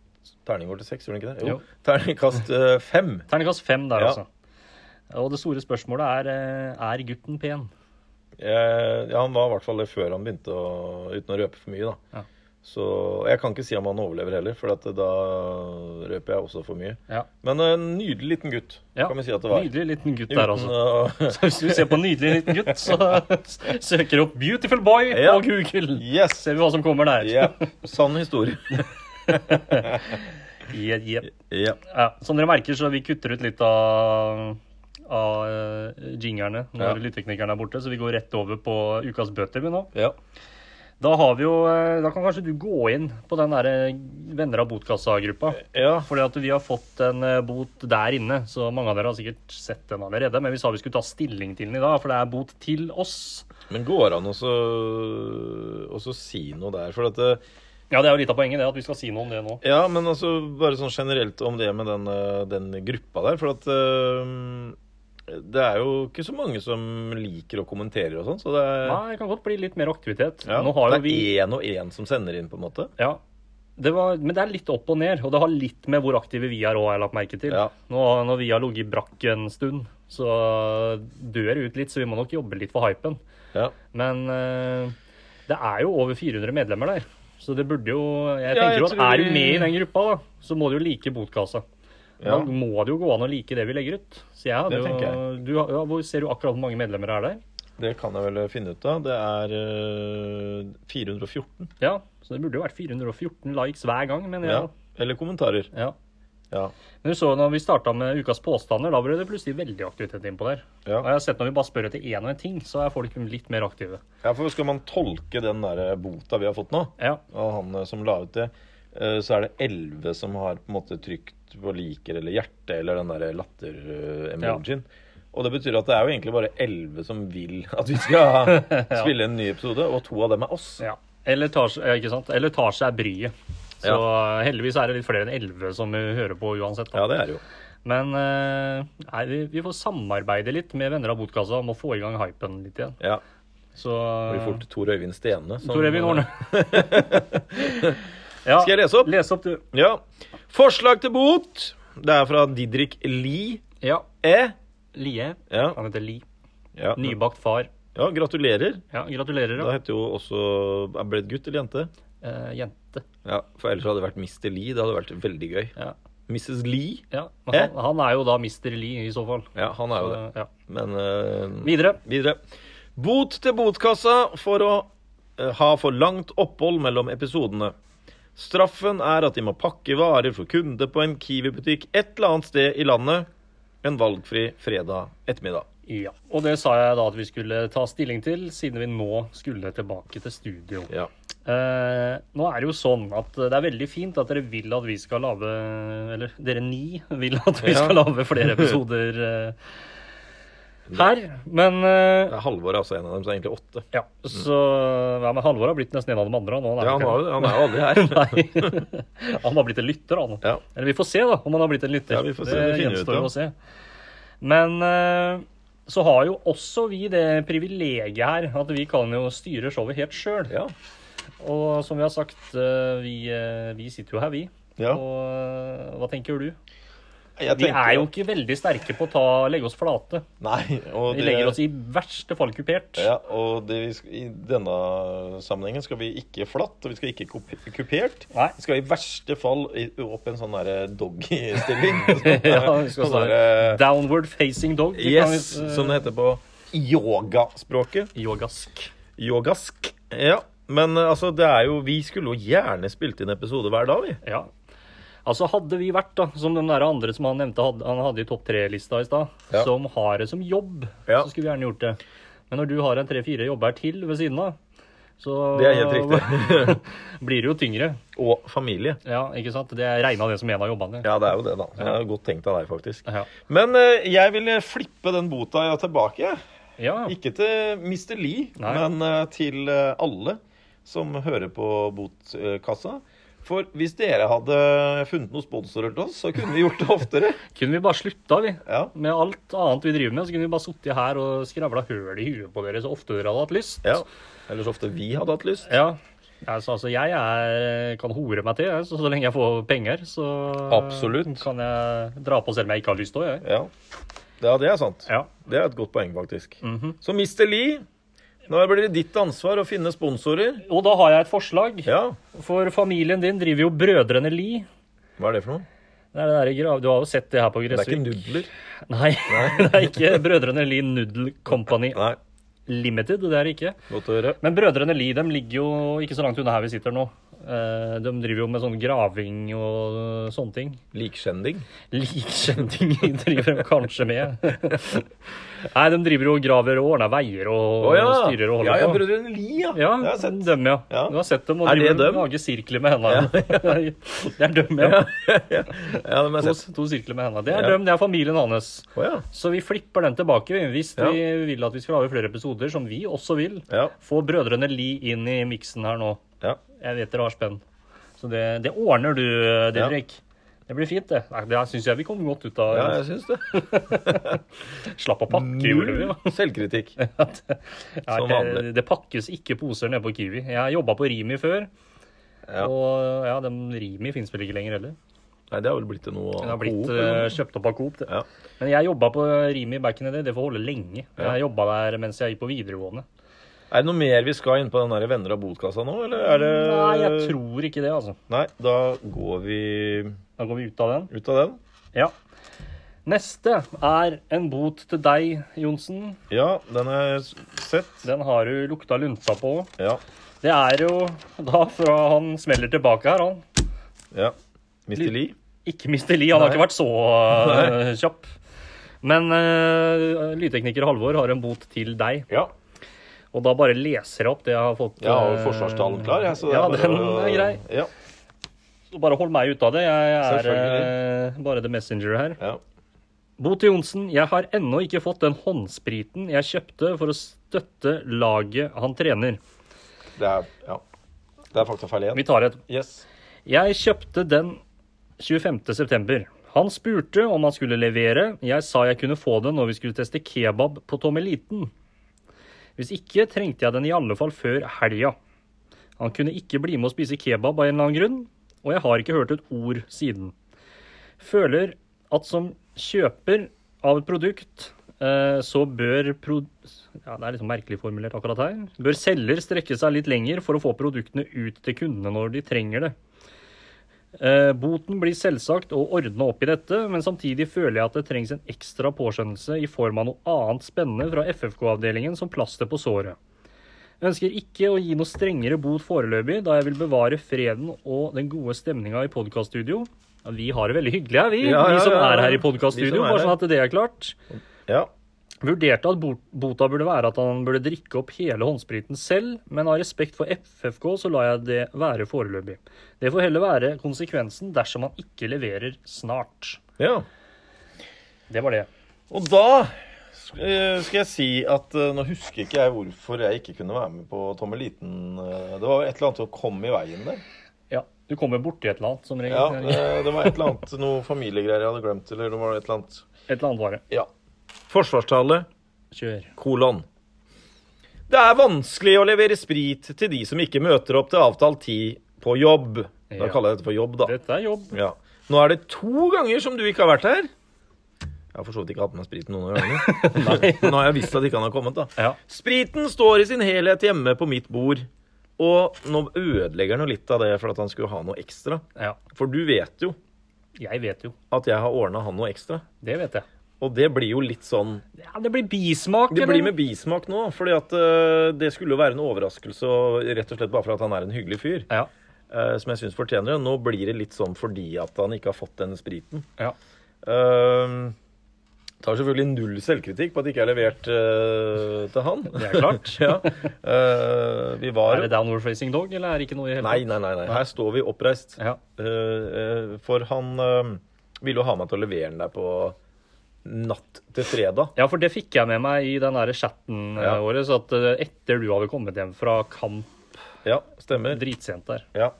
Terning går til seks, gjør den ikke det? Jo. Jo. Terningkast eh, fem. Terningkast fem der, Ja. altså. Og det store spørsmålet er eh, er gutten pen. Eh, ja, han var i hvert fall det før han begynte å Uten å røpe for mye, da. Ja. Så Jeg kan ikke si om han overlever heller, for at da røper jeg også for mye. Ja. Men en nydelig liten gutt, Ja. kan vi si at det var. Nydelig liten gutt Uten der, altså. å- Så hvis du ser på nydelig liten gutt, så s- søker du opp 'Beautiful Boy' Ja. på Google. Yes! Ser vi hva som kommer der. Ja. Sann historie. Yeah, yeah. Ja. Ja, som dere merker, så vi kutter ut litt av, av eh, jingerne når Ja. lydteknikeren er borte, så vi går rett over på ukas bøter vi nå. ja. Da har vi jo eh, Da kan kanskje du gå inn på den derre Venner av botkassa-gruppa. Ja, Fordi at vi har fått en eh, bot der inne, så mange av dere har sikkert sett den allerede. Men vi sa vi skulle ta stilling til den i dag, for det er bot til oss. Men går det an også, også si noe der? For at eh, det, Ja, det er jo litt av poenget, det, at vi skal si noe om det nå. Ja, men altså bare sånn generelt om det med den, eh, den gruppa der. For at eh, det er jo ikke så mange som liker og kommenterer og sånn, så det er Nei, det kan godt bli litt mer aktivitet. ja, nå har Det jo vi er én og én som sender inn, på en måte. Ja. Det var, men det er litt opp og ned, og det har litt med hvor aktive vi er òg, har jeg lagt merke til. Ja. Nå, når vi har ligget brakk en stund, så dør det ut litt, så vi må nok jobbe litt for hypen. Ja, Men eh, det er jo over 400 medlemmer der, så det burde jo Jeg Ja, jeg tenker jo at tror er vi- du med i den gruppa, da, så må du jo like botkassa. Da Ja. må det jo gå an å like det vi legger ut. Så jeg hadde Det tenker jo du, har- ja, Hvor ser du akkurat hvor mange medlemmer det er der? Det kan jeg vel finne ut av. Det er eh, 414. Ja, så det burde jo vært 414 likes hver gang, mener Ja. jeg. Eller kommentarer. Ja. Ja. Men du så når vi starta med ukas påstander, da ble det plutselig veldig aktivitet innpå der. Ja. Og jeg har sett når vi bare spør etter én og en ting, så er folk litt mer aktive. ja, for skal man tolke den der eh, bota vi har fått nå, Ja, og han eh, som la ut det, eh, så er det elleve som har på en måte trykt på liker eller hjerte eller den der latter-emojien. Og det betyr at det er jo egentlig bare elleve som vil at vi skal spille en ny episode, og to av dem er oss. ja. Eller tar, s- ja, ikke sant? Eller tar seg bryet. Så heldigvis er det litt flere enn elleve som vi hører på uansett. Da. Ja, det er det jo. Men eh, nei, vi, vi får samarbeide litt med venner av botkassa om å få i gang hypen litt igjen. Ja. Så eh, Det blir fort Tor Øyvind Stene. som- Tor Evin Orne. ja, Skal jeg lese opp? Les opp, du. Ja. Forslag til bot. Det er fra Didrik Lie. Ja. Eh. Lie. Ja. Han heter Li. Ja. Nybakt far. ja, gratulerer. Ja, gratulerer. Da Ja. heter jo også er det Ble det gutt eller jente? Eh, jente. Ja, For ellers hadde det vært Mr. Lie. Det hadde vært veldig gøy. Ja. Mrs. Lee. Ja, men han, han er jo da Mr. Lee i så fall. Eh? Ja, han er jo det. Eh, Ja. Men eh, Videre. videre. Bot til botkassa for å eh, ha for langt opphold mellom episodene. Straffen er at de må pakke varer for kunde på en Kiwi-butikk et eller annet sted i landet en valgfri fredag ettermiddag. Ja. Og det sa jeg da at vi skulle ta stilling til, siden vi nå skulle tilbake til studio. Ja. Eh, nå er det jo sånn at det er veldig fint at dere vil at vi skal lage Eller dere ni vil at vi Ja. skal lage flere episoder eh, her. Men eh, Det er Halvor er altså en av dem, så det er egentlig åtte. ja, så ja, men Halvor har blitt nesten en av de andre. og Nå, Ja, han, har, jo det. han er jo aldri her. Nei. Han har blitt en lytter, han. Ja. Eller vi får se, da, om han har blitt en lytter. Ja, vi får se, det vi finner ut gjenstår å av. se. Men eh, så har jo også vi det privilegiet her at vi kan jo styre showet helt sjøl. Ja. Og som vi har sagt, eh, vi, eh, vi sitter jo her, vi. Ja. Og eh, hva tenker du? Jeg Vi tenker er jo at- ikke veldig sterke på å ta, legge oss flate. Nei, og Vi legger oss i verste fall kupert. Ja, og det vi sk- i denne sammenhengen skal vi ikke flatt, og vi skal ikke kup- kupert. Nei. Vi skal i verste fall i- opp i en sånn derre doggy-stilling. Ja, vi skal Sånn stå derre- Downward facing dog. Vi kan yes, jo, eh, som det heter på yogaspråket. Yogask. Yogask. Ja. Men eh, altså, det er jo Vi skulle jo gjerne spilt inn episode hver dag, vi. Ja. Altså Hadde vi vært da, som den der andre som han nevnte hadde, han hadde i topp tre-lista i stad, Ja. som har det som jobb, Ja. så skulle vi gjerne gjort det. Men når du har en tre-fire jobber til ved siden av, så Det er helt riktig. blir det jo tyngre. Og familie. Ja, ikke sant? Det regna det som en av jobbene. Ja, det er jo det, da. Det er jo godt tenkt av deg, faktisk. Ja. Men eh, jeg vil flippe den bota jeg har tilbake, jeg. ja. Ikke til Mr. Lee, Nei. men eh, til eh, alle som hører på botkassa. For hvis dere hadde funnet noen sponsorer til oss, så kunne vi gjort det oftere. Kunne vi bare slutta, vi. Ja, Med alt annet vi driver med, så kunne vi bare sittet her og skravla høl i huet på dere så ofte dere hadde hatt lyst. ja. Eller så ofte vi hadde hatt lyst. Ja. Altså, altså, jeg er, eh, kan hore meg til, jeg. Så, så lenge jeg får penger, så Absolutt. kan jeg dra på selv om jeg ikke har lyst til det. Ja. ja, det er sant. Ja. Mhm. Det er et godt poeng, faktisk. Så Mr. Lee, nå blir det ditt ansvar å finne sponsorer. Og da har jeg et forslag. Ja, For familien din driver jo Brødrene Li. hva er det for noe? Det er det der, grav- du har jo sett det her på Det er ikke Gressvik. nudler. Nei, det er ikke Brødrene Li Noodle Company Nei, Limited. Det er det ikke. godt å høre. Men Brødrene Li dem ligger jo ikke så langt unna her vi sitter nå. Eh, De driver jo med sånn graving og eh, sånne ting. Likskjending. Likkjending driver de kanskje med. Nei, de driver jo og graver og ordner veier og styrer og holder ja, ja, på. Brødrene Lie, ja. Ja, Det har jeg sett. dem, ja. Ja. Du har sett dem og Er det driver og dem? lager sirkler med hendene. det er dem, ja. Ja, dem har To, jeg sett. to sirkler med hendene. Det er Ja. dem, det er familien hans. Å ja. Så vi flipper den tilbake vi, hvis Ja. vi vil at vi skal lage flere episoder, som vi også vil. Ja. Få brødrene Li inn i miksen her nå. ja. Jeg vet dere har spenn. Så det, det ordner du, eh, Didrik. Det blir fint, det. Nei, det syns jeg vi kom godt ut av. Ja, jeg syns det. Slapp å pakke, gjorde vi. jo. selvkritikk. Ja, Som det, vanlig. det pakkes ikke poser nede på Kiwi. Jeg har jobba på Rimi før. Ja. Og ja, den Rimi fins vel ikke lenger heller. Nei, det har vel blitt til noe Den har blitt Coop, eh, eller noe? kjøpt opp av Coop. Det. Ja. Men jeg jobba på Rimi back in the day. Det får holde lenge. Jeg jobba der mens jeg gikk på videregående. Er det noe mer vi skal inn på den der Venner av botkassa nå, eller er det Nei, jeg tror ikke det, altså. Nei, da går vi Da går vi ut av den. ut av den. Ja. Neste er en bot til deg, Johnsen. Ja, den er s- sett. Den har du lukta lunta på. Ja. Det er jo da fra han smeller tilbake her, han. ja. Mr. Lee. Ikke Mr. Lee, han har Nei. ikke vært så eh, kjapp. Men eh, lydtekniker Halvor har en bot til deg, Ja. og da bare leser jeg opp det jeg har fått. Jeg har eh, forsvarstalen klar, jeg. Så det ja, bare den å- er grei. Ja. Så bare hold meg ute av det. Jeg er Selvfølgelig. eh, bare the messenger her. ja. Bo til Johnsen, jeg har ennå ikke fått den håndspriten jeg kjøpte for å støtte laget han trener. Det er, ja. Det er faktafeil igjen. Vi tar et. Yes. Jeg kjøpte den 25. september. Han spurte om han skulle levere. Jeg sa jeg kunne få den når vi skulle teste kebab på Tommeliten. Hvis ikke trengte jeg den i alle fall før helga. Han kunne ikke bli med å spise kebab av en eller annen grunn, og jeg har ikke hørt et ord siden. Føler at som kjøper av et produkt, eh, så bør pro ja, Det er litt sånn merkelig formulert akkurat her. Bør selger strekke seg litt lenger for å få produktene ut til kundene når de trenger det. Eh, Boten blir selvsagt å ordne opp i dette, men samtidig føler jeg at det trengs en ekstra påskjønnelse i form av noe annet spennende fra FFK-avdelingen som plaster på såret. Jeg ønsker ikke å gi noe strengere bot foreløpig, da jeg vil bevare freden og den gode stemninga i podkaststudio. Ja, vi har det veldig hyggelig her, vi, Ja, ja, vi som ja, ja. er her i Vi podkaststudio. som er Bare sånn her. at det er klart. Ja. Vurderte at bot- bota burde være at han burde drikke opp hele håndspriten selv, men av respekt for FFK så lar jeg det være foreløpig. Det får heller være konsekvensen dersom han ikke leverer snart. ja. Det var det. Og da sk- eh, skal jeg si at eh, nå husker ikke jeg hvorfor jeg ikke kunne være med på Tommeliten. eh, Det var et eller annet å komme i veien der. Ja, du kommer borti et eller annet som regel. Ja, eh, Det var et eller annet noe familiegreier jeg hadde glemt, eller det var et eller annet Et eller annet vare. Ja. Forsvarstale, Kjør. kolon. Det er vanskelig å levere sprit til de som ikke møter opp til avtalt tid på jobb. Da Ja. kaller jeg dette for jobb, da. Dette er jobb. Ja. Nå er det to ganger som du ikke har vært her. Jeg har for så vidt ikke hatt med spriten noen av gangene. Men Nå har jeg visst at ikke han har kommet, da. Ja. Spriten står i sin helhet hjemme på mitt bord. Og nå ødelegger han jo litt av det for at han skulle ha noe ekstra. ja. For du vet jo Jeg vet jo. at jeg har ordna han noe ekstra. Det vet jeg. Og det blir jo litt sånn Ja, det blir bismak. Det blir eller? med bismak nå, fordi at eh, det skulle jo være en overraskelse, og rett og slett bare for at han er en hyggelig fyr, Ja. eh, som jeg syns fortjener det. Nå blir det litt sånn fordi at han ikke har fått den spriten. ja. Ehm, tar selvfølgelig null selvkritikk på at det ikke er levert eh, til han. Det er klart. ja. Eh, vi Er var det downward facing dog, eller er det ikke noe i hele Nei, nei, nei. nei. Her står vi oppreist. Ja. Eh, eh, for han eh, ville jo ha meg til å levere den der på natt til fredag. Ja, for det fikk jeg med meg i den der chatten Ja. eh, vår. Så at eh, etter du hadde kommet hjem fra kamp Ja, stemmer. dritsent der Ja.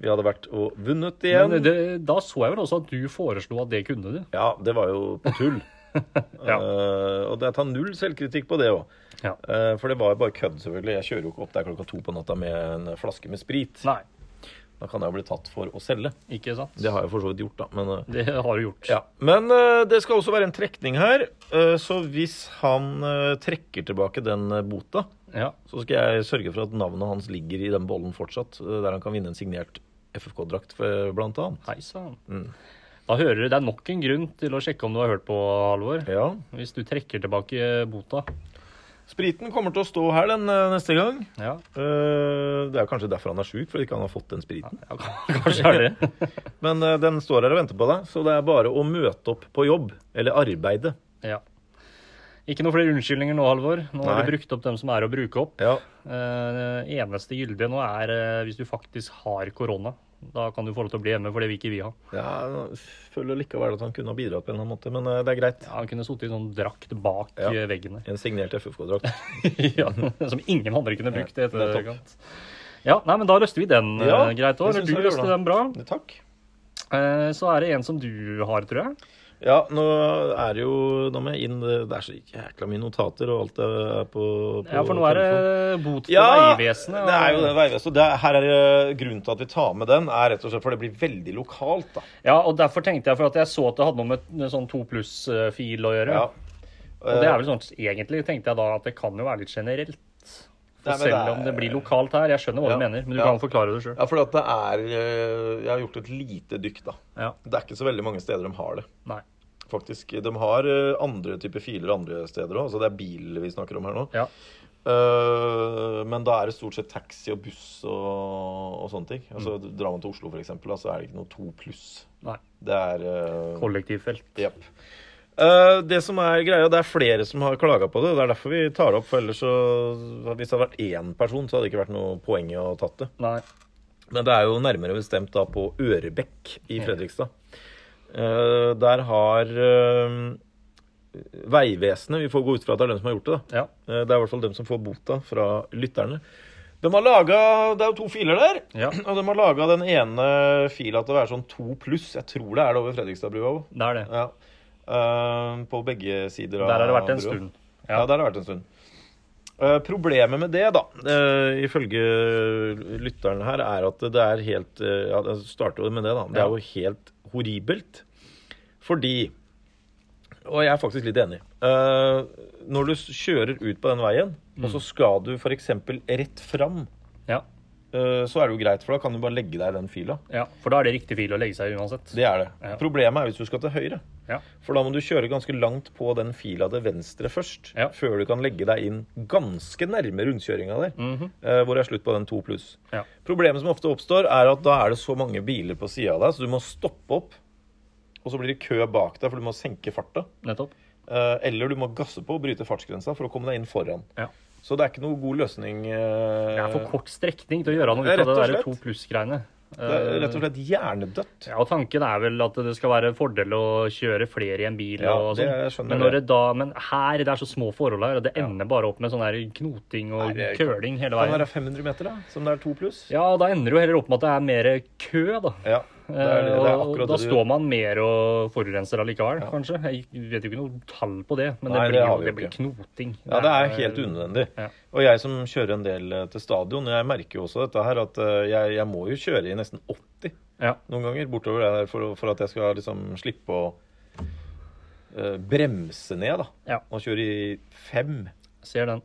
Vi hadde vært og vunnet igjen. Men det, da så jeg vel også at du foreslo at det kunne du. Ja, det var jo på tull. Ja. Eh, og det- jeg tar null selvkritikk på det òg. Ja. for det var jo bare kødd, selvfølgelig. Jeg kjører jo ikke opp der klokka to på natta med en flaske med sprit. Nei, Da kan jeg jo bli tatt for å selge. ikke sant? Det har jeg for så vidt gjort, da. Men, eh, Det har du gjort. ja. men eh, det skal også være en trekning her. Eh, så hvis han eh, trekker tilbake den eh, bota, Ja. så skal jeg sørge for at navnet hans ligger i den bollen fortsatt, eh, der han kan vinne en signert FFK-drakt, for- eh, blant annet. Hei sann. Mm. Da hører du, Det er nok en grunn til å sjekke om du har hørt på, Halvor. Ja. Hvis du trekker tilbake eh, bota. Spriten kommer til å stå her den eh, neste gang. Ja, Eh, det er kanskje derfor han er sjuk, fordi ikke han har fått den spriten. ja kanskje er det. Men eh, den står her og venter på deg, så det er bare å møte opp på jobb, eller arbeide. Ja. Ikke noe flere unnskyldninger nå, Halvor. Nå har Nei. du brukt opp dem som er å bruke opp. Ja, Eh, Det eneste gyldige nå er eh, hvis du faktisk har korona. Da kan du få lov til å bli hjemme, for det vil ikke vi ha. jeg føler likevel at han kunne ha bidratt på en eller annen måte, men eh, det er greit. Ja, han kunne sittet i sånn drakt bak Ja. eh, veggen der. En signert FFK-drakt. ja, som ingen andre kunne brukt. i nettopp. etterkant. Ja, nei, men da løste vi den eh, Ja, greit òg. det synes Du jeg vi løste gjorde. den bra. Takk. Eh, Så er det en som du har, tror jeg. Ja, nå er det jo Nå må jeg inn Det er så jækla mye notater og alt det er på, på Ja, for nå er det telefon. bot til Ja, Vegvesenet. og- det er jo det Vegvesenet. Det er- Her er eh, grunnen til at vi tar med den, er rett og slett for det blir veldig lokalt, da. Ja, og derfor tenkte jeg for at jeg så at det hadde noe med en sånn to pluss-fil å gjøre. Ja. eh, Og det er vel sånn egentlig tenkte jeg da at det kan jo være litt generelt. For Nei, men selv det er- om det blir lokalt her, jeg skjønner hva Ja, du mener, men du ja. kan forklare det sjøl. Ja, for at det er eh, Jeg har gjort et lite dykk, da. Ja. Det er ikke så veldig mange steder de har det. Nei. Faktisk, De har eh, andre typer filer andre steder òg. Altså det er bil vi snakker om her nå. Ja. Eh, men da er det stort sett taxi og buss og, og sånne ting. Altså Drar man til Oslo, f.eks., så er det ikke noe to pluss. Mm. Nei. Det er eh, Kollektivfelt. Jepp. Eh, det som er greia, det er flere som har klaga på det. og Det er derfor vi tar det opp. For ellers så Hvis det hadde vært én person, så hadde det ikke vært noe poeng i å ha tatt det. Nei. Men det er jo nærmere bestemt da på Ørebekk i Fredrikstad. Eh, der har eh, Vegvesenet Vi får gå ut fra at det er de som har gjort det. da. Ja. Eh, det er i hvert fall dem som får bota fra lytterne. De har laget, Det er jo to filer der. Ja. Og de har laga den ene fila til å være sånn to pluss. Jeg tror det er det over Fredrikstadbrua òg. Det er det. Ja. Eh, på begge sider av Der har det vært en brua. stund. Ja, Ja. der har det vært en stund. Eh, problemet med det, da, eh, ifølge lytteren her, er at det er helt eh, Ja, det starter jo med det, da. Det er jo helt horribelt. Fordi Og jeg er faktisk litt enig. Eh, når du s- kjører ut på den veien, og så skal du f.eks. rett fram, Ja. eh, så er det jo greit, for da kan du bare legge deg i den fila. ja. For da er det riktig fil å legge seg i uansett. Det er det. Ja. Problemet er hvis du skal til høyre. Ja. For da må du kjøre ganske langt på den fila til venstre først, Ja. før du kan legge deg inn ganske nærme rundkjøringa der, Mhm, eh, hvor det er slutt på den 2 pluss. Mm. Ja. Problemet som ofte oppstår, er at da er det så mange biler på sida av deg, så du må stoppe opp, og så blir det kø bak deg, for du må senke farta. Nettopp. Eh, eller du må gasse på og bryte fartsgrensa for å komme deg inn foran. Ja. Så det er ikke noe god løsning. eh, Det er for kort strekning til å gjøre noe Ja, ut av det rett og der slett. to pluss-greiene. det er rett og slett hjernedødt. Ja, og Tanken er vel at det skal være en fordel å kjøre flere i en bil. Ja, og det sånn. skjønner men, jeg. når det da, men her det er så små forhold her, og det ender bare opp med sånn her knoting og Nei, det er- køling hele Kan det veien. være 500 meter, da, som det er 2 pluss? Ja, Da ender det jo heller opp med at det er mer kø, da. Ja, det er, det er Eh, og akkurat da det du- står man mer og forurenser allikevel, kanskje. Jeg vet jo ikke noe tall på det, men Nei, det det blir, har jo- vi det jo blir ikke. knoting. Ja, det er helt unødvendig. Eh, Ja. Og jeg som kjører en del eh, til stadion, jeg merker jo også dette her at eh, jeg, jeg må jo kjøre i nesten 80 Ja, noen ganger bortover det der for, å- for at jeg skal liksom slippe å eh, bremse ned, da. ja. Og kjøre i fem. Ser den.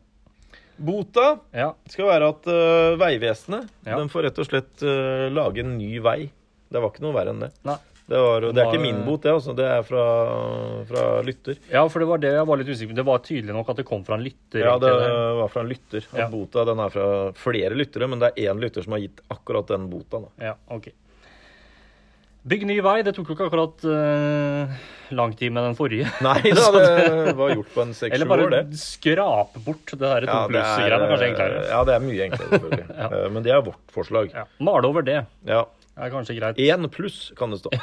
Bota Ja, skal være at eh, Vegvesenet Ja. de får rett og slett eh, lage en ny vei. Det var ikke noe verre enn det. nei. Det, var, det er Var- ikke min bot, det, altså. Det er fra, fra lytter. ja, for det var det jeg var litt usikker på. Det var tydelig nok at det kom fra en lytter. Ja, det ikke det? var fra en lytter. At Ja. Bota den er fra flere lyttere, men det er én lytter som har gitt akkurat den bota. Da. Ja, ok. Bygg ny vei, det tok jo ikke akkurat eh, lang tid med den forrige. Nei da, det var gjort på en seks-sju Eller år, det. bare skrape bort det der to Ja, det er, eh, pluss-greiene, kanskje enklere. ja, det er mye enklere, selvfølgelig. Eh, Men det er vårt forslag. Ja. Male over det Ja. er kanskje greit. Én pluss kan det stå.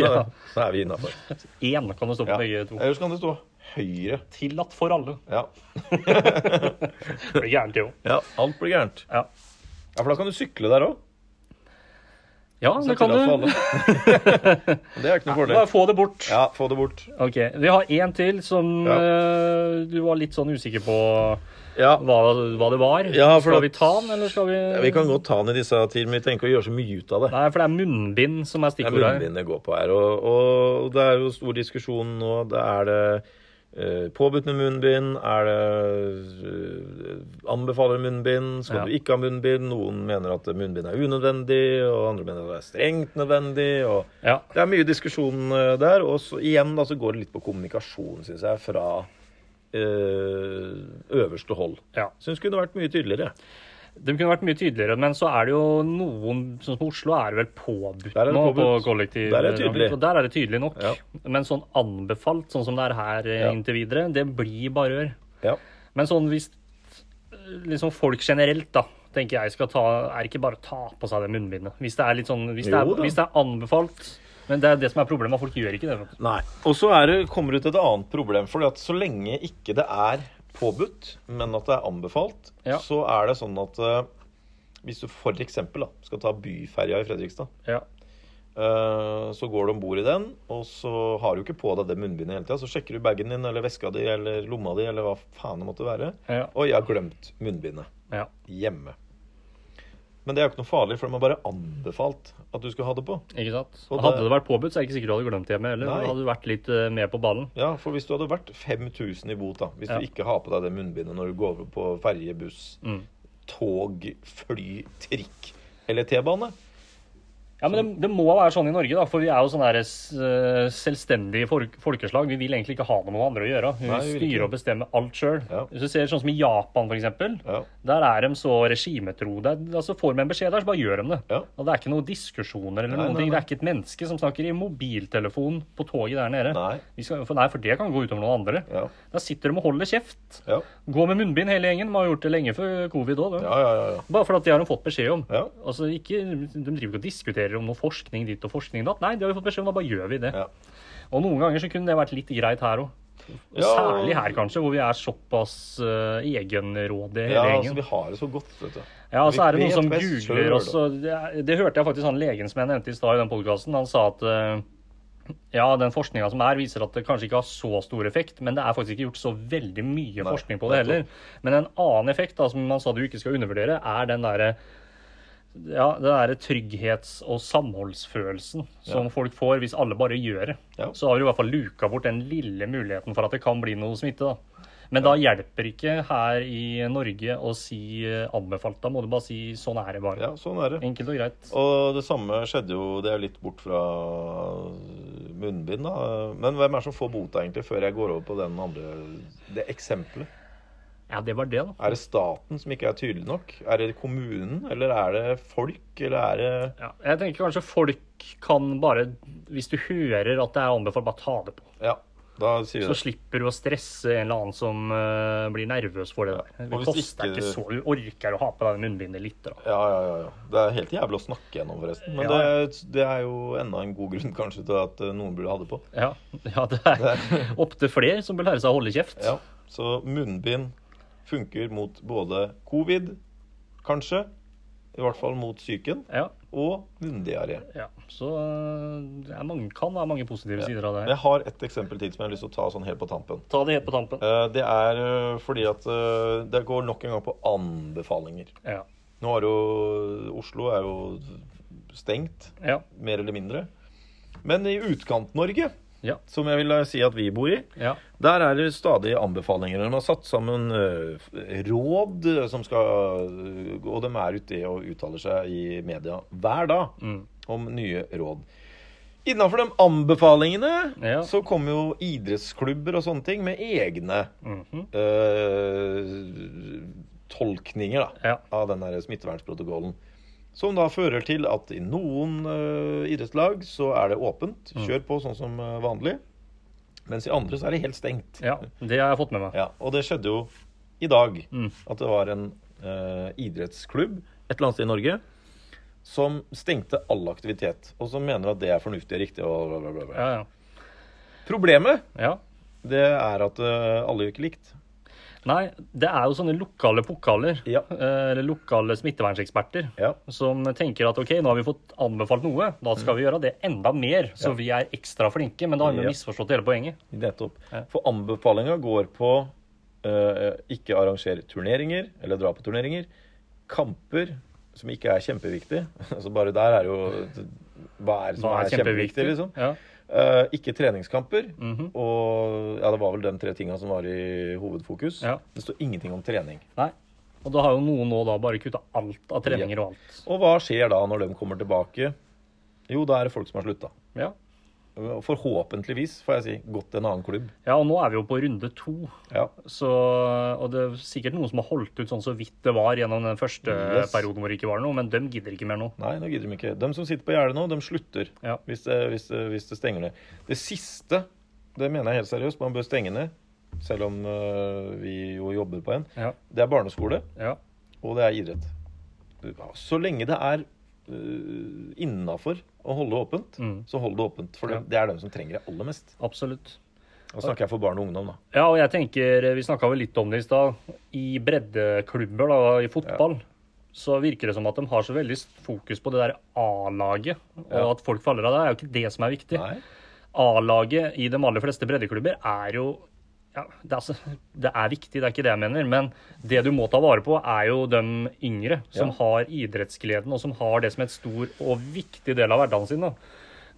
Ja. Så er vi innafor. Én kan det stå på Ja. begge to. Ellers kan det stå høyre. Tillatt for alle. Ja. Det blir gærent, det òg. ja. Alt blir gærent. Ja. Ja, For da kan du sykle der òg. Ja, Så det kan tillatt for du. alle. det er ikke noe Bare fordel. få det bort. Ja, få det bort. Ok, Vi har én til som Ja. eh, du var litt sånn usikker på Ja, hva, hva det var. Ja, for skal at- vi ta den, eller skal vi Vi kan godt ta den i disse tider, men vi trenger ikke å gjøre så mye ut av det. Nei, for det er munnbind som er Det er stikkordet. her. munnbind det går på her. Og, og det er jo stor diskusjon nå. Det er det eh, påbudt med munnbind? Er det eh, anbefaler munnbind? Skal Ja. du ikke ha munnbind? Noen mener at munnbind er unødvendig, og andre mener at det er strengt nødvendig. og... Ja. Det er mye diskusjon eh, der, og så, igjen da, så går det litt på kommunikasjon, syns jeg, fra eh, øverste hold. Ja. Syns kunne vært mye tydeligere. De kunne vært mye tydeligere, men så er det jo noen Sånn som Oslo er det vel påbudt Der er det nå på påbudt. kollektiv. Der er det tydelig. og Der er det tydelig nok. Ja. Men sånn anbefalt, sånn som det er her eh, Ja. inntil videre, det blir bare rør. Ja. Men sånn hvis eh, liksom folk generelt, da, tenker jeg skal ta Er ikke bare å ta på seg det munnbindet. Hvis det er litt sånn Hvis det er, Jo da. hvis det er anbefalt. Men det er det som er problemet, folk gjør ikke det. vet du. Nei. Og så er det, kommer du til et annet problem, for så lenge ikke det er påbudt, men at det er anbefalt, Ja. så er det sånn at eh, hvis du for eksempel da, skal ta byferja i Fredrikstad, Ja. Eh, Så går du om bord i den, og så har du ikke på deg det munnbindet hele tida. Så sjekker du bagen din eller veska di eller lomma di eller hva faen det måtte være. Ja. Og jeg har glemt munnbindet ja. hjemme. Men det er jo ikke noe farlig, for de har bare anbefalt at du skal ha det på. Ikke sant? Og Hadde det- det vært påbudt, så er det ikke sikkert du hadde glemt det hjemme heller. Nei. Da Hadde du vært litt eh, med på ballen. Ja, for hvis du hadde vært 5000 i bot, da, hvis Ja. du ikke har på deg det munnbindet når du går over på ferje, buss, Mm. tog, fly, trikk eller T-bane Ja, men det, det må være sånn i Norge, da, for vi er jo sånn der, eh, selvstendige folk, folkeslag. Vi vil egentlig ikke ha noe med andre å gjøre. Vi Nei, vi vil ikke. styrer og bestemmer alt sjøl. Ja. Hvis du ser sånn som i Japan, f.eks. Ja. Der er de så regimetro. Der, altså får de en beskjed der, så bare gjør de det. Ja. Og Det er ikke noen diskusjoner eller Nei, noen nei, ting. nei. Det er ikke et menneske som snakker i mobiltelefon på toget der nede. Nei. Vi skal, for, nei, for det kan gå utover noen andre. Ja. Da sitter de og holder kjeft. Ja. Gå med munnbind hele gjengen. De har gjort det lenge før covid òg. Ja, ja, ja. ja. Bare fordi det har de fått beskjed om. Ja. Altså, ikke, De driver ikke og diskuterer om noe forskning ditt og forskning datt. Nei, det har vi fått beskjed om, da bare gjør vi det. Ja. Og noen ganger så kunne det vært litt greit her òg. Og Ja, og- særlig her, kanskje, hvor vi er såpass uh, egenrådige ja hele altså, gjengen. vi har det så godt, vet du. Ja, så er det vi noen vet som best googler selv, også. Det, er- det hørte jeg faktisk han legen som jeg nevnte i stad i den podkasten. Han sa at eh, ja, den forskninga som er, viser at det kanskje ikke har så stor effekt, men det er faktisk ikke gjort så veldig mye Nei, forskning på det heller. Men en annen effekt da, som man sa du ikke skal undervurdere, er den derre ja, den derre trygghets- og samholdsfølelsen som folk får hvis alle bare gjør det. Ja. Så har du i hvert fall luka bort den lille muligheten for at det kan bli noe smitte, da. Men da hjelper ikke her i Norge å si eh, anbefalt. Da må du bare si sånn er det bare. Ja, sånn er det. Enkelt og greit. Og det samme skjedde jo Det er litt bort fra munnbind, da. Men hvem er det som får bota, egentlig, før jeg går over på den andre det eksempelet? Ja, det var det, da. Er det staten som ikke er tydelig nok? Er det kommunen, eller er det folk, eller er det Ja, jeg tenker kanskje folk kan bare, hvis du hører at det er anbefalt, bare ta det på. Ja, da sier vi Så det. slipper du å stresse en eller annen som eh, blir nervøs for det Ja, der. og Det hvis koster ikke- ikke så Du orker å ha på deg munnbindet litt, da. Ja, ja, ja, ja. Det er helt jævlig å snakke gjennom, forresten. Men Ja. det, det er jo enda en god grunn kanskje til at eh, noen burde ha det på. Ja, ja det er opptil flere som bør lære seg å holde kjeft. Ja, så munnbind funker mot både covid, kanskje, i hvert fall mot psyken, Ja, og munndiaré. ja. Så eh, det er mange, kan være mange positive sider av det. her. Jeg har et eksempel til som jeg har lyst til å ta sånn helt på tampen. Ta det helt på tampen. Eh, Det er eh, fordi at eh, det går nok en gang på anbefalinger. Ja. Nå er jo Oslo er jo stengt, Ja. mer eller mindre. Men i Utkant-Norge, Ja. som jeg vil si at vi bor i, ja. Der er det stadig anbefalinger. De har satt sammen eh, råd eh, som skal eh, Og de er ute og uttaler seg i media hver dag Mm. om nye råd. Innenfor de anbefalingene Ja. så kommer jo idrettsklubber og sånne ting med egne mhm. eh, tolkninger da, Ja. av den der smittevernprotokollen. Som da fører til at i noen eh, idrettslag så er det åpent. Kjør på sånn som eh, vanlig. Mens i andre så er det helt stengt. ja. Det har jeg fått med meg. Ja, og det skjedde jo i dag. At det var en eh, idrettsklubb et eller annet sted i Norge som stengte all aktivitet. Og som mener at det er fornuftig og riktig. Og bla, bla, bla, bla. Ja, ja. Problemet ja. det er at eh, alle gjør ikke likt. Nei, det er jo sånne lokale pokaler, Ja. eh, eller lokale smitteverneseksperter, Ja. som tenker at ok, nå har vi fått anbefalt noe, da skal vi gjøre det enda mer, så vi er ekstra flinke. Men da har vi Mm. Ja. jo misforstått hele poenget. Nettopp. For anbefalinga går på eh, ikke arrangere turneringer, eller dra på turneringer. Kamper, som ikke er kjempeviktig. Altså bare der er jo Hva er det som Hva er, er kjempeviktig, kjempeviktig? liksom? Ja. Eh, ikke treningskamper. Og ja, det var vel de tre tinga som var i hovedfokus. Ja. Det står ingenting om trening. Nei. Og da har jo noen nå da bare kutta alt av treninger og alt. Og hva skjer da når de kommer tilbake? Jo, da er det folk som har slutta. Ja. Forhåpentligvis, får jeg si, gått til en annen klubb. ja, og nå er vi jo på runde to. Ja. Så, og det er sikkert noen som har holdt ut sånn så vidt det var gjennom den første Yes. perioden hvor det ikke var noe, men dem gidder ikke mer nå. Nei, nå gidder de ikke. De som sitter på gjerdet nå, de slutter Ja. hvis, det, hvis, det, hvis det stenger ned. Det siste, det mener jeg helt seriøst, man bør stenge ned, selv om øh, vi jo jobber på en, Ja, det er barneskole, ja, og det er idrett. Ja, Så lenge det er øh, innafor å holde åpent, Mm. så hold det åpent. For Ja. det, det er de som trenger det aller mest. absolutt. Og snakker jeg for barn og ungdom, da. Ja, og jeg tenker, eh, vi snakka vel litt om det i stad. I breddeklubber da, i fotball så virker det som at de har så veldig fokus på det der A-laget, og Ja. at folk faller av det, er jo ikke det som er viktig. Nei. A-laget i de aller fleste breddeklubber er jo ja, det, er, så- det er viktig, det er ikke det jeg mener, men det du må ta vare på, er jo de yngre som Ja. har idrettsgleden, og som har det som et stor og viktig del av hverdagen sin. da.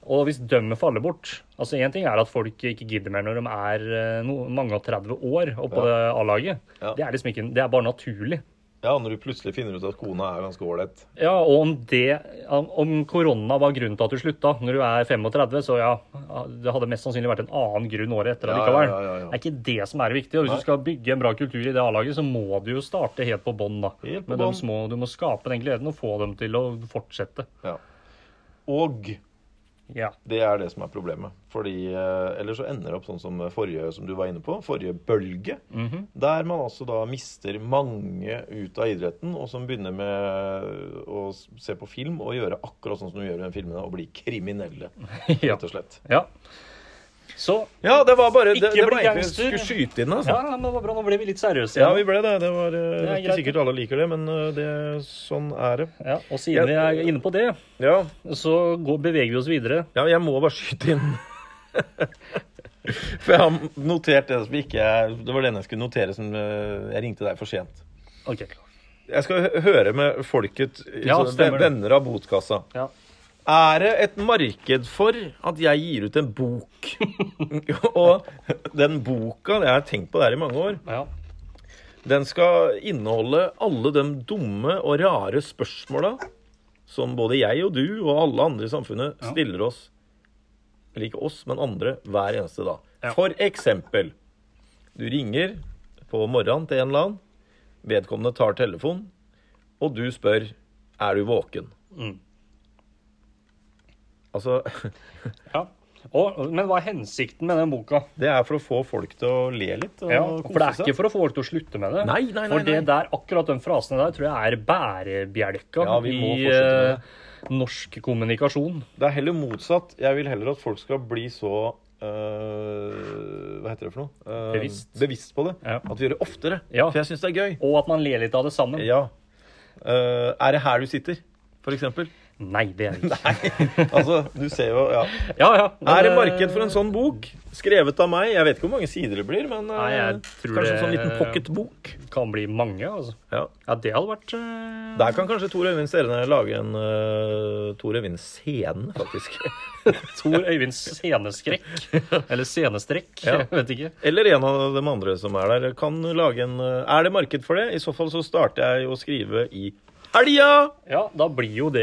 Og hvis de faller bort altså Én ting er at folk ikke gidder mer når de er eh, no, mange og 30 år og på det A-laget. Ja. Det er liksom ikke, det er bare naturlig. Ja, når du plutselig finner ut at kona er ganske ålreit. Ja, og om det om- Om korona var grunnen til at du slutta når du er 35, så ja Det hadde mest sannsynlig vært en annen grunn året etter Ja, allikevel. ja, ja, ja, ja. Det er ikke det som er viktig. Og hvis Nei. du skal bygge en bra kultur i det A-laget, så må du jo starte helt på bånn, da. Helt på Men de bånn. små, du må skape den gleden og få dem til å fortsette. Ja. Og Ja. Det er det som er problemet. Fordi, eh, Ellers så ender det opp sånn som forrige som du var inne på, forrige bølge. Der man altså da mister mange ut av idretten, og som begynner med å s- se på film og gjøre akkurat sånn som du gjør i den filmen, og bli kriminelle, ja. rett og slett. ja. Så Ja, det var bare det, Ikke det var bli egentlig gangster. jeg skulle skyte inn, altså. Ja, men det var bra. Nå ble vi litt seriøse Ja, igjen. vi ble det. Det var eh, Det er ikke greit, sikkert alle liker det, men eh, det, sånn er det. Ja, og siden vi er inne på det, Ja, så går, beveger vi oss videre. Ja, jeg må bare skyte inn. For jeg har notert det som ikke er Det var den jeg skulle notere som eh, Jeg ringte deg for sent. OK. Jeg skal hø- høre med folket, Ja, så- stemmer det. venner av botkassa. Ja. Er det et marked for at jeg gir ut en bok? Og den boka, jeg har tenkt på det her i mange år, ja. den skal inneholde alle de dumme og rare spørsmåla som både jeg og du og alle andre i samfunnet stiller oss. Eller ikke oss, men andre hver eneste dag. Ja. For eksempel. Du ringer på morgenen til en eller annen. Vedkommende tar telefonen, og du spør er du våken. Mm. Altså, ja. Og, men hva er hensikten med den boka? Det er for å få folk til å le litt og Ja, kose for det er seg. ikke for å få folk til å slutte med det. Nei, nei, nei, for det nei. der, akkurat den frasen der tror jeg er bærebjelka Ja, vi må i fortsette med det. eh, norsk kommunikasjon. Det er heller motsatt. Jeg vil heller at folk skal bli så øh, Hva heter det for noe? Øh, Bevisst. Bevisst på det. Ja. At vi gjør det oftere. Ja. For jeg syns det er gøy. Og at man ler litt av det sammen. Ja. Øh, er det her du sitter, for eksempel? Nei, det er det ikke. Altså, du ser jo ja. Ja, ja. Er det marked for en sånn bok? Skrevet av meg. Jeg vet ikke hvor mange sider det blir, men øh, Nei, jeg tror kanskje det- en sånn liten pocketbok. Kan bli mange, altså. Ja. Ja, det hadde vært eh, Der kan kanskje Tor Øyvind Sene lage en øh, Tor Øyvind Scene, faktisk. Tor Øyvinds sceneskrekk. Eller scenestrekk. Ja. Jeg vet ikke. Eller en av de andre som er der, kan lage en eh, Er det marked for det? I så fall så starter jeg å skrive i helga! Ja, da blir jo det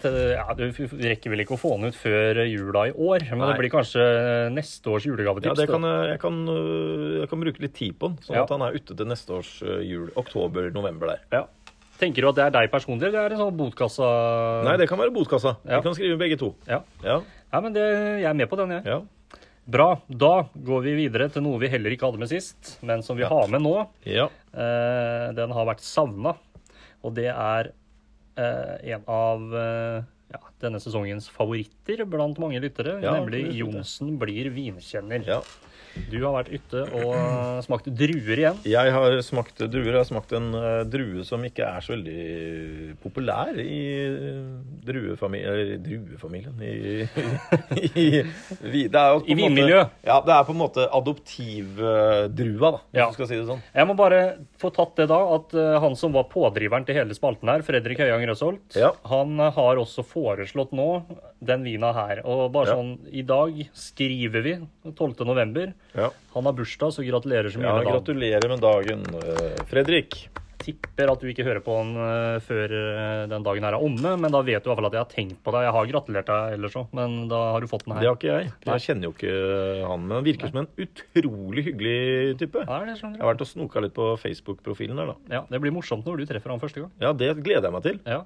til, ja, Du rekker vel ikke å få den ut før jula i år, men Nei. det blir kanskje neste års julegavetips. Ja, det da. kan jeg, jeg, kan, øh, jeg kan bruke litt tid på den, sånn Ja. at han er ute til neste års øh, jul. Oktober-november der. Ja. Tenker du at det er deg personlig, eller er det sånn botkassa Nei, det kan være botkassa. Ja. Vi kan skrive begge to. Ja. Ja, ja, men det, jeg er med på den, jeg. ja. Bra. Da går vi videre til noe vi heller ikke hadde med sist, men som vi har med nå. ja. Eh, den har vært savna, og det er eh, en av eh, ja, denne sesongens favoritter blant mange lyttere, Ja, nemlig absolutt. Johnsen blir vinkjenner. ja. Du har vært ute og eh, smakt druer igjen. Jeg har smakt druer. Jeg har smakt en eh, drue som ikke er så veldig populær i eh, druefamil- eller i druefamilien I, i, vi- det er I jo på en måte- vinmiljø. Ja, det er på en måte adoptivdrua, da, hvis Ja. du skal si det sånn. Jeg må bare få tatt det da, at eh, han som var pådriveren til hele spalten her, Fredrik Høyang Røsholt, Ja. han eh, har også foreslått nå den vina her. Og bare Ja. sånn, i dag skriver vi 12. november. Ja. Han har bursdag, så gratulerer så mye Ja, med dagen. gratulerer med dagen, eh, Fredrik. Tipper at du ikke hører på han eh, før eh, den dagen her er omme, men da vet du i hvert fall at jeg har tenkt på deg. Jeg har gratulert deg ellers òg, men da har du fått den Det her. har ikke jeg. Jeg kjenner jo ikke han, men han virker som en utrolig hyggelig type. Ja, det skjønner Jeg har vært og snoka litt på Facebook-profilen der, da. jeg. Ja, det blir morsomt når du treffer han første gang. Ja, det gleder jeg meg til. Ja.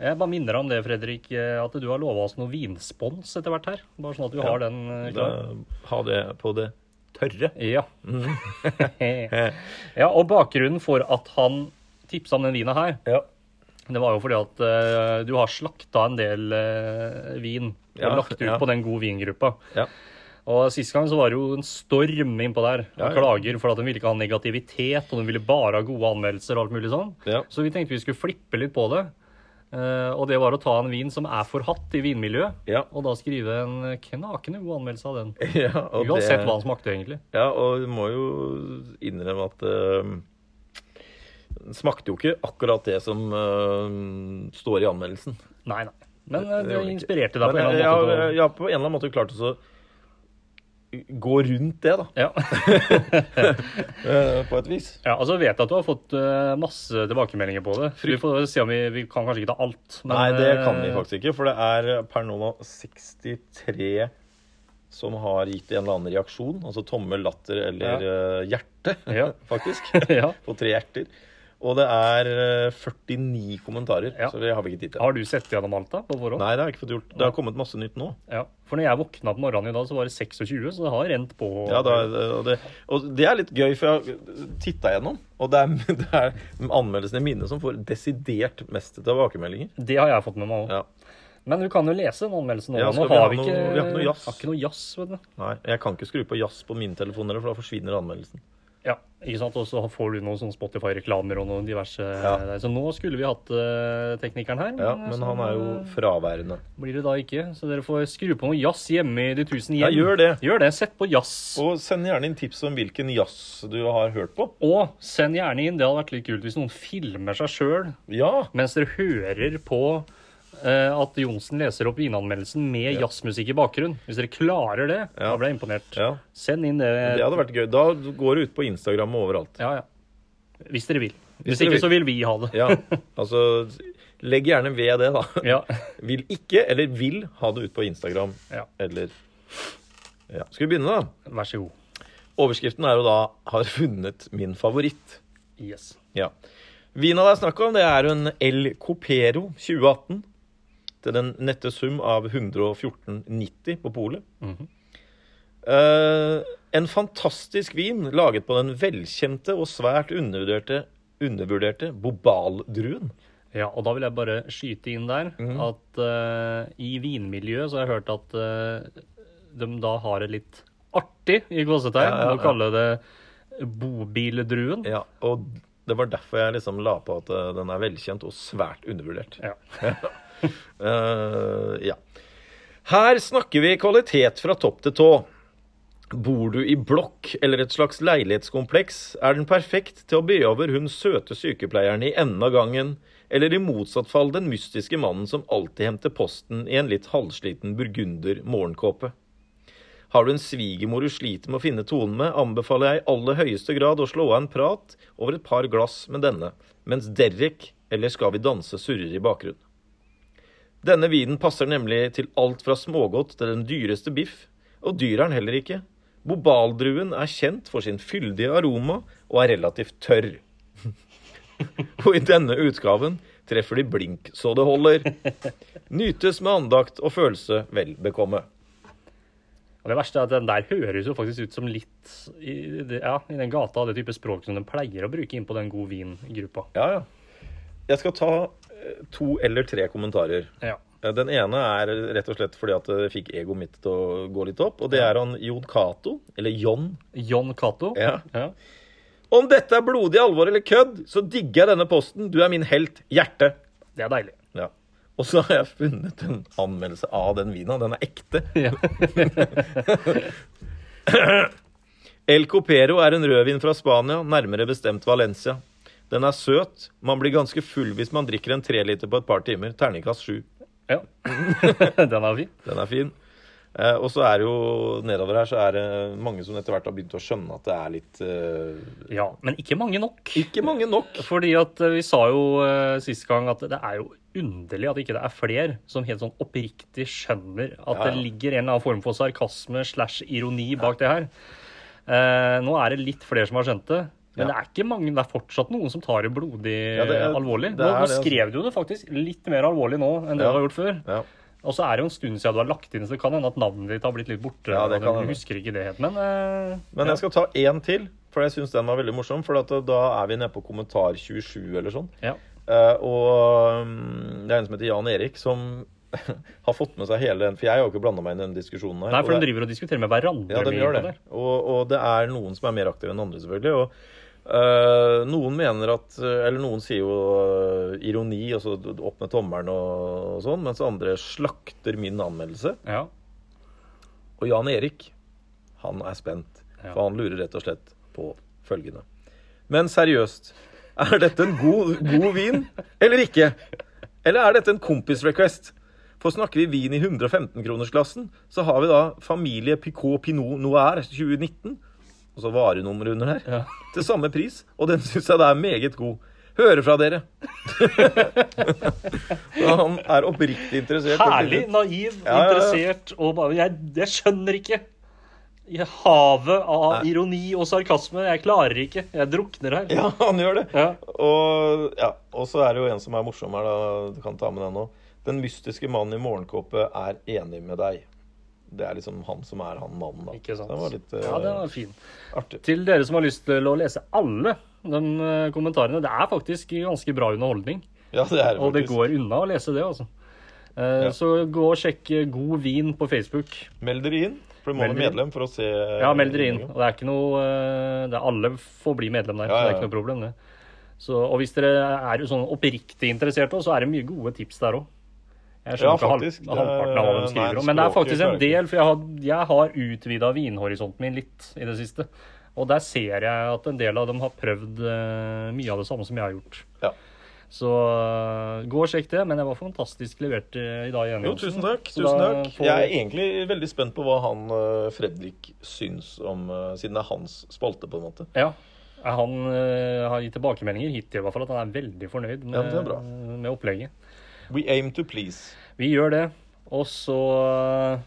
Jeg bare minner om det, Fredrik, eh, at du har lova oss noe vinspons etter hvert her. Bare sånn at du har den eh, klar. Da, ha det på det tørre. Ja. Mm. Eh, ja, og bakgrunnen for at han tipsa om den vina her, Ja. det var jo fordi at eh, du har slakta en del eh, vin. Og Ja, lagt ut ja. på den gode vingruppa. Ja. Og sist gang så var det jo en storm innpå der. Ja, og ja. Klager for at de ville ikke ha negativitet, og de ville bare ha gode anmeldelser og alt mulig sånn. Ja. Så vi tenkte vi skulle flippe litt på det. Eh, og det var å ta en vin som er forhatt i vinmiljøet, Ja. og da skrive en knakende god anmeldelse av den. ja og Uansett det- hva den smakte, egentlig. Ja, og du må jo innrømme at eh, den smakte jo ikke akkurat det som eh, står i anmeldelsen. Nei, nei. Men eh, det gjorde det ikke. inspirerte deg Men eh, på en jeg, eller annen måte. til jeg, å- jeg har på en eller annen måte klart å så gå rundt det, da. Ja. eh, På et vis. ja, altså jeg vet at du har fått eh, masse tilbakemeldinger på det. Vi får se om vi, vi kan kanskje ikke ta alt. men, Nei, det kan vi eh, faktisk ikke, for det er per nå 63 som har gitt en eller annen reaksjon. Altså tommel, latter eller eh, hjerte, Ja. faktisk. Ja. På tre hjerter. Og det er eh, 49 kommentarer, Ja. så det har vi ikke tid til. Har du sett gjennom alt da, på forhånd? Nei, det har jeg ikke fått gjort. Det har kommet masse nytt nå. Ja. For når jeg våkna på morgenen i dag, så var det 26, så det har rent på. Ja, da, og, det, og det er litt gøy, for jeg har titta gjennom, og det er, det er anmeldelsene mine som får desidert mest tilbakemeldinger. Det har jeg fått med meg òg. Ja. Men du kan jo lese den anmeldelsen nå. Ja, nå skal vi har ha vi, noe- ikke, vi har ikke noe jazz. Har ikke noe jazz, vet du. Nei, jeg kan ikke skru på jazz på mine telefoner, for da forsvinner anmeldelsen. Ja, ikke sant? Og så får du noen sånne Spotify-reklamer og noen diverse Ja. Så nå skulle vi hatt eh, teknikeren her. Ja, eh, men så han er jo fraværende. blir det da ikke. Så dere får skru på noe jazz hjemme i de tusen Ja, hjem. gjør det. Gjør det. Sett på jazz. Og, Og send gjerne inn tips om hvilken jazz du har hørt på. send gjerne inn, det hadde vært litt kult hvis noen filmer seg sjøl Ja! mens dere hører på eh, at Johnsen leser opp vinanmeldelsen med jazzmusikk i bakgrunn. Hvis dere klarer det, da Ja. blir jeg imponert. Ja. Send inn det. Det hadde vært gøy. Da går det ut på Instagram og overalt. Ja, ja. Hvis dere vil. Hvis, dere ikke, vil. så vil vi ha det. Ja, altså Legg gjerne ved det, da. Ja. Vil ikke, eller vil, ha det ut på Instagram Ja. eller ja. Skal vi begynne, da? Vær så god. Overskriften er jo da 'Har funnet min favoritt'. Yes. Ja. Vina det er snakk om, det er en El Copero 2018. Til den nette sum av 114,90 på polet. Eh, en fantastisk vin laget på den velkjente og svært undervurderte, undervurderte bobaldruen. Ja, og da vil jeg bare skyte inn der Mhm. at eh, i vinmiljøet så har jeg hørt at eh, de da har det litt artig i gåsetegn Ja, ja, å kalle det bobildruen. Ja, og det var derfor jeg liksom la på at eh, den er velkjent og svært undervurdert. Ja. Eh, ja. Her snakker vi kvalitet fra topp til tå. Bor du i blokk eller et slags leilighetskompleks, er den perfekt til å be over hun søte sykepleieren i enden av gangen, eller i motsatt fall den mystiske mannen som alltid henter posten i en litt halvsliten burgunder morgenkåpe. Har du en svigermor du sliter med å finne tonen med, anbefaler jeg i aller høyeste grad å slå av en prat over et par glass med denne, mens Derek eller Skal vi danse surrer i bakgrunnen. Denne vinen passer nemlig til alt fra smågodt til den dyreste biff, og dyr er den heller ikke. Bobaldruen er kjent for sin fyldige aroma og er relativt tørr. og i denne utgaven treffer de blink så det holder. Nytes med andakt og følelse vel bekomme. Og det verste er at den der høres jo faktisk ut som litt i, det- ja, i den gata av det type språk som de pleier å bruke inn på den god vin-gruppa. Ja, ja. Jeg skal ta eh, to eller tre kommentarer. Ja. Eh, Den ene er rett og slett fordi at det fikk egoet mitt til å gå litt opp. Og det er han Jon Cato, eller Jon. John Cato. Ja. Ja. Om dette er blodig alvor eller kødd, så digger jeg denne posten. Du er min helt. Hjerte. Det er deilig. Ja. Og så har jeg funnet en anmeldelse av den vina. Den er ekte. Ja. El Copero er en rødvin fra Spania, nærmere bestemt Valencia. Den er søt. Man blir ganske full hvis man drikker en treliter på et par timer. Terningkast sju. ja. Den er fin. Den er fin. Eh, og så er det jo nedover her så er det mange som etter hvert har begynt å skjønne at det er litt eh, Ja, men ikke mange nok. Ikke mange nok. Fordi at eh, vi sa jo eh, sist gang at det er jo underlig at ikke det er flere som helt sånn oppriktig skjønner at Ja, ja. det ligger en eller annen form for sarkasme slash ironi bak det her. Eh, nå er det litt flere som har skjønt det. Men Ja. det er ikke mange, det er fortsatt noen som tar det blodig Ja, det er- eh, alvorlig. det Nå, er nå det, altså. skrev du jo det faktisk litt mer alvorlig nå enn det Ja. du har gjort før. Ja. Og så er det jo en stund siden du har lagt inn, så det kan hende at navnet ditt har blitt litt borte. Ja, det og kan du hende. husker ikke det helt, men, eh, Men jeg skal ta én til, for jeg syns den var veldig morsom. For at eh, da er vi nede på kommentar 27 eller sånn. ja. Eh, og mm, det er en som heter Jan Erik, som har fått med seg hele den For jeg har jo ikke blanda meg inn i den diskusjonen her. Nei, og for det- de driver og diskuterer med hverandre. Ja, de mye gjør på det. der. Og, og det er noen som er mer aktive enn andre, selvfølgelig. Og øh, noen mener at Eller noen sier jo øh, ironi, og så opp med tommelen og, og sånn, mens andre slakter min anmeldelse. Ja. Og Jan Erik, han er spent, Ja. for han lurer rett og slett på følgende. Men seriøst, er dette en god, god vin eller ikke? Eller er dette en kompisrequest? For snakker vi vin i 115-kronersklassen, så har vi da familie Picot Pinot Noir 2019, og så varenummeret under her, Ja. til samme pris, og den syns jeg da er meget god. Hører fra dere. Så han er oppriktig interessert. i å finne Herlig, ut- naiv, Ja, ja, ja. interessert og bare jeg, jeg skjønner ikke. I havet av ironi og sarkasme. Jeg klarer ikke. Jeg drukner her. Ja, han gjør det. Ja. Og, ja, og så er det jo en som er morsom her, da. Du kan ta med den òg. Den mystiske mannen i morgenkåpe er enig med deg. Det er liksom han som er han mannen, da. Ikke sant? Den var litt eh, Ja, den var fin. artig. Til dere som har lyst til å lese alle de eh, kommentarene. Det er faktisk ganske bra underholdning. Ja, det er Og det faktisk. går unna å lese det, altså. Eh, Ja. Så gå og sjekk eh, God vin på Facebook. Meld dere inn. For du må Meld være dere inn. medlem for å se eh, Ja, meld dere inn. Og det er ikke noe eh, det er Alle får bli medlem der. Ja, ja, Det er ikke ja. noe problem, det. Så, og hvis dere er jo sånn oppriktig interessert òg, så er det mye gode tips der òg. Jeg skjønner Ja, ikke halv, faktisk. Det er- halvparten av hva de skriver nei, om. Men det er språket faktisk en klarer jeg del, for jeg har, jeg har utvida vinhorisonten min litt i det siste. Og der ser jeg at en del av dem har prøvd eh, mye av det samme som jeg har gjort. Ja. Så eh, gå og sjekk det. Men det var fantastisk levert eh, i dag igjen. Jo, Johnsen. tusen takk. Så Tusen da takk. får- Jeg er egentlig veldig spent på hva han eh, Fredrik syns om eh, Siden det er hans spalte, på en måte. Ja. Han eh, har gitt tilbakemeldinger hittil i hvert fall at han er veldig fornøyd med, Ja, det er bra. med opplegget. We aim to please. Vi gjør det, og så eh,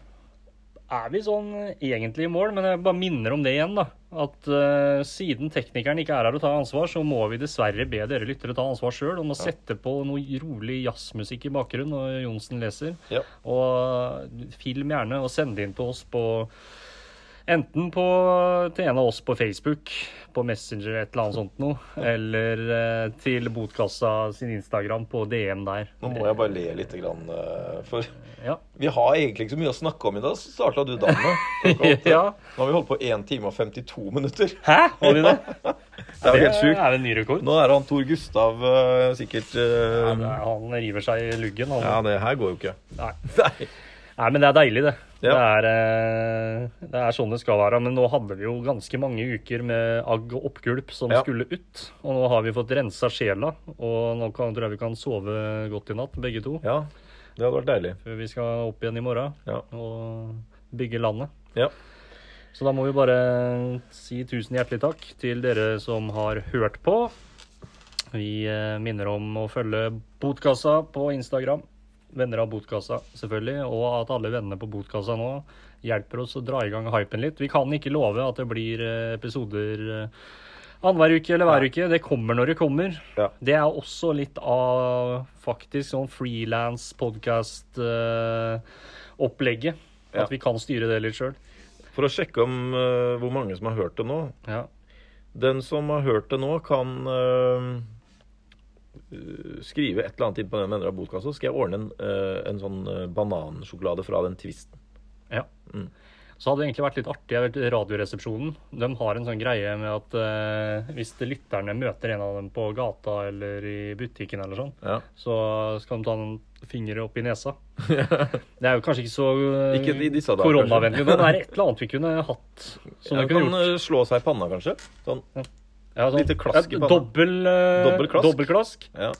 er vi sånn eh, egentlig i mål, men jeg bare minner om det igjen, da. At eh, siden teknikeren ikke er her og tar ansvar, så må vi dessverre be dere lyttere ta ansvar sjøl om å sette på noe rolig jazzmusikk i bakgrunnen når Johnsen leser. Ja. Og film gjerne og send det inn til oss på Enten på, til en av oss på Facebook, på Messenger et eller annet sånt noe, eller eh, til Botkassa sin Instagram på DM der. Nå må jeg bare le litt, grann, eh, for Ja. Vi har egentlig ikke så mye å snakke om i dag, så starta du dagen med. klokka åtte. ja. Nå har vi holdt på 1 time og 52 minutter. Hæ? Var det det? Det er jo helt sjukt. er en ny rekord. Nå er han Tor Gustav eh, sikkert Ja, eh, det er- Han river seg i luggen. Han. Ja, det her går jo ikke. Nei. Nei. Nei, men det er deilig, det. Ja. Det, er, eh, det er sånn det skal være. Men nå hadde vi jo ganske mange uker med agg og oppgulp som Ja. skulle ut. Og nå har vi fått rensa sjela, og nå kan, tror jeg vi kan sove godt i natt, begge to. Ja, det hadde vært deilig. Før vi skal opp igjen i morgen Ja. og bygge landet. ja. Så da må vi bare si tusen hjertelig takk til dere som har hørt på. Vi eh, minner om å følge Botkassa på Instagram. Venner av Botkassa, selvfølgelig. Og at alle vennene på Botkassa nå hjelper oss å dra i gang hypen litt. Vi kan ikke love at det blir eh, episoder eh, annenhver uke eller hver uke. Det kommer når det kommer. Ja. Det er også litt av faktisk sånn frilans podcast eh, opplegget Ja. At vi kan styre det litt sjøl. For å sjekke om eh, hvor mange som har hørt det nå. Ja. Den som har hørt det nå, kan eh, eh, skrive et eller annet inn på den endra boka, så skal jeg ordne en, eh, en sånn eh, banansjokolade fra den tvisten. Ja. Så hadde det egentlig vært litt artig. Jeg vet, radioresepsjonen de har en sånn greie med at eh, hvis lytterne møter en av dem på gata eller i butikken, eller sånn, Ja. så skal de ta en finger opp i nesa. Det er jo kanskje ikke så eh, Ikke i disse dager, koronavennlig, men det er et eller annet vi kunne hatt. Som Jeg vi kunne kan gjort. eh, slå seg i panna, kanskje. Sånn. Ja, sånn, lite klask i ja, panna. Dobbel, eh, Dobbel klask. dobbel klask Ja.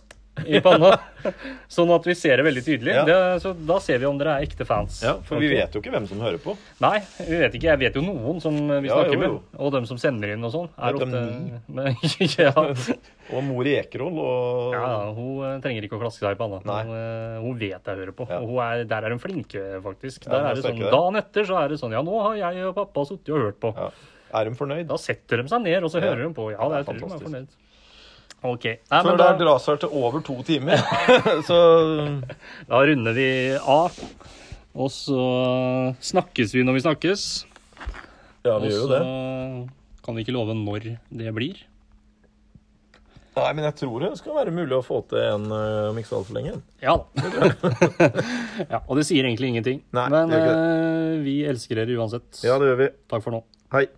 i panna. sånn at vi ser det veldig tydelig. Ja. Det, så da ser vi om dere er ekte fans. ja, for Ok. vi vet jo ikke hvem som hører på. Nei, vi vet ikke. Jeg vet jo noen som vi Ja, snakker jo, jo. med. Og dem som sender inn og sånn. Er Vet dem ofte... Men, ja. Og mor i Ekerhol og ja, hun eh, trenger ikke å klaske seg i panna. Nei. Hun, eh, hun vet jeg hører på. Ja. Og hun er, der er hun flink, eh, faktisk. Ja, der hun er er det sånn, sterk, der. Dagen etter så er det sånn Ja, nå har jeg og pappa sittet og hørt på. Ja. Er de fornøyd? Da setter de seg ned, og så Ja. hører de på. Ja, det Ja, det er, er jeg tror de er fantastisk. fornøyd. OK. Nei, Før men det da, her dras her til over to timer. så da runder vi av. Og så snakkes vi når vi snakkes. Ja, Og vi gjør jo så det. kan vi ikke love når det blir. Nei, men jeg tror det skal være mulig å få til en øh, om ikke så altfor lenge. Ja da. ja, og det sier egentlig ingenting. Nei, Men det gjør ikke eh, vi elsker dere uansett. Ja, det gjør vi. Takk for nå. Hei.